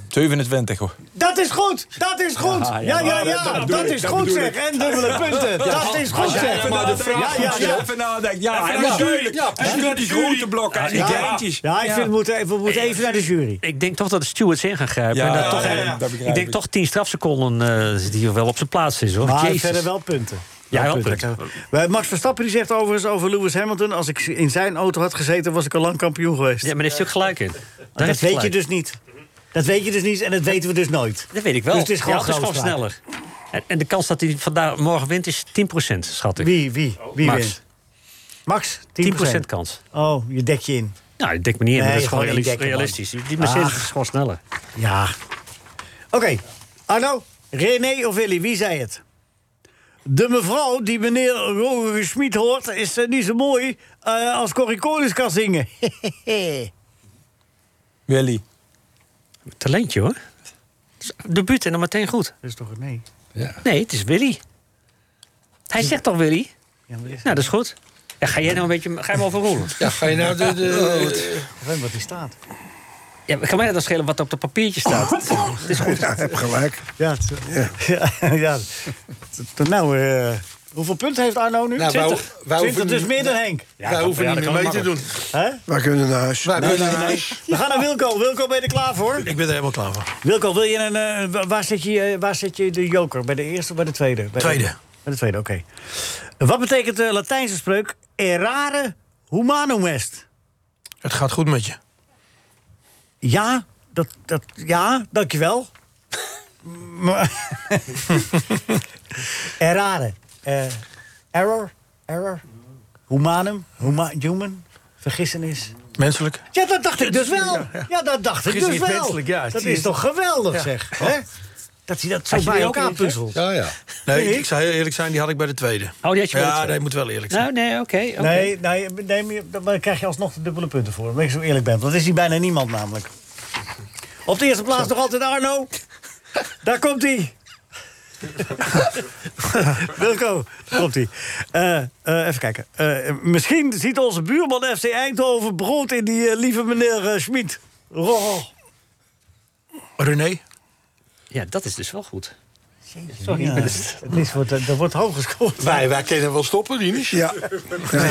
I: 27 hoor.
C: Dat is goed, dat is goed. Ja,
I: Ja,
C: ja,
I: ja,
C: ja,
I: dat- dat bedoel
C: dat
I: ik,
C: is
I: dat
C: goed
I: bedoel
C: zeg.
I: ik.
C: En dubbele punten,
I: Ja,
C: dat
I: als
C: is goed
I: jij
C: zeg.
I: nou maar de vraag
C: ja,
I: goed
C: ja,
I: stelt,
C: ja.
I: even nadenken. Ja,
C: Even
I: ja,
C: naar de
I: natuurlijk.
C: jury.
I: Ja,
C: Ja,
I: en
C: ja.
I: naar die grote blokken en die
C: Ja,
I: kleintjes.
C: Ja, ik vind, we moeten, we moeten even naar de jury.
E: Ik denk toch dat de stewards in gaan grijpen.
I: Ja,
E: en dat
I: ja,
E: toch,
I: ja, ja, dat begrijp
E: ik denk
I: ik.
E: toch 10 strafseconden eh, die hier wel op zijn plaats is. Hoor.
C: Maar
E: Jezus.
C: verder wel punten.
E: Ja, wel
C: punten.
E: punten.
C: Wij- Max Verstappen die zegt overigens over Lewis Hamilton... als ik in zijn auto had gezeten, was ik al lang kampioen geweest.
E: Ja, maar daar heeft hij ook gelijk in. Daar
C: dat
E: heeft
C: weet
E: hij
C: je
E: gelijk.
C: dus niet. Dat weet je dus niet en dat weten we dus nooit.
E: Dat weet ik wel.
C: Dus het is gewoon,
E: ja, het is gewoon
C: grootspraak.
E: sneller. En, en de kans dat hij vandaag, morgen wint is 10%, schat ik. Oh,
C: Wie, wie, wie
E: Max.
C: wint? Max, 10%.
E: 10% kans.
C: Oh, je dek je in.
E: Nou, ik denk me niet in. maar
C: Nee,
E: dat is gewoon
C: gewoon niet
E: reali-
C: dekken, man.
E: realistisch. Die die Mercedes
C: Ach.
E: is gewoon sneller.
C: Ja. Oké, Arno, René of Willy, wie zei het? De mevrouw die meneer Roger Schmid hoort... is eh, niet zo mooi eh, als Corrie Konings kan zingen.
I: Willy.
E: Talentje, hoor. Debuut en dan meteen goed.
C: Dat is toch een nee?
E: Nee, het is Willy. Hij zegt toch Willy?
C: Ja, maar dit is-
E: Nou, dat is goed. Ja, ga jij nou een beetje... Ga je me overroelen?
D: Ja, ga je nou de... de,
C: Ik weet niet Oh, wat die staat.
E: Ja, maar kan mij dat dan schelen wat op dat papiertje staat?
C: Oh.
E: Het is goed.
G: Ja, heb gelijk.
C: Ja, het- ja. ja, het- het- nou, eh, hoeveel punten heeft Arno nu?
D: Nou, wij-
C: 20.
D: wij hoeven
C: 20, dus
D: niet-
C: meer dan Henk.
D: wij
E: dat-
D: hoeven
E: ja,
D: niet meer
E: dat
D: mee
E: kan
D: te doen.
C: Hè?
G: Wij kunnen naar huis.
D: Wij kunnen naar
C: nee.
D: huis.
C: We gaan naar Wilco. Wilco, ben je er klaar voor?
F: Nou, dus- Ik ben er helemaal klaar voor.
C: Wilco, wil je een, eh, wa- waar, zet je, eh, waar zet je de joker? Bij de eerste of bij de tweede? Bij de-
F: Tweede.
C: bij de tweede, oké. Wat betekent de Latijnse spreuk errare humanum est?
F: Het gaat goed met je.
C: Ja, dat, dat, ja, dankjewel. maar, errare. eh, error, error. Humanum, huma, human, vergissenis.
F: Menselijk.
C: Ja, dat dacht ik dus wel. Ja, dat dacht ik
F: Vergis je
C: dus
F: niet,
C: wel.
F: menselijk, ja.
C: Dat
F: Zie
C: is
F: je-
C: toch geweldig,
F: Ja.
C: zeg. Hè? Dat hij dat zo
E: Had je
C: bij
E: die ook
C: elkaar
E: in, zeg?
C: puzzelt.
D: Ja, ja.
C: Vind
F: Nee,
C: ik?
F: ik zou heel eerlijk zijn, die had ik bij de tweede.
E: Oh, die had je bij de
F: Ja,
E: tweede.
F: dat moet wel eerlijk zijn.
E: Nou, nee, oké. oké.
C: Nee, nee, nee, maar je- maar daar krijg je alsnog de dubbele punten voor. Omdat ik zo eerlijk ben. Want er is hier bijna niemand namelijk. Op de eerste plaats nog altijd Arno. Daar komt hij. Wilco, daar komt hij. even kijken. Eh, misschien ziet onze buurman FC Eindhoven brood in die eh, lieve meneer eh, Schmid. Roh.
F: René?
E: Ja, dat is dus wel goed.
C: Sorry, ja, het is, wordt, er wordt hoog gescoord.
D: Wij, wij kunnen wel stoppen, Rinus.
G: Ja,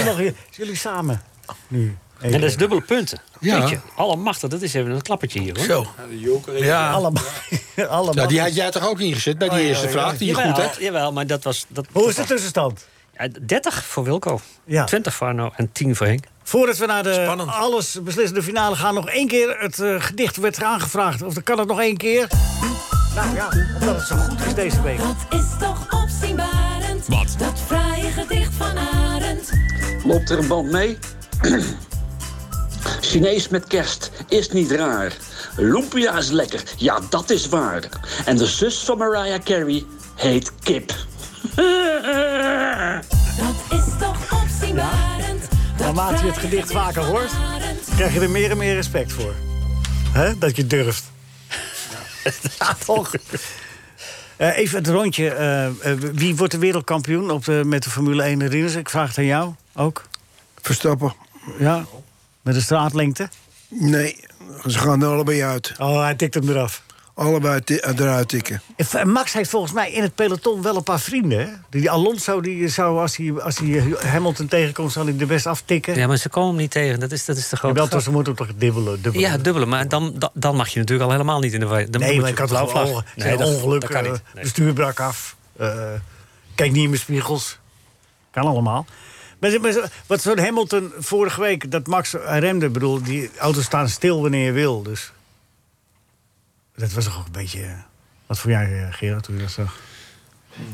C: Nog weer- Jullie samen. Nu.
E: En dat is dubbele punten.
D: Ja.
E: Weet je, alle machten, dat is even een klappertje hier, hoor.
F: Zo. Ja,
C: Allemaal. allemaal. Oh,
D: Nou, die had jij toch ook ingezet bij die eerste vraag die je
E: Jawel,
D: goed hebt?
E: Jawel, maar dat was... Dat,
C: Hoe is de tussenstand?
E: Ja, 30 voor Wilco,
C: Ja.
E: 20 voor Arno en 10 voor Henk.
C: Voordat we naar de
F: Spannend.
C: allesbeslissende finale gaan, nog één keer het eh, gedicht werd aangevraagd. Of dan kan het nog één keer. Nou ja, omdat het zo goed is deze week.
A: Dat is toch opzienbarend. Wat? Dat fraaie gedicht van Arend.
L: Loopt er een band mee? Chinees met kerst is niet raar. Lumpia is lekker, ja dat is waar. En de zus van Mariah Carey heet Kip.
A: Dat is toch opzienbarend.
C: Naarmate je het gedicht vaker hoort, krijg je er meer en meer respect voor. Hè? Dat je durft. Ja, toch? Eh, even het rondje. eh, eh, wie wordt de wereldkampioen op de, met de Formule 1 herinners? Ik vraag het aan jou ook.
G: Verstappen.
C: Ja, met een straatlengte?
G: Nee, ze gaan er allebei uit.
C: Oh, hij tikt hem eraf.
G: Allebei ti- eruit tikken.
C: En Max heeft volgens mij in het peloton wel een paar vrienden. Hè? Die Alonso, die zou, als, hij, als hij Hamilton tegenkomt, zal hij er best aftikken.
E: Ja, maar ze komen hem niet tegen. Dat is, dat is de grote
C: Wel,
E: grap.
C: ze moeten hem toch dubbelen. dubbelen.
E: Ja, dubbelen. Maar dan, dan, dan mag je natuurlijk al helemaal niet in de wa- dan
C: nee,
E: moet
C: maar
E: je
C: ik had
E: blauw
C: wel
E: vlag.
C: ongeluk.
E: Nee, dat-
C: ongeluk.
E: dat kan
C: eh,
E: niet. Nee.
C: De stuur brak af. eh, kijk niet in mijn spiegels. Kan allemaal. Maar ze- maar ze- wat zo'n Hamilton vorige week, dat Max remde, ik bedoel, die auto's staan stil wanneer je wil. Dus dat was toch ook een beetje. eh, Wat voor jij, eh, Gerard, hoe je dat zag?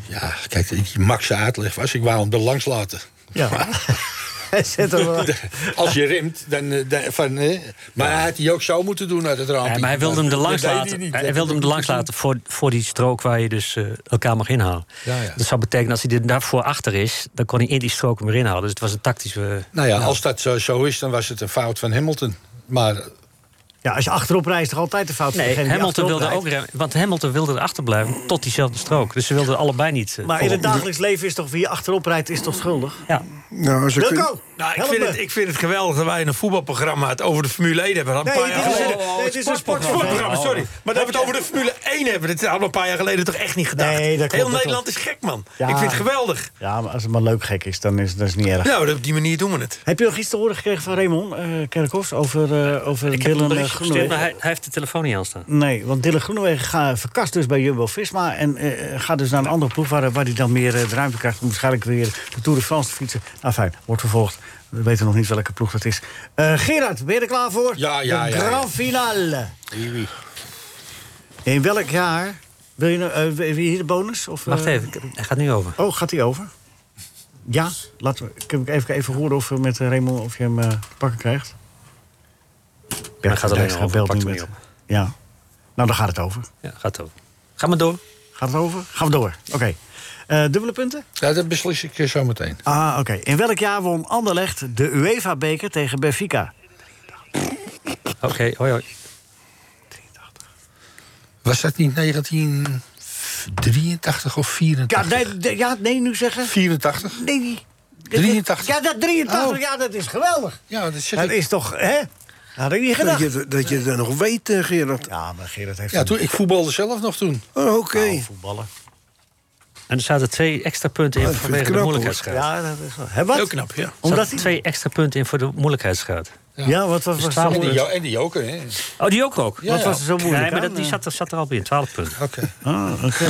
D: Ja, kijk, die Max uitleg was, ik wou hem er langs laten.
C: Ja. Hij zet hem wel.
D: Als je rimt, dan... eh, dan- van, eh, maar hij had die ook zo moeten doen uit het raampje.
E: Ja, maar hij wilde hem er
D: Dat
E: langs
D: deed hij
E: laten.
D: niet.
E: Hij
D: Dat
E: wilde hem er
D: moet
E: langs
D: je
E: laten voor, voor die strook waar je dus eh, elkaar mag inhalen.
D: Ja, ja.
E: Dat zou betekenen als hij er daarvoor achter is, dan kon hij in die strook hem erin halen. Dus het was een tactische. eh,
D: Nou ja, als dat zo, zo is, dan was het een fout van Hamilton. Maar
C: Ja, als je achterop reist, toch altijd de fout van degene
E: Nee,
C: die
E: Hamilton
C: achterop
E: wilde
C: rijdt.
E: ook remmen. Want Hamilton wilde erachter blijven tot diezelfde strook. Dus ze wilden allebei niet. eh,
C: Maar in het
E: voorop.
C: dagelijks leven is toch wie achterop rijdt, is toch schuldig?
E: Ja.
G: Nou, ze kunnen-
C: Wilco,
F: Nou, ik,
C: help
F: vind
C: me.
F: het, ik vind het geweldig dat wij in een voetbalprogramma het over de Formule 1 hebben. Dat een
C: Nee,
F: paar jaar
C: dit is-
F: geleden.
C: nee, dit is een
F: sportprogramma,
C: sportprogramma.
F: sorry. Maar dat we het over de Formule 1 hebben, dat hadden we een paar jaar geleden toch echt niet gedacht.
C: Nee, dat klopt,
F: Heel
C: dat
F: Nederland is
C: klopt.
F: gek, man.
C: Ja.
F: Ik vind het geweldig.
C: Ja, maar als het maar leuk gek is, dan is, dan is het niet erg.
F: Nou, op die manier doen we het.
C: Heb je nog iets te horen gekregen van Raymond eh Kerkhoffs over, eh over
E: Ik heb hem een
C: Dylan eh,
E: berichtje gestuurd, maar
C: Groenewegen?
E: hij, hij heeft de telefoon niet aanstaan.
C: Nee, want Dylan Groenewegen gaat verkast dus bij Jumbo-Visma... en eh, gaat dus naar een andere ploeg waar, waar hij dan meer eh, de ruimte krijgt... om waarschijnlijk weer de Tour de France te fietsen. Nou fijn, wordt vervolgd. We weten nog niet welke ploeg dat is. Eh, Gerard, ben je er klaar voor?
D: Ja, ja,
C: De
D: ja, ja.
C: Grand Finale.
D: Wie, wie?
C: In welk jaar? Wil je, nou- eh, wil je hier de bonus? Of,
E: Wacht
C: eh,
E: even, ik- hij gaat nu over.
C: Oh, gaat hij over? Ja, laten we ik heb even, even horen of we met eh, Raymond of je hem eh, te pakken krijgt.
E: Hij gaat alleen
C: Dijkstra
E: over,
C: belt
E: pakt
C: nu
E: hem
C: met-
E: niet
C: Ja. Nou, dan gaat het over.
E: Ja, gaat over. Ga maar door.
C: Gaat het over? Gaan we door. Oké. Eh, dubbele punten?
D: Ja, dat beslis ik eh, zo meteen.
C: Ah, oké. In welk jaar won Anderlecht de UEFA-beker tegen Benfica?
E: Oké, hoi hoi.
D: Was dat niet 1983 of 84?
C: Ja, nee, de- ja, nee nu zeggen.
D: 84?
C: Nee.
D: 83.
C: Ja, dat 83.
D: Oh.
C: Ja, dat is geweldig.
D: Ja, dat zeg
C: Dat
D: ik.
C: is toch, hè? Had ik niet
G: Dat
C: gedacht.
G: je, dat je dat nog weet, eh, Gerard.
C: Ja, maar Gerard heeft... Nou,
D: Ja, toen, ik voetbalde zelf nog toen.
G: Oh, Oké.
C: voetballen.
E: En er zaten twee extra punten in
G: Ah, ik vind het
E: vanwege de
G: knap, hoor.
E: moeilijkheidsgraad.
C: Ja, dat is wel... Hè, wat?
F: Heel knap, ja.
E: Er
C: Omdat
E: zaten
C: hij...
E: twee extra punten in voor de moeilijkheidsgraad.
C: Ja, wat was,
E: Dus
C: was,
E: 12
D: En die,
E: punten.
D: jo- en die joker, hè?
E: Oh, die ook ook?
C: wat was er zo moeilijk
E: Nee, maar
C: aan?
E: dat, die zat, er- zat er al bij in, 12 punten.
D: Oké.
C: Ah, oké.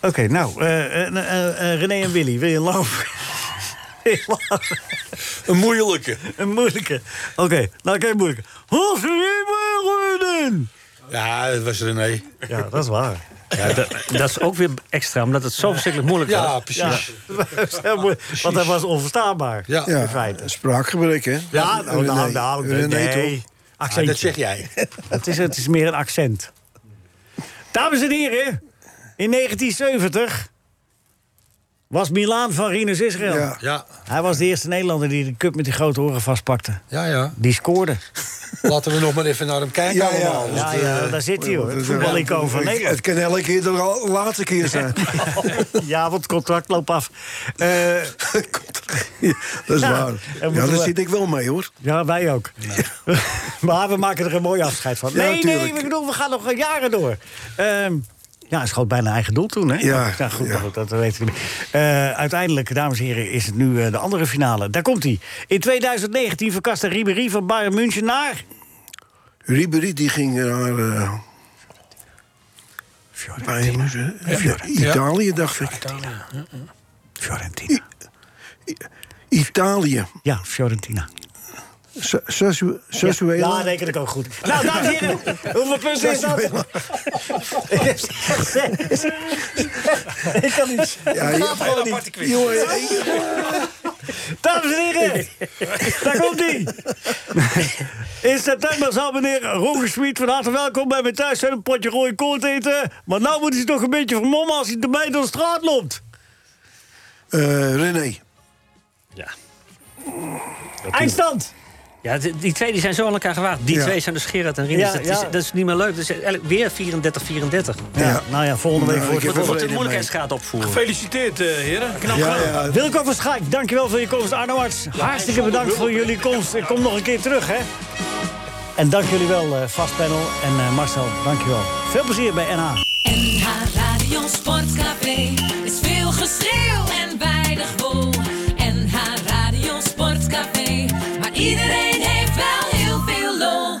C: Oké, nou, eh, eh, eh, eh, René en Willy, wil je lopen?
D: Een moeilijke.
C: Een moeilijke. Oké, nou kijk, moeilijke. Hoe winnen?
D: Ja, dat was René.
C: Ja, dat is waar.
E: Ja, dat, dat is ook weer extra, omdat het zo verschrikkelijk moeilijk was.
D: Ja, precies.
C: Dat was heel moeilijk, Want hij was onverstaanbaar,
D: Ja.
C: in feite.
G: Spraakgebrek, hè?
C: Ja, nou, nou,
G: René.
C: nou, nee.
G: René,
C: nee.
D: Ah,
C: Accentje.
D: dat zeg jij.
C: Het is, het is meer een accent. Dames en heren, in 1970 was Milaan van Rinus Israël.
G: Ja.
D: Ja,
C: Hij was de eerste Nederlander die de cup met die grote oren vastpakte.
D: ja, ja.
C: Die scoorde.
D: Laten we nog maar even naar hem kijken
G: Ja, ja.
D: allemaal. Want,
C: Ja,
D: eh,
C: ja daar zit hij hoor. Het voetbalico van
G: Het, het
C: Nederland.
G: kan elke keer de la- laatste keer zijn.
C: Ja, want het contract loopt af. Eh,
G: dat is
C: Ja,
G: waar.
C: en
G: Ja,
C: moeten
G: daar
C: we-
G: zit ik wel mee, hoor.
C: ja, wij ook. maar we maken er een mooi afscheid van.
G: Ja,
C: Nee, nee,
G: tuurlijk.
C: ik bedoel, we gaan nog jaren door. Ehm, ja, hij schoot bijna eigen doel toen, hè?
G: Ja,
C: Nou, goed,
G: ja.
C: maar goed, dat weten we niet. Eh, uiteindelijk, dames en heren, is het nu eh, de andere finale. Daar komt hij. In 2019 verkaste Ribéry van Bayern München naar...
G: Ribéry die ging naar eh, bij- Fio- Italië, dacht ik.
C: Fiorentina.
G: Italië.
C: Ja, Fiorentina.
G: Sa- Sasu- Sassuolo.
C: Ja, reken ik ook goed. Nou, dames en heren, hoeveel punten is dat? Ik heb zes. Ik kan niet.
G: Ja,
C: Dat gaat
G: ja.
C: gewoon niet.
G: Jongen, ik-
C: Dames en heren, daar komt ie. In september zal meneer Roger Schmid van harte welkom bij mijn thuis zijn een potje rode kool eten. Maar nou moet hij zich toch een beetje vermommen als hij erbij door de straat loopt.
G: Eh, René.
C: Eindstand!
E: Ja, die, die twee die zijn zo aan elkaar gewaagd. Die
C: Ja.
E: twee zijn dus Gerard en Rinus.
C: Ja,
E: dat, Is,
C: ja.
E: dat is niet meer leuk. Dat is eigenlijk weer 34-34.
C: Ja. nou ja, volgende week
E: Nou,
C: wordt
E: ik heb
C: het
E: er
C: weer
E: de moeilijkheidsgraad opvoeren.
F: Gefeliciteerd, eh, heren. Knap
C: Ja,
F: gedaan.
C: ja. Wilco van Schaik, dankjewel voor je komst. Arno Arts, hartstikke bedankt voor jullie komst. Ik kom nog een keer terug, hè. En dank jullie wel, eh, vastpanel en eh, Marcel, dankjewel. Veel plezier bij NH.
A: NH Radio Sportcafé is veel geschreeuw en weinig wol. NH Radio Sportcafé, maar iedereen heeft wel heel veel lol.